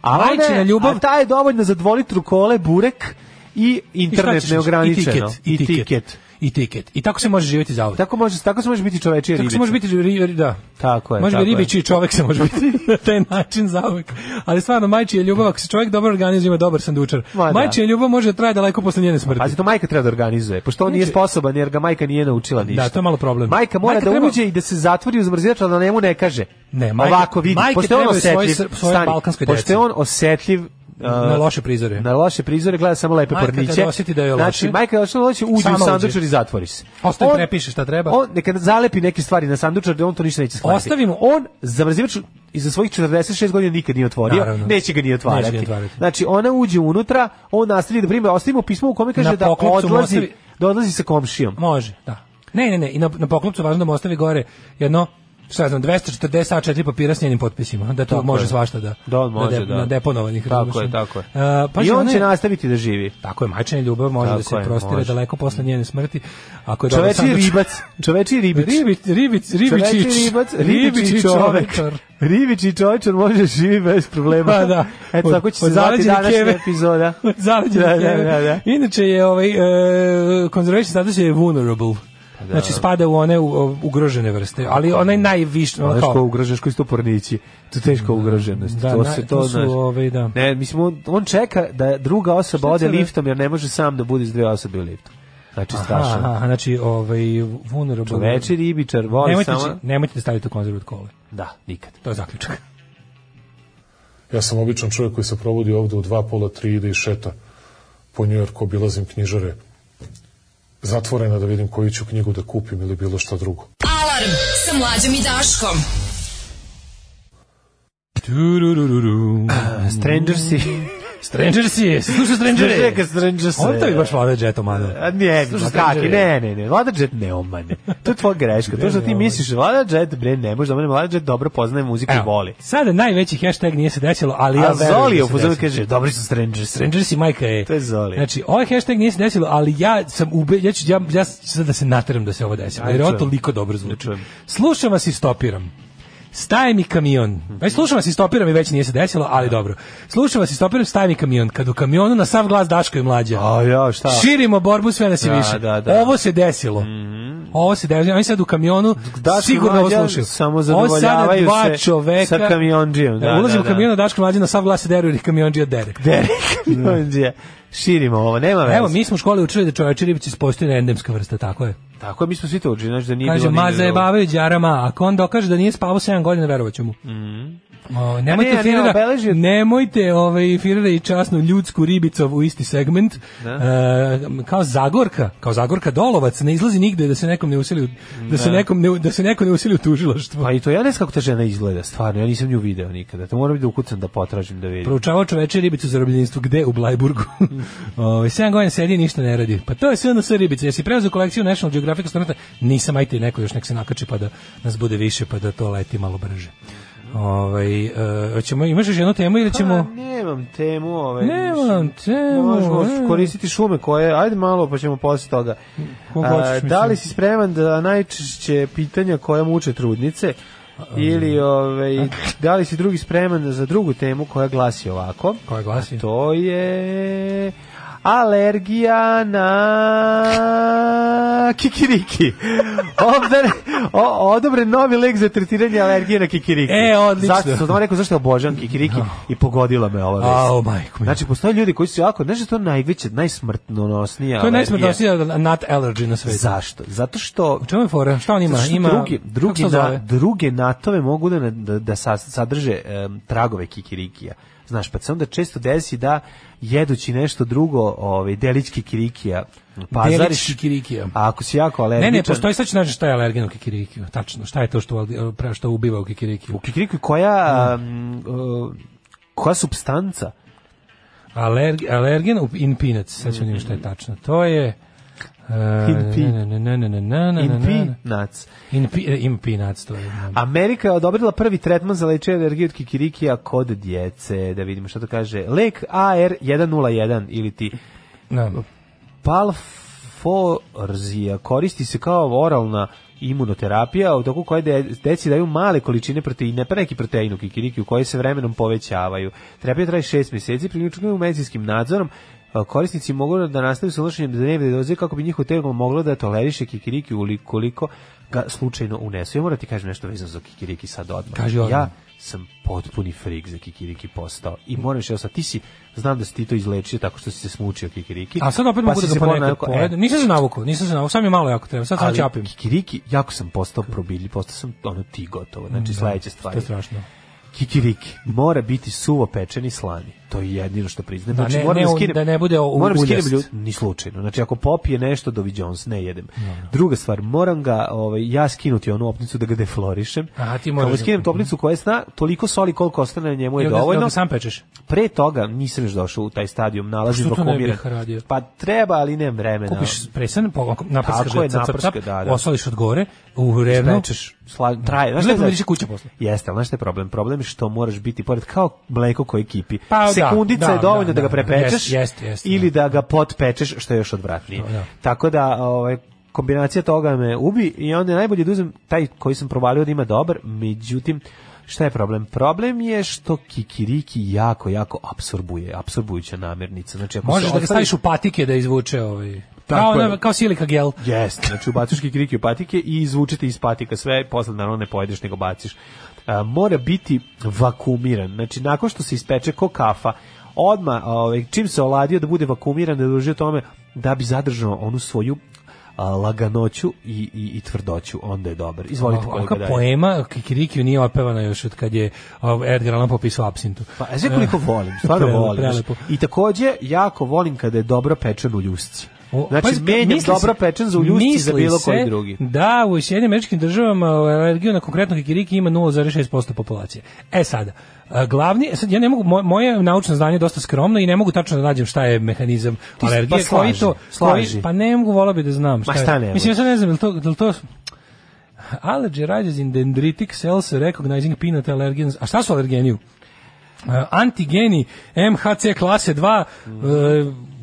Speaker 6: a ona je-
Speaker 5: Majčina ljubav-
Speaker 6: a ta je dovoljna za dvolitru kole burek i
Speaker 5: I šta
Speaker 6: internet
Speaker 5: ćeš?
Speaker 6: neograničeno
Speaker 5: I tiket. I tiket. I tiket. I tako se može živjeti zauvek.
Speaker 6: Tako može, tako se može biti čovečija
Speaker 5: Tako
Speaker 6: ribica.
Speaker 5: se može biti ri- ri- da.
Speaker 6: Tako je.
Speaker 5: Može
Speaker 6: tako
Speaker 5: biti ribić i čovek se može
Speaker 6: [laughs]
Speaker 5: biti na taj način zauvek. Ali stvarno majčija ljubav ako se čovek dobro organizuje ima dobar sandučar.
Speaker 6: Ma da.
Speaker 5: Majčija ljubav može da traje daleko posle njene smrti.
Speaker 6: A to majka treba da organizuje, pošto on nije
Speaker 5: Znači-
Speaker 6: sposoban jer ga majka nije naučila ništa.
Speaker 5: Da, to je malo problem.
Speaker 6: Majka mora
Speaker 5: Majka
Speaker 6: da
Speaker 5: treba-
Speaker 6: uđe i da se zatvori u zamrzivač, ali da njemu ne kaže.
Speaker 5: Ne, majka-
Speaker 6: Ovako vidi,
Speaker 5: majke
Speaker 6: pošto je on
Speaker 5: trebaju svoje
Speaker 6: osjetljiv,
Speaker 5: sr- svoje
Speaker 6: stani,
Speaker 5: balkanskoj
Speaker 6: pošto je
Speaker 5: deci.
Speaker 6: on osjetljiv, uh,
Speaker 5: Na loše prizore.
Speaker 6: Na loše prizore gleda samo lepe
Speaker 5: Majka
Speaker 6: porniće.
Speaker 5: kada osjeti da je
Speaker 6: Znači,
Speaker 5: loše-
Speaker 6: majka je došla loše, uđe
Speaker 5: Sama
Speaker 6: u
Speaker 5: uđe.
Speaker 6: sandučar i zatvori se.
Speaker 5: Ostaje
Speaker 6: On-
Speaker 5: prepiše šta treba.
Speaker 6: On neka zalepi neke stvari na sandučar, da on to ništa neće shvatiti.
Speaker 5: Ostavimo-
Speaker 6: on zamrzivač iza svojih 46 godina nikad nije otvorio,
Speaker 5: Naravno.
Speaker 6: neće ga ni otvarati.
Speaker 5: Neće ga ni otvarati.
Speaker 6: Znači ona uđe unutra, on nastavi da prima, ostavimo pismo u kome kaže
Speaker 5: Na
Speaker 6: da
Speaker 5: poklopcu mu
Speaker 6: odlazi,
Speaker 5: ostavi-
Speaker 6: da odlazi sa komšijom.
Speaker 5: Može, da. Ne, ne, ne, i na, na poklopcu važno da mu ostavi gore jedno šta ja znam, 240 A4 papira s njenim potpisima, da to
Speaker 6: Tako
Speaker 5: može
Speaker 6: je.
Speaker 5: svašta da,
Speaker 6: Da, on može,
Speaker 5: na, dep-
Speaker 6: da.
Speaker 5: na deponovanih.
Speaker 6: Tako
Speaker 5: razumeš?
Speaker 6: je, tako je.
Speaker 5: A,
Speaker 6: I on
Speaker 5: žena
Speaker 6: će
Speaker 5: je-
Speaker 6: nastaviti da živi.
Speaker 5: Tako je, majčina ljubav može
Speaker 6: Tako
Speaker 5: da se
Speaker 6: je,
Speaker 5: prostire
Speaker 6: može.
Speaker 5: daleko posle njene smrti. Ako je dobar
Speaker 6: Čoveči
Speaker 5: sanduč-
Speaker 6: ribac, čoveči ribić.
Speaker 5: Ribić, ribić, ribičić.
Speaker 6: Čoveči ribac, ribič i
Speaker 5: Ribičić
Speaker 6: čovek.
Speaker 5: [laughs] čovečar.
Speaker 6: Ribič i čovečar može živi bez problema.
Speaker 5: Pa da.
Speaker 6: [laughs] Eto, tako će se zvati današnja epizoda. [laughs]
Speaker 5: Od zaleđene
Speaker 6: Da, da,
Speaker 5: keve.
Speaker 6: da, da.
Speaker 5: Inače je ovaj, e, conservation status je vulnerable.
Speaker 6: da.
Speaker 5: Znači spada u one u- ugrožene vrste, ali onaj najviše, ono
Speaker 6: Znaš
Speaker 5: kao-
Speaker 6: ko ugrožen, koji su to pornići. To je teška ugroženost.
Speaker 5: Da,
Speaker 6: to
Speaker 5: na-
Speaker 6: se to,
Speaker 5: to su,
Speaker 6: znaš.
Speaker 5: ovaj, da.
Speaker 6: Ne, mislim, on, on čeka da druga osoba ode
Speaker 5: je to, ne?
Speaker 6: liftom, jer ne može sam da bude s dve osobe u liftu. Znači,
Speaker 5: Aha,
Speaker 6: strašno.
Speaker 5: aha, znači ovaj vulnerable.
Speaker 6: Čoveči ribičar, voli
Speaker 5: nemojte,
Speaker 6: samo-
Speaker 5: či- nemojte da stavite u konzervu od kole.
Speaker 6: Da, nikad.
Speaker 5: To je zaključak.
Speaker 15: Ja sam običan čovjek koji se provodi ovde u dva, pola, tri, ide i šeta po Njujorku, obilazim knjižare zatvorena da vidim koju ću knjigu da kupim ili bilo šta drugo.
Speaker 4: Alarm sa mlađom i Daškom.
Speaker 6: Stranger si.
Speaker 5: Stranger si, slušaj Stranger si.
Speaker 6: Čekaj, Stranger si.
Speaker 5: Onda bi baš Vlada Jet omano.
Speaker 6: A ne,
Speaker 5: Slušaj,
Speaker 6: ma kaki,
Speaker 5: Stranger-
Speaker 6: ne, ne, ne, Vlada Jet ne omane. To je tvoja greška. To što ti misliš, Vlada Jet, bre, ne može da omane. Vlada Jet dobro poznaje muziku i voli.
Speaker 5: Sada najveći hashtag nije se desilo, ali ja
Speaker 6: A
Speaker 5: verujem
Speaker 6: Zoli je
Speaker 5: da
Speaker 6: u
Speaker 5: se
Speaker 6: fazonu
Speaker 5: desilo.
Speaker 6: kaže, dobri su Stranger si.
Speaker 5: Stranger si majka je.
Speaker 6: To je Zoli.
Speaker 5: Znači, ovaj hashtag nije se desilo, ali ja sam ube, ja ću, ja, ja ću sad da se nateram da se ovo desilo,
Speaker 6: Ajde,
Speaker 5: jer on
Speaker 6: čujem.
Speaker 5: toliko dobro zvuči. Slušam vas i stopiram. Staje mi kamion. Već slušam vas i stopiram i već nije se desilo, ali
Speaker 6: Da.
Speaker 5: dobro. Slušam vas i stopiram, staje mi kamion. Kad u kamionu na sav glas Daško i mlađa.
Speaker 6: A ja, šta?
Speaker 5: Širimo borbu sve nas i
Speaker 6: Pa. Da,
Speaker 5: više.
Speaker 6: da, da.
Speaker 5: Ovo se desilo. Ovo se desilo. Oni sad u kamionu
Speaker 6: Daško i
Speaker 5: sigurno ovo
Speaker 6: Mlađa
Speaker 5: slušaju.
Speaker 6: samo
Speaker 5: Ovo sada
Speaker 6: zadovoljavaju
Speaker 5: dva
Speaker 6: se
Speaker 5: čoveka. E,
Speaker 6: sa kamiondžijom. Da,
Speaker 5: Ulazim
Speaker 6: da,
Speaker 5: u
Speaker 6: da.
Speaker 5: kamion, Daško i mlađa na sav glas se deru jer ih kamiondžija dere.
Speaker 6: Kamiondžija. Širimo ovo, nema veze.
Speaker 5: Evo, mi smo u školi učili da čovječi ribici postoji endemska vrsta, tako je.
Speaker 6: Tako je, mi smo svi to učili, znači da nije
Speaker 5: Kaže,
Speaker 6: bilo
Speaker 5: ma
Speaker 6: nigde drugog.
Speaker 5: zajebavaju đarama, ako on dokaže da nije spavao 7 godina, verovat ću mu.
Speaker 6: Mhm.
Speaker 5: O,
Speaker 6: A
Speaker 5: nemojte
Speaker 6: ne, a ne,
Speaker 5: firira,
Speaker 6: obeležio-
Speaker 5: nemojte ovaj, firira i časnu ljudsku ribicov u isti segment.
Speaker 6: Da.
Speaker 5: E, kao Zagorka, kao Zagorka Dolovac, ne izlazi nigde da se nekom ne usili, u- da se,
Speaker 6: Da.
Speaker 5: nekom ne, da se neko ne usili u tužilaštvo.
Speaker 6: Pa i to ja ne znam kako ta žena izgleda, stvarno, ja nisam nju video nikada. To moram da ukucam da potražim da vidim.
Speaker 5: Proučavao čoveče ribicu za robljenstvo, gde? U Blajburgu. [laughs] Ove, 7 godina sedi i ništa ne radi. Pa to je sve sa ribice. Jesi preuzeo kolekciju National Geographic astronauta? Nisam, ajte neko još nek se nakači pa da nas bude više, pa da to leti malo brže. Ovaj e, hoćemo, imaš još jednu temu ili ćemo...
Speaker 6: Pa, nemam temu ovaj, ove.
Speaker 5: Nemam temu,
Speaker 6: Možemo
Speaker 5: e.
Speaker 6: koristiti šume koje, ajde malo pa ćemo posle toga.
Speaker 5: Koga
Speaker 6: A,
Speaker 5: hoćeš,
Speaker 6: da li
Speaker 5: mislim?
Speaker 6: si spreman da najčešće pitanja koja muče trudnice ili ove, da li si drugi spreman za drugu temu koja glasi ovako?
Speaker 5: Koja glasi?
Speaker 6: To je alergija na kikiriki. Ovdje odobren novi lek za tretiranje alergije na kikiriki.
Speaker 5: E, odlično. Oh.
Speaker 6: Zašto sam samo rekao zašto obožavam kikiriki i pogodila me ova vest.
Speaker 5: Au, majko mi.
Speaker 6: Znači, postoje ljudi koji su jako, znaš da je to najveće, najsmrtnonosnija
Speaker 5: To je
Speaker 6: alergija.
Speaker 5: najsmrtnosnija nut allergy na svetu.
Speaker 6: Zašto? Zato što...
Speaker 5: U čemu je fora? Šta on ima?
Speaker 6: Zato što
Speaker 5: Ima...
Speaker 6: drugi, drugi
Speaker 5: kako se to
Speaker 6: na-
Speaker 5: zove?
Speaker 6: druge natove mogu da, na- da, da sa- sadrže em, tragove kikirikija. Znaš, pa se onda često desi da jedući nešto drugo, ovaj, delić kikirikija, pazariš.
Speaker 5: Delić kikirikija.
Speaker 6: A ako si jako
Speaker 5: Ne,
Speaker 6: alergičan...
Speaker 5: ne, postoji sad ću naći šta je alergen u kikirikiju. Tačno, šta je to što, pra- što ubiva u kikirikiju? U
Speaker 6: kikirikiju koja... em, e, koja substanca?
Speaker 5: Alerg, alergen u- in peanuts, sad ću vidim šta je tačno. To je... e,
Speaker 6: In pea.
Speaker 5: ne, ne, ne, ne, ne, ne, ne,
Speaker 6: In
Speaker 5: ne, ne.
Speaker 6: peanuts.
Speaker 5: In pe- e, in peanuts, to je.
Speaker 6: Amerika je odobrila prvi tretman za lečenje alergije od kikirikija kod djece. Da vidimo što to kaže. Lek AR101 ili ti
Speaker 5: Da.
Speaker 6: palforzija koristi se kao oralna imunoterapija u toku koje de- deci daju male količine proteina, pa neki protein u kikirikiju koji se vremenom povećavaju. Terapija traje šest mjeseci, priključuju medicinskim nadzorom, a, Korisnici mogu da nastave sa unošenjem dnevne doze kako bi njihovo telo moglo da toleriše kikiriki ukoliko ga slučajno unesu. Ja moram da ti kažem nešto vezano za kikiriki sad odmah.
Speaker 5: Kaži odmah.
Speaker 6: Ja sam potpuni frik za kikiriki postao. I moram još, evo sad, ti si, znam da si ti to izlečio tako što si se smučio kikiriki.
Speaker 5: A sad opet
Speaker 6: Pa
Speaker 5: mogu
Speaker 6: si
Speaker 5: da
Speaker 6: se
Speaker 5: ga ponekad
Speaker 6: ponavljao, e,
Speaker 5: pojedem. Nisam se navukao, nisam se navukao, sam je malo jako treba, sad sam
Speaker 6: ali
Speaker 5: ćapim.
Speaker 6: Kikiriki, jako sam postao probilji, postao sam ono ti gotovo. Znači,
Speaker 5: Mm, da,
Speaker 6: sledeća stvar.
Speaker 5: To je strašno.
Speaker 6: Kikiriki mora biti suvo pečeni slani. to je jedino što priznajem.
Speaker 5: Da
Speaker 6: znači,
Speaker 5: ne-
Speaker 6: moram
Speaker 5: ne u-
Speaker 6: skinem-
Speaker 5: da ne bude u-
Speaker 6: moram skinem
Speaker 5: uljast. Da,
Speaker 6: ljut- ni slučajno. Znači, ako popije nešto, Dovi Jones, ne jedem. Druga stvar, moram ga, ovaj, ja skinuti onu opnicu da ga deflorišem.
Speaker 5: Aha, ti
Speaker 6: Kad
Speaker 5: moraš
Speaker 6: mu
Speaker 5: da-
Speaker 6: skinem topnicu koja je sna, toliko soli koliko ostane na njemu je
Speaker 5: Jel ga- jel
Speaker 6: dovoljno.
Speaker 5: ga sam pečeš?
Speaker 6: Pre toga nisam još došao u taj stadijum, nalazim
Speaker 5: Što to ne bih
Speaker 6: vakuumiran.
Speaker 5: radio?
Speaker 6: Pa treba, ali nemam vremena.
Speaker 5: Kupiš presan, po- naprskaš
Speaker 6: Da. Tako
Speaker 5: ga,
Speaker 6: je,
Speaker 5: cap, cap, cap,
Speaker 6: naprska, da, da.
Speaker 5: osoliš od gore, u revno.
Speaker 6: Spečeš, sla, traje. Znaš šta je
Speaker 5: Lepo miriše
Speaker 6: znači?
Speaker 5: da kuća posle.
Speaker 6: Jeste, ali znaš šta je problem? Problem je što moraš biti, pored kao mleko koji kipi,
Speaker 5: Pa, da,
Speaker 6: sekundica
Speaker 5: da,
Speaker 6: je dovoljno da,
Speaker 5: da,
Speaker 6: ga
Speaker 5: da,
Speaker 6: prepečeš
Speaker 5: jest, jest, jest,
Speaker 6: ili da. ga potpečeš, što je još odvratnije.
Speaker 5: da.
Speaker 6: Tako da, ovaj, kombinacija toga me ubi i onda je najbolje da uzmem taj koji sam provalio da ima dobar, međutim, Šta je problem? Problem je što kikiriki jako, jako absorbuje, absorbujuća namirnica. Znači, ako
Speaker 5: Možeš
Speaker 6: se
Speaker 5: da ga
Speaker 6: ostavi-
Speaker 5: staviš u patike da izvuče ovaj.
Speaker 6: Tako
Speaker 5: Kao,
Speaker 6: je.
Speaker 5: ono- kao silika gel.
Speaker 6: Jeste, znači ubaciš kikiriki u patike i izvučete iz patika sve, i posle naravno ne pojedeš nego baciš. A, mora biti vakumiran, znači nakon što se ispeče ko kafa, odma ovaj, čim se oladio da bude vakumiran, da dođe tome da bi zadržao onu svoju a, laganoću i, i, i tvrdoću, onda je dobar. Izvolite kolega
Speaker 5: Ovakva
Speaker 6: dalje.
Speaker 5: poema Kikirikiju nije opevana još od kad je ov, Edgar Allan Poe pisao Apsintu.
Speaker 6: Pa, a znaš koliko volim, [laughs] stvarno
Speaker 5: Prelepo,
Speaker 6: volim. znaš.
Speaker 5: prelepo.
Speaker 6: I takođe, jako volim kada je dobro pečen u ljusci. Znači,
Speaker 5: Pazi,
Speaker 6: menjam
Speaker 5: misli
Speaker 6: dobro
Speaker 5: se-
Speaker 6: pečen za u ljusci za
Speaker 5: misli
Speaker 6: bilo koji
Speaker 5: se
Speaker 6: drugi.
Speaker 5: Da, u Sjedinim američkim državama ovaj, alergiju na konkretno kikiriki ima 0,6% populacije. E sada, a, glavni, sad ja ne mogu, moje, moje naučno znanje je dosta skromno i ne mogu tačno da nađem šta je mehanizam
Speaker 6: pa
Speaker 5: alergije.
Speaker 6: slaži,
Speaker 5: koji to,
Speaker 6: slaži.
Speaker 5: koji- pa ne mogu, volao bi da znam
Speaker 6: Ma šta ne
Speaker 5: Mislim, ja sad ne znam, je li to, je li to Allergy rises in dendritic cells recognizing peanut allergens. A šta su alergeniju? E, antigeni MHC klase 2 e,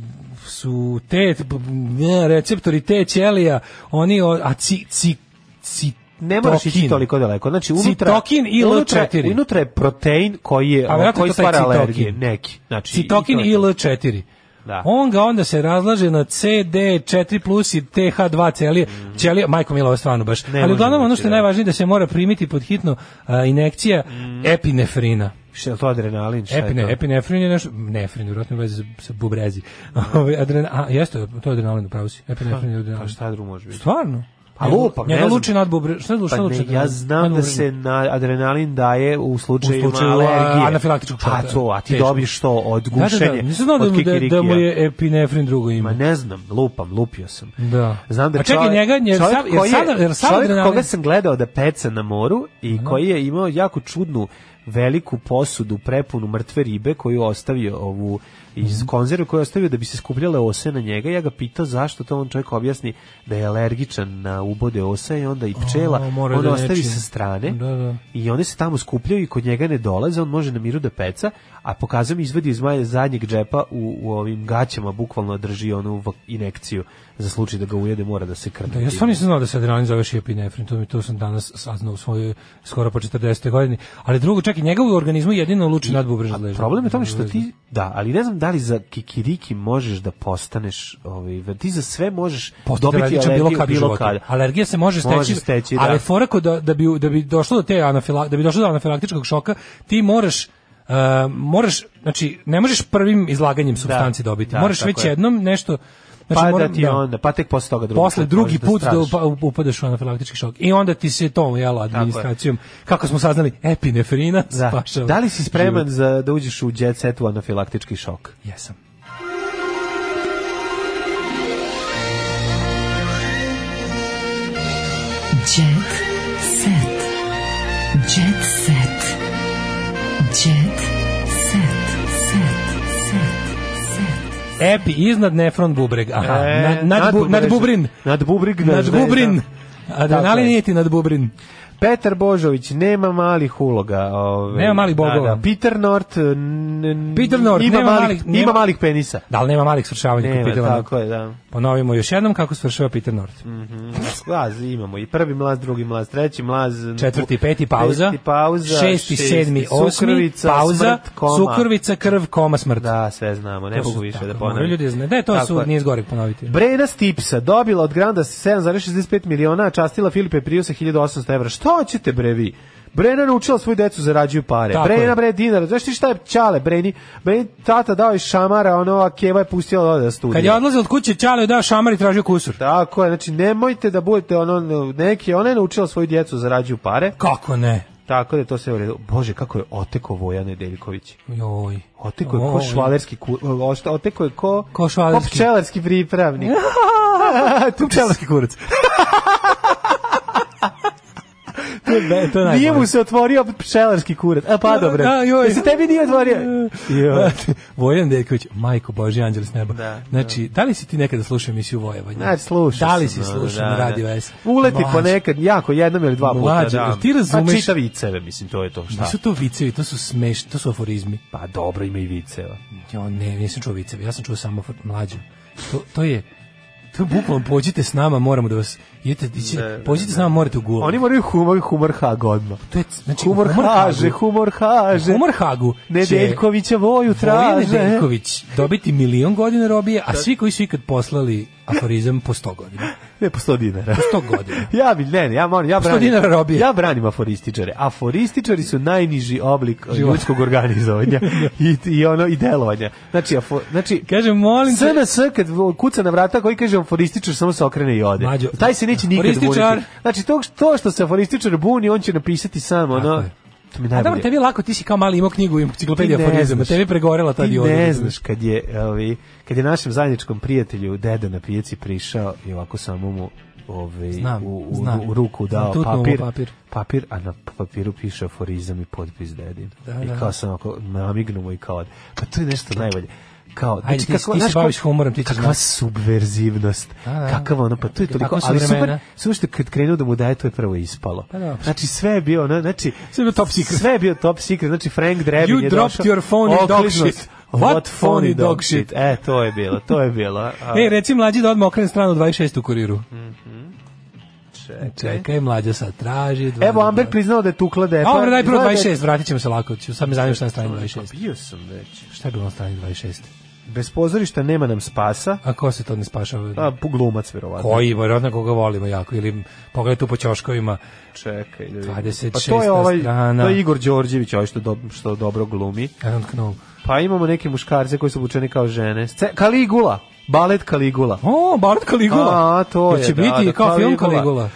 Speaker 5: su te b- b- ne, receptori te ćelija, oni o- a ci, ci, ci
Speaker 6: ne moraš ići toliko daleko. Znači unutra
Speaker 5: Citokin i
Speaker 6: unutra,
Speaker 5: L4.
Speaker 6: unutra je protein koji je
Speaker 5: A vjerojatno
Speaker 6: koji
Speaker 5: je to taj
Speaker 6: stvara
Speaker 5: citokin.
Speaker 6: alergije neki. Znači
Speaker 5: Citokin
Speaker 6: to je
Speaker 5: i
Speaker 6: to.
Speaker 5: L4.
Speaker 6: Da.
Speaker 5: On ga onda se razlaže na CD4 plus i TH2 ćelije. ćelije majko mila, ovo je stvarno baš. Ali
Speaker 6: Mhm. može
Speaker 5: uglavnom ono
Speaker 6: biti,
Speaker 5: što je
Speaker 6: da.
Speaker 5: najvažnije da se mora primiti pod hitno a, injekcija
Speaker 6: Mhm.
Speaker 5: epinefrina.
Speaker 6: Šta je to adrenalin? Šta je
Speaker 5: Epine,
Speaker 6: to?
Speaker 5: epinefrin je nešto, nefrin, vjerojatno ima veze sa, sa bubrezi. [laughs] Ovaj, adrena- a, jeste, to je adrenalin, pravo si. Epinefrin je
Speaker 6: Pa, Pa
Speaker 5: adrenalin.
Speaker 6: šta drugo može biti?
Speaker 5: Stvarno?
Speaker 6: A lupam, ne
Speaker 5: Njega
Speaker 6: znam.
Speaker 5: luči nad bubre, šta luči, šta
Speaker 6: Pa
Speaker 5: luči?
Speaker 6: ne, ja
Speaker 5: nad- nad
Speaker 6: znam da
Speaker 5: bubrezom?
Speaker 6: se na adrenalin daje u slučaju,
Speaker 5: U slučaju,
Speaker 6: alergije.
Speaker 5: a, anafilaktičkog šoka.
Speaker 6: A Pa to, a ti
Speaker 5: Teško.
Speaker 6: dobiješ to od
Speaker 5: Da, da, da,
Speaker 6: gušenja,
Speaker 5: nisam znao da
Speaker 6: od
Speaker 5: mu- da- da
Speaker 6: kikirikija.
Speaker 5: mu je epinefrin drugo ime.
Speaker 6: Ma ne znam, lupam, lupio sam.
Speaker 5: Mhm. Da.
Speaker 6: Znam da
Speaker 5: A čekaj,
Speaker 6: čovjek-
Speaker 5: njega, jer
Speaker 6: čovjek
Speaker 5: sad- jer
Speaker 6: koji je-
Speaker 5: sad- jer sad
Speaker 6: čovjek
Speaker 5: adrenalin-
Speaker 6: koga sam gledao da peca na moru i koji je imao jako čudnu veliku posudu prepunu mrtve ribe koju je ostavio ovu
Speaker 5: Mhm.
Speaker 6: iz konzerve koju je ostavio da bi se skupljale ose na njega. Ja ga pitao zašto to on čovjek objasni da je alergičan na ubode osa i onda i pčela.
Speaker 5: A, mora
Speaker 6: on
Speaker 5: da
Speaker 6: ostavi
Speaker 5: leči.
Speaker 6: sa strane
Speaker 5: Da, da.
Speaker 6: i one se tamo skupljaju i kod njega ne dolaze, on može na miru da peca, a pokazao mi izvadi iz maje zadnjeg džepa u, u ovim gaćama, bukvalno drži onu vak- inekciju za slučaj da ga ujede, mora da se krne.
Speaker 5: Da, ja stvarno nisam znao da se adrenalin zoveš i epinefrin, to, mi, to sam danas saznao u svojoj skoro po 40. godini. Ali drugo, čekaj, njega u organizmu jedino luči nadbubrežna leža.
Speaker 6: Problem je u tome što ti, da, ali ne znam da li za kikiriki možeš da postaneš, ovaj, ti za sve možeš
Speaker 5: Postati
Speaker 6: dobiti
Speaker 5: alergičan
Speaker 6: alergiju
Speaker 5: bilo kad u životu. Alergija se može steći,
Speaker 6: Može steći, da.
Speaker 5: ali je fora kod da, da, bi, da bi došlo do te anafila, da bi došlo do anafilaktičkog šoka, ti moraš Uh, moraš, znači, ne možeš prvim izlaganjem supstanci dobiti.
Speaker 6: da,
Speaker 5: moraš
Speaker 6: tako
Speaker 5: već
Speaker 6: je.
Speaker 5: jednom nešto... Znači,
Speaker 6: Pa da
Speaker 5: moram-
Speaker 6: ti onda, pa tek posle toga drugi
Speaker 5: Posle
Speaker 6: put
Speaker 5: drugi
Speaker 6: možeš da
Speaker 5: put da,
Speaker 6: strašiš.
Speaker 5: upa- upadaš u anafilaktički šok. I onda ti se tom, jel, administracijom, kako smo saznali, epinefrina
Speaker 6: Da.
Speaker 5: spašava
Speaker 6: da li si
Speaker 5: život.
Speaker 6: spreman za, da uđeš u jet set u anafilaktički šok?
Speaker 5: Jesam.
Speaker 14: Jet set. Jet set. Jet set. Set. Set. Set.
Speaker 5: Epi iznad nefron bubreg. Aha,
Speaker 6: E,
Speaker 5: nad, nad, bu, nad
Speaker 6: nadbubrežna-
Speaker 5: bubrin.
Speaker 6: nadbubrig,
Speaker 5: Nad
Speaker 6: da, da,
Speaker 5: bubrin.
Speaker 6: da. Tako
Speaker 5: Adrenalin
Speaker 6: je.
Speaker 5: nije ti nad bubrin.
Speaker 6: Petar Božović nema malih uloga. Ove,
Speaker 5: Nema malih bogova.
Speaker 6: Da, da. Peter North, n- n-
Speaker 5: Peter North,
Speaker 6: ima,
Speaker 5: nema
Speaker 6: malih,
Speaker 5: malih-
Speaker 6: ima
Speaker 5: nema-
Speaker 6: malih penisa.
Speaker 5: Da li nema malih svršavanja? kod
Speaker 6: Nema,
Speaker 5: Pitela?
Speaker 6: tako je, da.
Speaker 5: Ponovimo još jednom kako svršava Peter North.
Speaker 6: Mhm. Mlaz imamo i prvi mlaz, drugi mlaz, treći mlaz.
Speaker 5: Četvrti, peti, pauza.
Speaker 6: Peti pauza.
Speaker 5: Šesti, sedmi, osmi,
Speaker 6: sukrovica,
Speaker 5: pauza,
Speaker 6: smrt, koma.
Speaker 5: sukrvica, krv, koma, smrt.
Speaker 6: Da, sve znamo, ne
Speaker 5: To su
Speaker 6: mogu više
Speaker 5: tako,
Speaker 6: da
Speaker 5: moraju
Speaker 6: ponavljam.
Speaker 5: Ljudi da znaju. Da, to
Speaker 6: Tako
Speaker 5: su,
Speaker 6: je.
Speaker 5: nije zgorek ponoviti.
Speaker 6: Brena Stipsa dobila od Granda 7,65 miliona, a častila Filipe Priusa 1800 evra. Što hoćete bre vi? Brena naučila svoju decu zarađuju pare.
Speaker 5: Tako
Speaker 6: Brena
Speaker 5: je.
Speaker 6: bre dinara. Znaš ti šta je čale Breni? Breni tata dao je šamara, ono, a Keva je pustila da ode da studira.
Speaker 5: Kad je odlazio od kuće, Ćale je dao šamar i tražio kusur.
Speaker 6: da Tako je, znači nemojte da budete ono neki, ona je naučila svoju djecu zarađuju pare.
Speaker 5: Kako ne?
Speaker 6: Tako da to sve u redu. Bože, kako je oteko Voja Nedeljković.
Speaker 5: Joj.
Speaker 6: Oteko je ko
Speaker 5: Oj.
Speaker 6: švalerski ku, o, šta- oteko je ko ko
Speaker 5: švalerski.
Speaker 6: pčelarski pripravnik.
Speaker 5: [laughs]
Speaker 6: tu pčelarski kurac.
Speaker 5: To je be- Da, to je
Speaker 6: Nije
Speaker 5: najbolje.
Speaker 6: mu se otvorio pčelarski kurac. A pa dobro.
Speaker 5: Da, joj. Da.
Speaker 6: Jesi tebi nije otvorio? Joj.
Speaker 5: Vojan Deković, majko Boži, anđel s neba.
Speaker 6: Da,
Speaker 5: znači, da li si ti nekada slušao emisiju Vojevanja?
Speaker 6: Znači, slušao
Speaker 5: Da li si
Speaker 6: sam,
Speaker 5: slušao
Speaker 6: da,
Speaker 5: na
Speaker 6: da.
Speaker 5: Radio S?
Speaker 6: Uleti
Speaker 5: Mlađe,
Speaker 6: ponekad, jako, jednom ili dva puta.
Speaker 5: Mlađe,
Speaker 6: da.
Speaker 5: jel ti razumeš-
Speaker 6: Pa čita viceve, mislim, to je to. Šta?
Speaker 5: Nisu to vicevi, to su smeš, to su aforizmi.
Speaker 6: Pa dobro, ima i viceva.
Speaker 5: Ja ne, nisam čuo viceve, ja sam čuo samo afor- mlađe. To, to je, to je bukvalno, pođite s nama, moramo da vas, idete, idete-
Speaker 6: Ne,
Speaker 5: pođite s nama, morate u gulag.
Speaker 6: Oni moraju humor, humor hag odmah.
Speaker 5: To je, znači,
Speaker 6: humor,
Speaker 5: humor
Speaker 6: haže,
Speaker 5: hagu.
Speaker 6: humor haže.
Speaker 5: Humor hagu. će-
Speaker 6: Nedeljkovića voju
Speaker 5: Vojan
Speaker 6: traže.
Speaker 5: Nedeljković dobiti milion godina robije, a svi koji su ikad poslali aforizam po 100 godina.
Speaker 6: Ne, po 100 dinara.
Speaker 5: Po 100
Speaker 6: [laughs]
Speaker 5: godina.
Speaker 6: ja bi, ne, ne, ja moram, ja
Speaker 5: Po 100
Speaker 6: branim.
Speaker 5: dinara robije.
Speaker 6: Ja branim aforističare. Aforističari su najniži oblik eh,
Speaker 5: Života.
Speaker 6: ljudskog organizovanja i, i ono i delovanja. Znači, afo, znači
Speaker 5: Kažem, molim te-
Speaker 6: SNS kad vo- kuca na vrata koji kaže aforističar samo se okrene i ode.
Speaker 5: Mađo,
Speaker 6: Taj se neće nikad
Speaker 5: aforističar.
Speaker 6: buniti. Znači, to, to što se aforističar buni, on će napisati sam, ono, to mi
Speaker 5: A
Speaker 6: najbolje.
Speaker 5: dobro, tebi je lako, ti si kao mali imao knjigu i enciklopedija
Speaker 6: Ti ne
Speaker 5: aforizama,
Speaker 6: znaš.
Speaker 5: tebi je pregorela ta da.
Speaker 6: Ti
Speaker 5: dioda.
Speaker 6: ne znaš kad je, ovaj, kad je našem zajedničkom prijatelju deda na pijaci prišao i ovako samo mu ovaj,
Speaker 5: Znam,
Speaker 6: u, u,
Speaker 5: znam.
Speaker 6: u ruku dao
Speaker 5: Tutnuo mu
Speaker 6: papir,
Speaker 5: papir.
Speaker 6: papir, a na papiru piše aforizam i potpis dedin.
Speaker 5: Da,
Speaker 6: I
Speaker 5: da.
Speaker 6: kao sam ako namignu mu i kao, pa to je nešto najbolje. Kao, znači,
Speaker 5: Ajde, ti- ti se
Speaker 6: znaš,
Speaker 5: baviš humorom, ti ćeš
Speaker 6: kakva
Speaker 5: znati.
Speaker 6: subverzivnost,
Speaker 5: Da, da.
Speaker 6: kakav ono, pa to je toliko,
Speaker 5: Kakva su
Speaker 6: ali
Speaker 5: vremena.
Speaker 6: super, super što je kad krenuo da mu daje, to je prvo ispalo.
Speaker 5: Pa dobro.
Speaker 6: Znači, sve je bio, ono, znači, sve je bio top secret. Sve je bio top secret, znači, Frank Drebin
Speaker 5: You
Speaker 6: je
Speaker 5: dropped
Speaker 6: došao,
Speaker 5: your phone in dog
Speaker 6: okliznuo se.
Speaker 5: shit.
Speaker 6: What,
Speaker 5: What
Speaker 6: phone in dog shit?
Speaker 5: shit?
Speaker 6: E, to je bilo, to je bilo. A,
Speaker 5: Ej, reci mlađi da odmah okrene stranu 26 u kuriru.
Speaker 6: čekaj.
Speaker 5: Čekaj, mlađa sad traži. dva-
Speaker 6: Evo, Amber priznao da je tukla dete.
Speaker 5: A, dobro, daj prvo
Speaker 6: Izgleda da je-
Speaker 5: 26, vratit ćemo se lako. ću- Sad me zanima šta je na strani
Speaker 6: Pa
Speaker 5: 26.
Speaker 6: bio sam već.
Speaker 5: Šta je bilo na strani 26?
Speaker 6: Bez pozorišta nema nam spasa.
Speaker 5: A ko se to ne spašava?
Speaker 6: A, po glumac, verovatno.
Speaker 5: Koji, vjerojatno koga volimo jako. Ili pogledaj tu po ćoškovima.
Speaker 6: Čekaj, da vidim.
Speaker 5: 26.
Speaker 6: Pa to je ovaj,
Speaker 5: strana.
Speaker 6: to je Igor Đorđević, ovaj što, do, što dobro glumi.
Speaker 5: I don't know.
Speaker 6: Pa imamo neke muškarce koji su obučeni kao žene. Sce- Kaligula, balet Kaligula. [laughs]
Speaker 5: O, Balet Kaligula.
Speaker 6: A, to je,
Speaker 5: Jel će
Speaker 6: da,
Speaker 5: biti
Speaker 6: da,
Speaker 5: kao film
Speaker 6: Kaligula.
Speaker 5: Kaligula.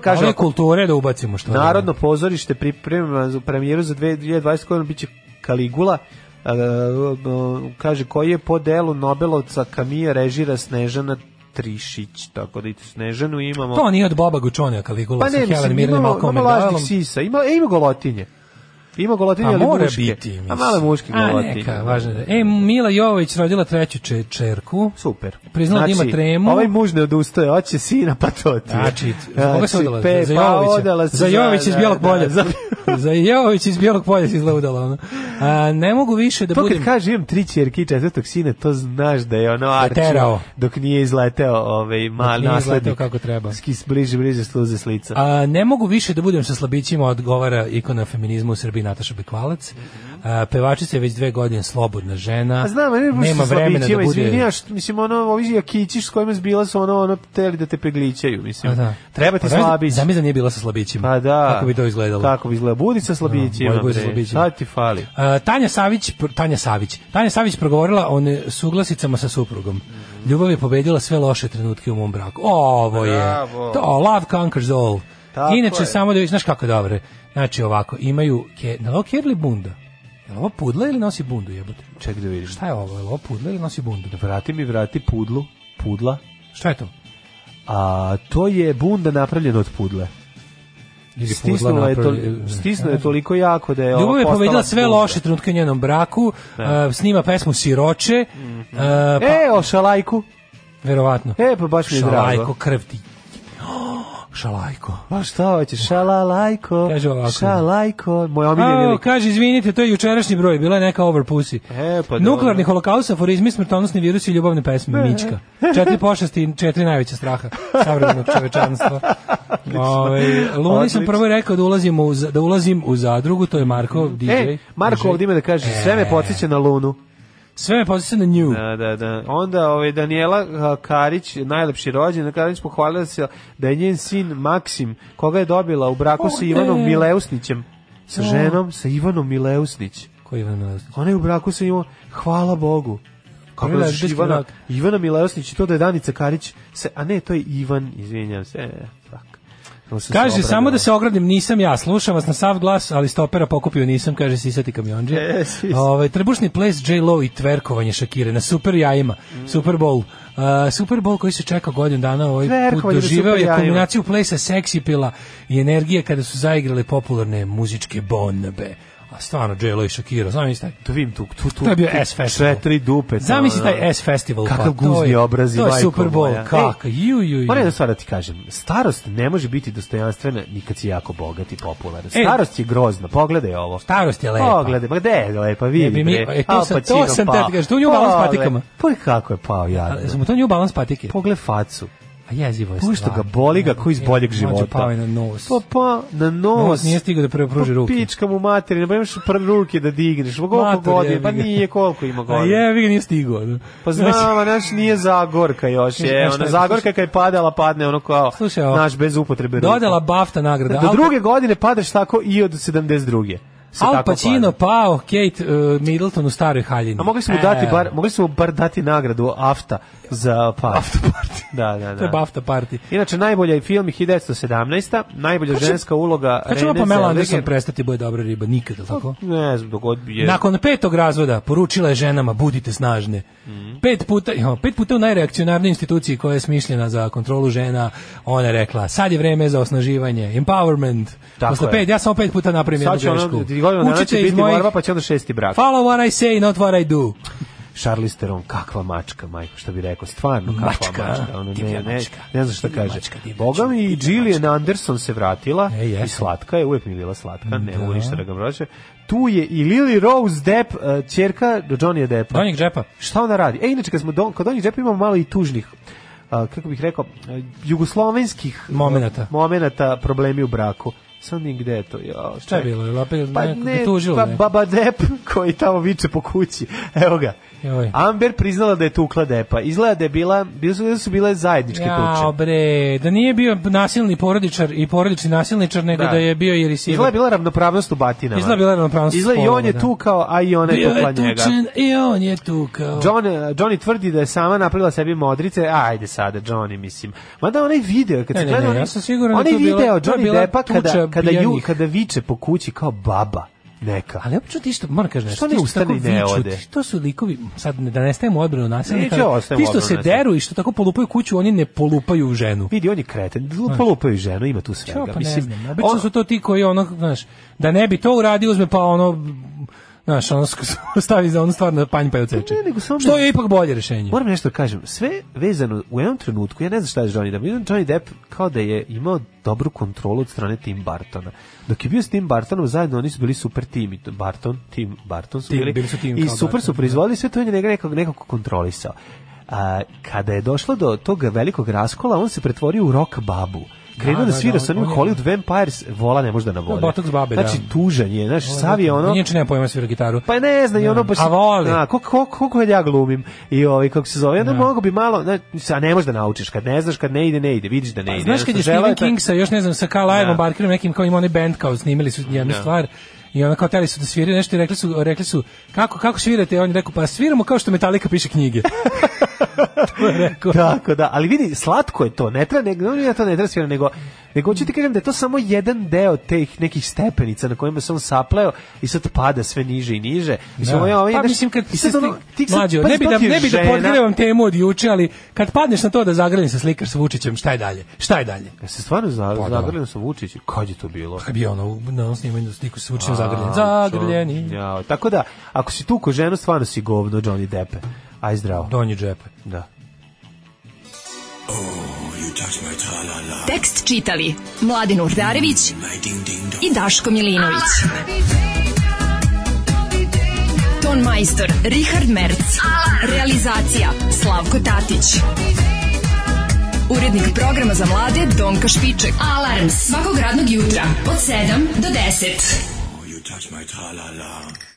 Speaker 6: Kaže,
Speaker 5: Ove kulture da ubacimo što.
Speaker 6: Narodno pozorište priprema za premijeru za 2020 godinu biće Kaligula. E, e, kaže koji je po delu Nobelovca Kamija režira Snežana Trišić, tako da i Snežanu imamo.
Speaker 5: To nije od Boba Gučonija Kaligula.
Speaker 6: pa ne, mislim, imamo, imamo lažnih sisa, ima, e, ima golotinje. Ima golotinje,
Speaker 5: Pa
Speaker 6: ali
Speaker 5: mora
Speaker 6: muške.
Speaker 5: biti,
Speaker 6: A
Speaker 5: mislim.
Speaker 6: male muške
Speaker 5: A
Speaker 6: golotinje.
Speaker 5: neka, važno da. E, Mila Jovović rodila treću če, čerku.
Speaker 6: Super.
Speaker 5: Priznala da ima tremu.
Speaker 6: Ovaj muž ne odustaje, oće sina, pa to ti. je.
Speaker 5: Znači, za koga se
Speaker 6: Znači,
Speaker 5: udala?
Speaker 6: pe-
Speaker 5: za
Speaker 6: pa
Speaker 5: Jovovića.
Speaker 6: odala se
Speaker 5: Za Jovovića iz
Speaker 6: da,
Speaker 5: Bijelog
Speaker 6: da,
Speaker 5: polja.
Speaker 6: za-
Speaker 5: [laughs] Za Jovović iz Bijelog polja se izgleda udala. ono. A, ne mogu više da
Speaker 6: to
Speaker 5: budem...
Speaker 6: Pa kad kaže imam tri čerke i četvrtog sina, to znaš da je ono Arči,
Speaker 5: terao.
Speaker 6: dok nije izleteo ovaj, mal
Speaker 5: nije izleteo
Speaker 6: naslednik.
Speaker 5: kako treba.
Speaker 6: Skis bliže, bliže sluze s lica.
Speaker 5: A, ne mogu više da budem sa slabićima, odgovara ikona feminizma u Srbiji Nataša Bekvalac. A, pevačica je već dve godine slobodna žena.
Speaker 6: A znam, ne mogu
Speaker 5: nema
Speaker 6: što
Speaker 5: vremena da
Speaker 6: slabićima,
Speaker 5: bude...
Speaker 6: izvini, a što- mislim, ono, ovi jakići s kojima zbila su, ono, ono, teli da te peglićaju, mislim.
Speaker 5: A, da.
Speaker 6: Treba ti
Speaker 5: Pa, zamisli-
Speaker 6: slabić.
Speaker 5: Zamisli da nije bila sa slabićima.
Speaker 6: Pa da.
Speaker 5: Kako bi to izgledalo? Da,
Speaker 6: Kako bi izgledalo? Budi sa slabićima.
Speaker 5: bolje budi sa
Speaker 6: bre.
Speaker 5: slabićima.
Speaker 6: Šta ti fali?
Speaker 5: E, Tanja Savić, pr- Tanja Savić. Tanja Savić progovorila o suglasicama sa suprugom. Ljubav je pobedila sve loše trenutke u mom braku. Ovo je.
Speaker 6: Bravo.
Speaker 5: To, love conquers all.
Speaker 6: Tako
Speaker 5: Inače,
Speaker 6: je.
Speaker 5: samo da vidiš, znaš kako je dobro. Znači ovako, imaju, ke, na ovo kerli bunda? Je li ovo pudla ili nosi bundu jebote?
Speaker 6: Čekaj da vidiš.
Speaker 5: Šta je ovo? Je li ovo pudla ili nosi bundu?
Speaker 6: Vrati mi, vrati pudlu, pudla.
Speaker 5: Šta je to?
Speaker 6: A to je bunda napravljena od pudle.
Speaker 5: Ili pudla
Speaker 6: Stisnulo je, to,
Speaker 5: napravlja-
Speaker 6: stisnulo je toliko jako da je ovo
Speaker 5: Ljubav je
Speaker 6: postala
Speaker 5: pobedila sve
Speaker 6: pudla. Da.
Speaker 5: loše trenutke u njenom braku, e, snima pesmu Siroče, e, pa,
Speaker 6: E, o šalajku.
Speaker 5: verovatno.
Speaker 6: E, pa baš mi je
Speaker 5: Šalajko,
Speaker 6: drago.
Speaker 5: krv
Speaker 6: [gasps]
Speaker 5: ti. Šalajko.
Speaker 6: Pa šta hoćeš? Šalalajko.
Speaker 5: Kaže ovako.
Speaker 6: Šalajko. Moj omiljeni
Speaker 5: A,
Speaker 6: lik.
Speaker 5: kaže, izvinite, to je jučerašnji broj, bila je neka over pussy.
Speaker 6: E, pa dobro. E.
Speaker 5: Nuklearni holokaust, aforizmi, smrtonosni virusi i ljubavne pesme, Mička. Četiri pošasti i četiri najveća straha savremenog
Speaker 6: [laughs]
Speaker 5: čovečanstva. Ove, Luni sam
Speaker 6: Odlično.
Speaker 5: prvo rekao da, ulazimo u, za- da ulazim u zadrugu, to je Marko, DJ.
Speaker 6: E, Marko ovdje ima da kaže, sve
Speaker 5: E.
Speaker 6: me podsjeća na Lunu.
Speaker 5: Sve me posjeća na nju.
Speaker 6: Da, da, da. Onda ovaj Daniela a, Karić, najlepši rođen, Karić pohvalila se da je njen sin Maksim, koga je dobila u braku
Speaker 5: O,
Speaker 6: sa Ivanom
Speaker 5: ne.
Speaker 6: Mileusnićem. Sa
Speaker 5: Jo.
Speaker 6: ženom, sa Ivanom Mileusnić.
Speaker 5: Koji je Ivan Mileusnić?
Speaker 6: Ona je Pa u braku sa Ivanom, hvala Bogu. Kako
Speaker 5: Prvi
Speaker 6: je
Speaker 5: lesbijski
Speaker 6: Ivana,
Speaker 5: brak.
Speaker 6: Ivana Mileusnić i to da je Danica Karić, se, a ne, to je Ivan, izvinjam se, e, fuck. sam se
Speaker 5: Kaže,
Speaker 6: obradovao.
Speaker 5: samo da se ogradim, nisam ja, slušam vas na sav glas, ali stopera pokupio nisam, kaže sisati kamionđe.
Speaker 6: [laughs] E, sisati.
Speaker 5: Ovaj, trebušni ples J-Lo i tverkovanje Šakire na super jajima, Super Bowl. Uh, Super Bowl koji se čeka godinu dana ovaj put
Speaker 6: Tverkovanje na
Speaker 5: doživeo
Speaker 6: super
Speaker 5: je
Speaker 6: jajima.
Speaker 5: kombinaciju plesa, seksi pila i energije kada su zaigrale popularne muzičke bonbe. A stvarno, J-Lo i Shakira, znam taj.
Speaker 6: To vidim, tu, tu, tu,
Speaker 5: to je bio
Speaker 6: tu
Speaker 5: S festival.
Speaker 6: četiri dupe, to,
Speaker 5: Zamisli
Speaker 6: ono.
Speaker 5: taj S festival.
Speaker 6: Kakav
Speaker 5: pa, to je-
Speaker 6: guzni obrazi,
Speaker 5: To je
Speaker 6: majko
Speaker 5: Super
Speaker 6: moja.
Speaker 5: Bowl, kak,
Speaker 6: Ej,
Speaker 5: ju, ju, ju.
Speaker 6: Moram jednu stvar da ti kažem, starost ne može biti dostojanstvena ni kad si jako bogat i popularan.
Speaker 5: E.
Speaker 6: Starost je grozna, pogledaj ovo.
Speaker 5: Starost je lepa.
Speaker 6: Pogledaj, ma gde je lepa, vidi.
Speaker 5: Ne bi mi-
Speaker 6: bre.
Speaker 5: e, to
Speaker 6: Al
Speaker 5: sam- to
Speaker 6: Pacino
Speaker 5: sam te
Speaker 6: pao.
Speaker 5: ti kažem, to u nju malo s
Speaker 6: Pogledaj,
Speaker 5: patikama.
Speaker 6: Pogledaj kako je pao, jadno.
Speaker 5: A, Sam mu to nju balans patike.
Speaker 6: Pogled facu.
Speaker 5: A jezivo je
Speaker 6: Pogledaj što ga boli ga ko iz boljeg života.
Speaker 5: pao je na nos.
Speaker 6: Pa, pa, na nos.
Speaker 5: Nos nije stigao da prepruži
Speaker 6: Pa
Speaker 5: ruke.
Speaker 6: Pička mu materina, pa imaš prve ruke da digneš. Ma koliko
Speaker 5: Mater,
Speaker 6: godina,
Speaker 5: jebi
Speaker 6: pa
Speaker 5: ga.
Speaker 6: nije koliko ima
Speaker 5: A
Speaker 6: godina.
Speaker 5: jevi ga nije stigao. da.
Speaker 6: Pa znam, a naš nije Zagorka još,
Speaker 5: Znaš
Speaker 6: je,
Speaker 5: šta
Speaker 6: ona
Speaker 5: je,
Speaker 6: Zagorka kad je padala, padne ono kao,
Speaker 5: Slušaj, ovo.
Speaker 6: naš bez upotrebe ruke.
Speaker 5: Dodala BAFTA nagrada.
Speaker 6: Do
Speaker 5: Al-
Speaker 6: druge godine padaš tako i od 72. Se
Speaker 5: Al
Speaker 6: tako
Speaker 5: Pacino E. pao, Kate uh, Middleton u staroj haljini.
Speaker 6: A mogli smo mu dati bar, mogli smo mu bar dati nagradu AFTA za par. AFTA party. [laughs] Da, da, da.
Speaker 5: To je BAFTA party.
Speaker 6: Inače, najbolja je film je 1917. Najbolja
Speaker 5: Kad će-
Speaker 6: ženska uloga
Speaker 5: Kad ćemo
Speaker 6: Rene
Speaker 5: Pamela Anderson
Speaker 6: Zellweger.
Speaker 5: prestati boje dobra riba? Nikad, jel tako?
Speaker 6: Ne znam, dok odbije.
Speaker 5: Nakon petog razvoda poručila je ženama budite snažne.
Speaker 6: Mhm.
Speaker 5: Pet puta, jo, pet puta u najreakcionarnoj instituciji koja je smišljena za kontrolu žena, ona je rekla sad je vreme za osnaživanje, empowerment.
Speaker 6: Tako
Speaker 5: Posle
Speaker 6: je.
Speaker 5: pet, ja samo pet puta napravim jednu
Speaker 6: Sad će ono,
Speaker 5: grešku.
Speaker 6: ti godinu dana će
Speaker 5: Učite
Speaker 6: biti
Speaker 5: iz mojih
Speaker 6: borba, pa će onda šesti brak.
Speaker 5: follow what I say, not what I do.
Speaker 6: Charlize Theron, kakva mačka, majko, što bi rekao, stvarno kakva
Speaker 5: Mačka,
Speaker 6: mačka. ono, ne,
Speaker 5: divlja
Speaker 6: ne,
Speaker 5: mačka.
Speaker 6: ne znam šta
Speaker 5: Divlja
Speaker 6: kaže.
Speaker 5: mačka, divlja
Speaker 6: Boga mi i Gillian Anderson se vratila i slatka je, uvijek mi je bila slatka, ne
Speaker 5: Da.
Speaker 6: mogu ništa da ga vraćam. Tu je i Lily Rose Depp, eh, ćerka Johnny Deppa.
Speaker 5: Donjeg džepa.
Speaker 6: Šta ona radi? E, inače, kad smo don, kod Donjeg džepa imamo malo i tužnih eh, kako bih rekao, eh, jugoslovenskih eh,
Speaker 5: Momenata.
Speaker 6: momenata problemi u braku. Sad mi gde je to? Ja,
Speaker 5: Šta je bilo? Jel opet
Speaker 6: pa
Speaker 5: neko
Speaker 6: ne,
Speaker 5: bi tužilo
Speaker 6: pa
Speaker 5: neko?
Speaker 6: Baba Depp koji tamo viče po kući. Evo ga.
Speaker 5: Joj.
Speaker 6: Amber priznala da je tukla Depa. Izgleda da je bila, bile su, da su bile zajedničke
Speaker 5: Jao
Speaker 6: tuče.
Speaker 5: bre, da nije bio nasilni porodičar i porodični nasilničar, nego da, je bio i
Speaker 6: Izgleda je
Speaker 5: risiver.
Speaker 6: bila ravnopravnost u batinama.
Speaker 5: Izgleda je bila ravnopravnost
Speaker 6: Izgleda i on
Speaker 5: spolova,
Speaker 6: je
Speaker 5: da.
Speaker 6: tukao, a i ona je
Speaker 5: Bio
Speaker 6: tukla
Speaker 5: je
Speaker 6: njega.
Speaker 5: tučen i on je tukao.
Speaker 6: John, Johnny tvrdi da je sama napravila sebi modrice, ajde sada Johnny, mislim. Mada onaj video, kad
Speaker 5: Ne,
Speaker 6: se
Speaker 5: ne,
Speaker 6: gleda,
Speaker 5: ne,
Speaker 6: onaj-
Speaker 5: ja sam siguran da
Speaker 6: onaj
Speaker 5: je to bila-
Speaker 6: video
Speaker 5: to je
Speaker 6: Johnny
Speaker 5: bila
Speaker 6: Deppa
Speaker 5: tuča
Speaker 6: kada, kada, ju,
Speaker 5: pijanih.
Speaker 6: kada viče po kući kao baba neka.
Speaker 5: Ali opet ću ti isto, moram kažem nešto,
Speaker 6: Što ne
Speaker 5: ti što
Speaker 6: ustane
Speaker 5: tako
Speaker 6: i ne
Speaker 5: viču,
Speaker 6: ode?
Speaker 5: ti- to su likovi, sad ne- da ne stavimo odbranu nasilnika,
Speaker 6: Neću,
Speaker 5: ali
Speaker 6: ostavimo
Speaker 5: ti što
Speaker 6: odbranu
Speaker 5: se
Speaker 6: nasilnika.
Speaker 5: deru i što tako polupaju kuću, oni ne polupaju ženu.
Speaker 6: Vidi, on je kreten, polupaju ženu, ima tu svega.
Speaker 5: Čo, pa ne
Speaker 6: mislim,
Speaker 5: znam,
Speaker 6: on-
Speaker 5: obično su to ti koji ono, znaš, da ne bi to uradio, uzme pa ono, znaš, ono [laughs] sk- stavi za onu stvar na panj pa je odseče.
Speaker 6: Ne, nego samo-
Speaker 5: Što je ipak bolje rešenje.
Speaker 6: Moram nešto da kažem, sve vezano u jednom trenutku, ja ne znam šta je Johnny Depp, jedan Johnny Depp kao da je imao dobru kontrolu od strane Tim Bartona. Dok je bio s Tim Bartonom zajedno, oni su bili super tim, i to- Barton, Tim Barton su
Speaker 5: Tim,
Speaker 6: bili,
Speaker 5: bili su tim
Speaker 6: i
Speaker 5: kao da.
Speaker 6: super su
Speaker 5: Barton,
Speaker 6: proizvodili, sve to on je njega nekako, nekako kontrolisao. A, kada je došlo do tog velikog raskola, on se pretvorio u rock babu. Krenuo da,
Speaker 5: Da, da,
Speaker 6: svira
Speaker 5: da,
Speaker 6: sa onim
Speaker 5: on je-
Speaker 6: Hollywood Vampires, vola ne može da navode.
Speaker 5: Botox babe, da.
Speaker 6: znači, tužan je, znaš, sav je ono...
Speaker 5: Inače nema pojma svira gitaru.
Speaker 6: Pa ne znam, i ono baš...
Speaker 5: A voli.
Speaker 6: Da, koliko koliko koliko ja glumim i ovaj kako se zove, onda
Speaker 5: Da.
Speaker 6: mogu bi malo, ne, a ne možeš da naučiš kad ne znaš, kad ne ide, ne ide, vidiš da ne ide.
Speaker 5: Pa Znaš kad je
Speaker 6: Jednostavno,
Speaker 5: Stephen
Speaker 6: želeo je
Speaker 5: King sa, još ne znam, sa Karl Ivan Barkerom nekim kao ima onaj band kao snimili su jednu
Speaker 6: Da.
Speaker 5: stvar i onda kao teli su da sviraju nešto i rekli su, rekli su kako, kako svirate? On je rekao, pa sviramo kao što Metallica piše knjige. [laughs]
Speaker 6: tako. Tako da, ali vidi, slatko je to, ne treba nego ne, to ne treba sve, nego nego hoću ti kažem da je to samo jedan deo teh nekih stepenica na kojima se on sapleo i sad pada sve niže i niže. Mislim,
Speaker 5: Da.
Speaker 6: ovo je ovaj,
Speaker 5: pa
Speaker 6: znaš,
Speaker 5: mislim kad
Speaker 6: i sad
Speaker 5: se
Speaker 6: ono,
Speaker 5: ti-
Speaker 6: ti sad-
Speaker 5: mlađo,
Speaker 6: pazi,
Speaker 5: ne bi
Speaker 6: to
Speaker 5: da
Speaker 6: ti je
Speaker 5: ne bi da
Speaker 6: žena-
Speaker 5: podgrevam temu od juče, ali kad padneš na to da zagrlim se slikaš sa Vučićem, šta je dalje? Šta je dalje?
Speaker 6: Ja se stvarno za,
Speaker 5: Pa da.
Speaker 6: zagrljen sa Vučićem. Kad je to bilo?
Speaker 5: Kad bi ono u- na onom snimanju sliku sa Vučićem zagrljen.
Speaker 6: A,
Speaker 5: Zagrljeni.
Speaker 6: čo- Jao, tako da, ako si tu ko ženu, stvarno si govno Johnny Deppe. Aj zdravo.
Speaker 5: Donji džepe.
Speaker 6: Da.
Speaker 4: Tekst čitali Mladin Urdarević i Daško Milinović. Ton majstor Richard Merc. Realizacija Slavko Tatić. Urednik programa za mlade Donka Špiček. Alarms svakog radnog jutra od 7 do 10.
Speaker 7: Oh, You touch my tra-la-la.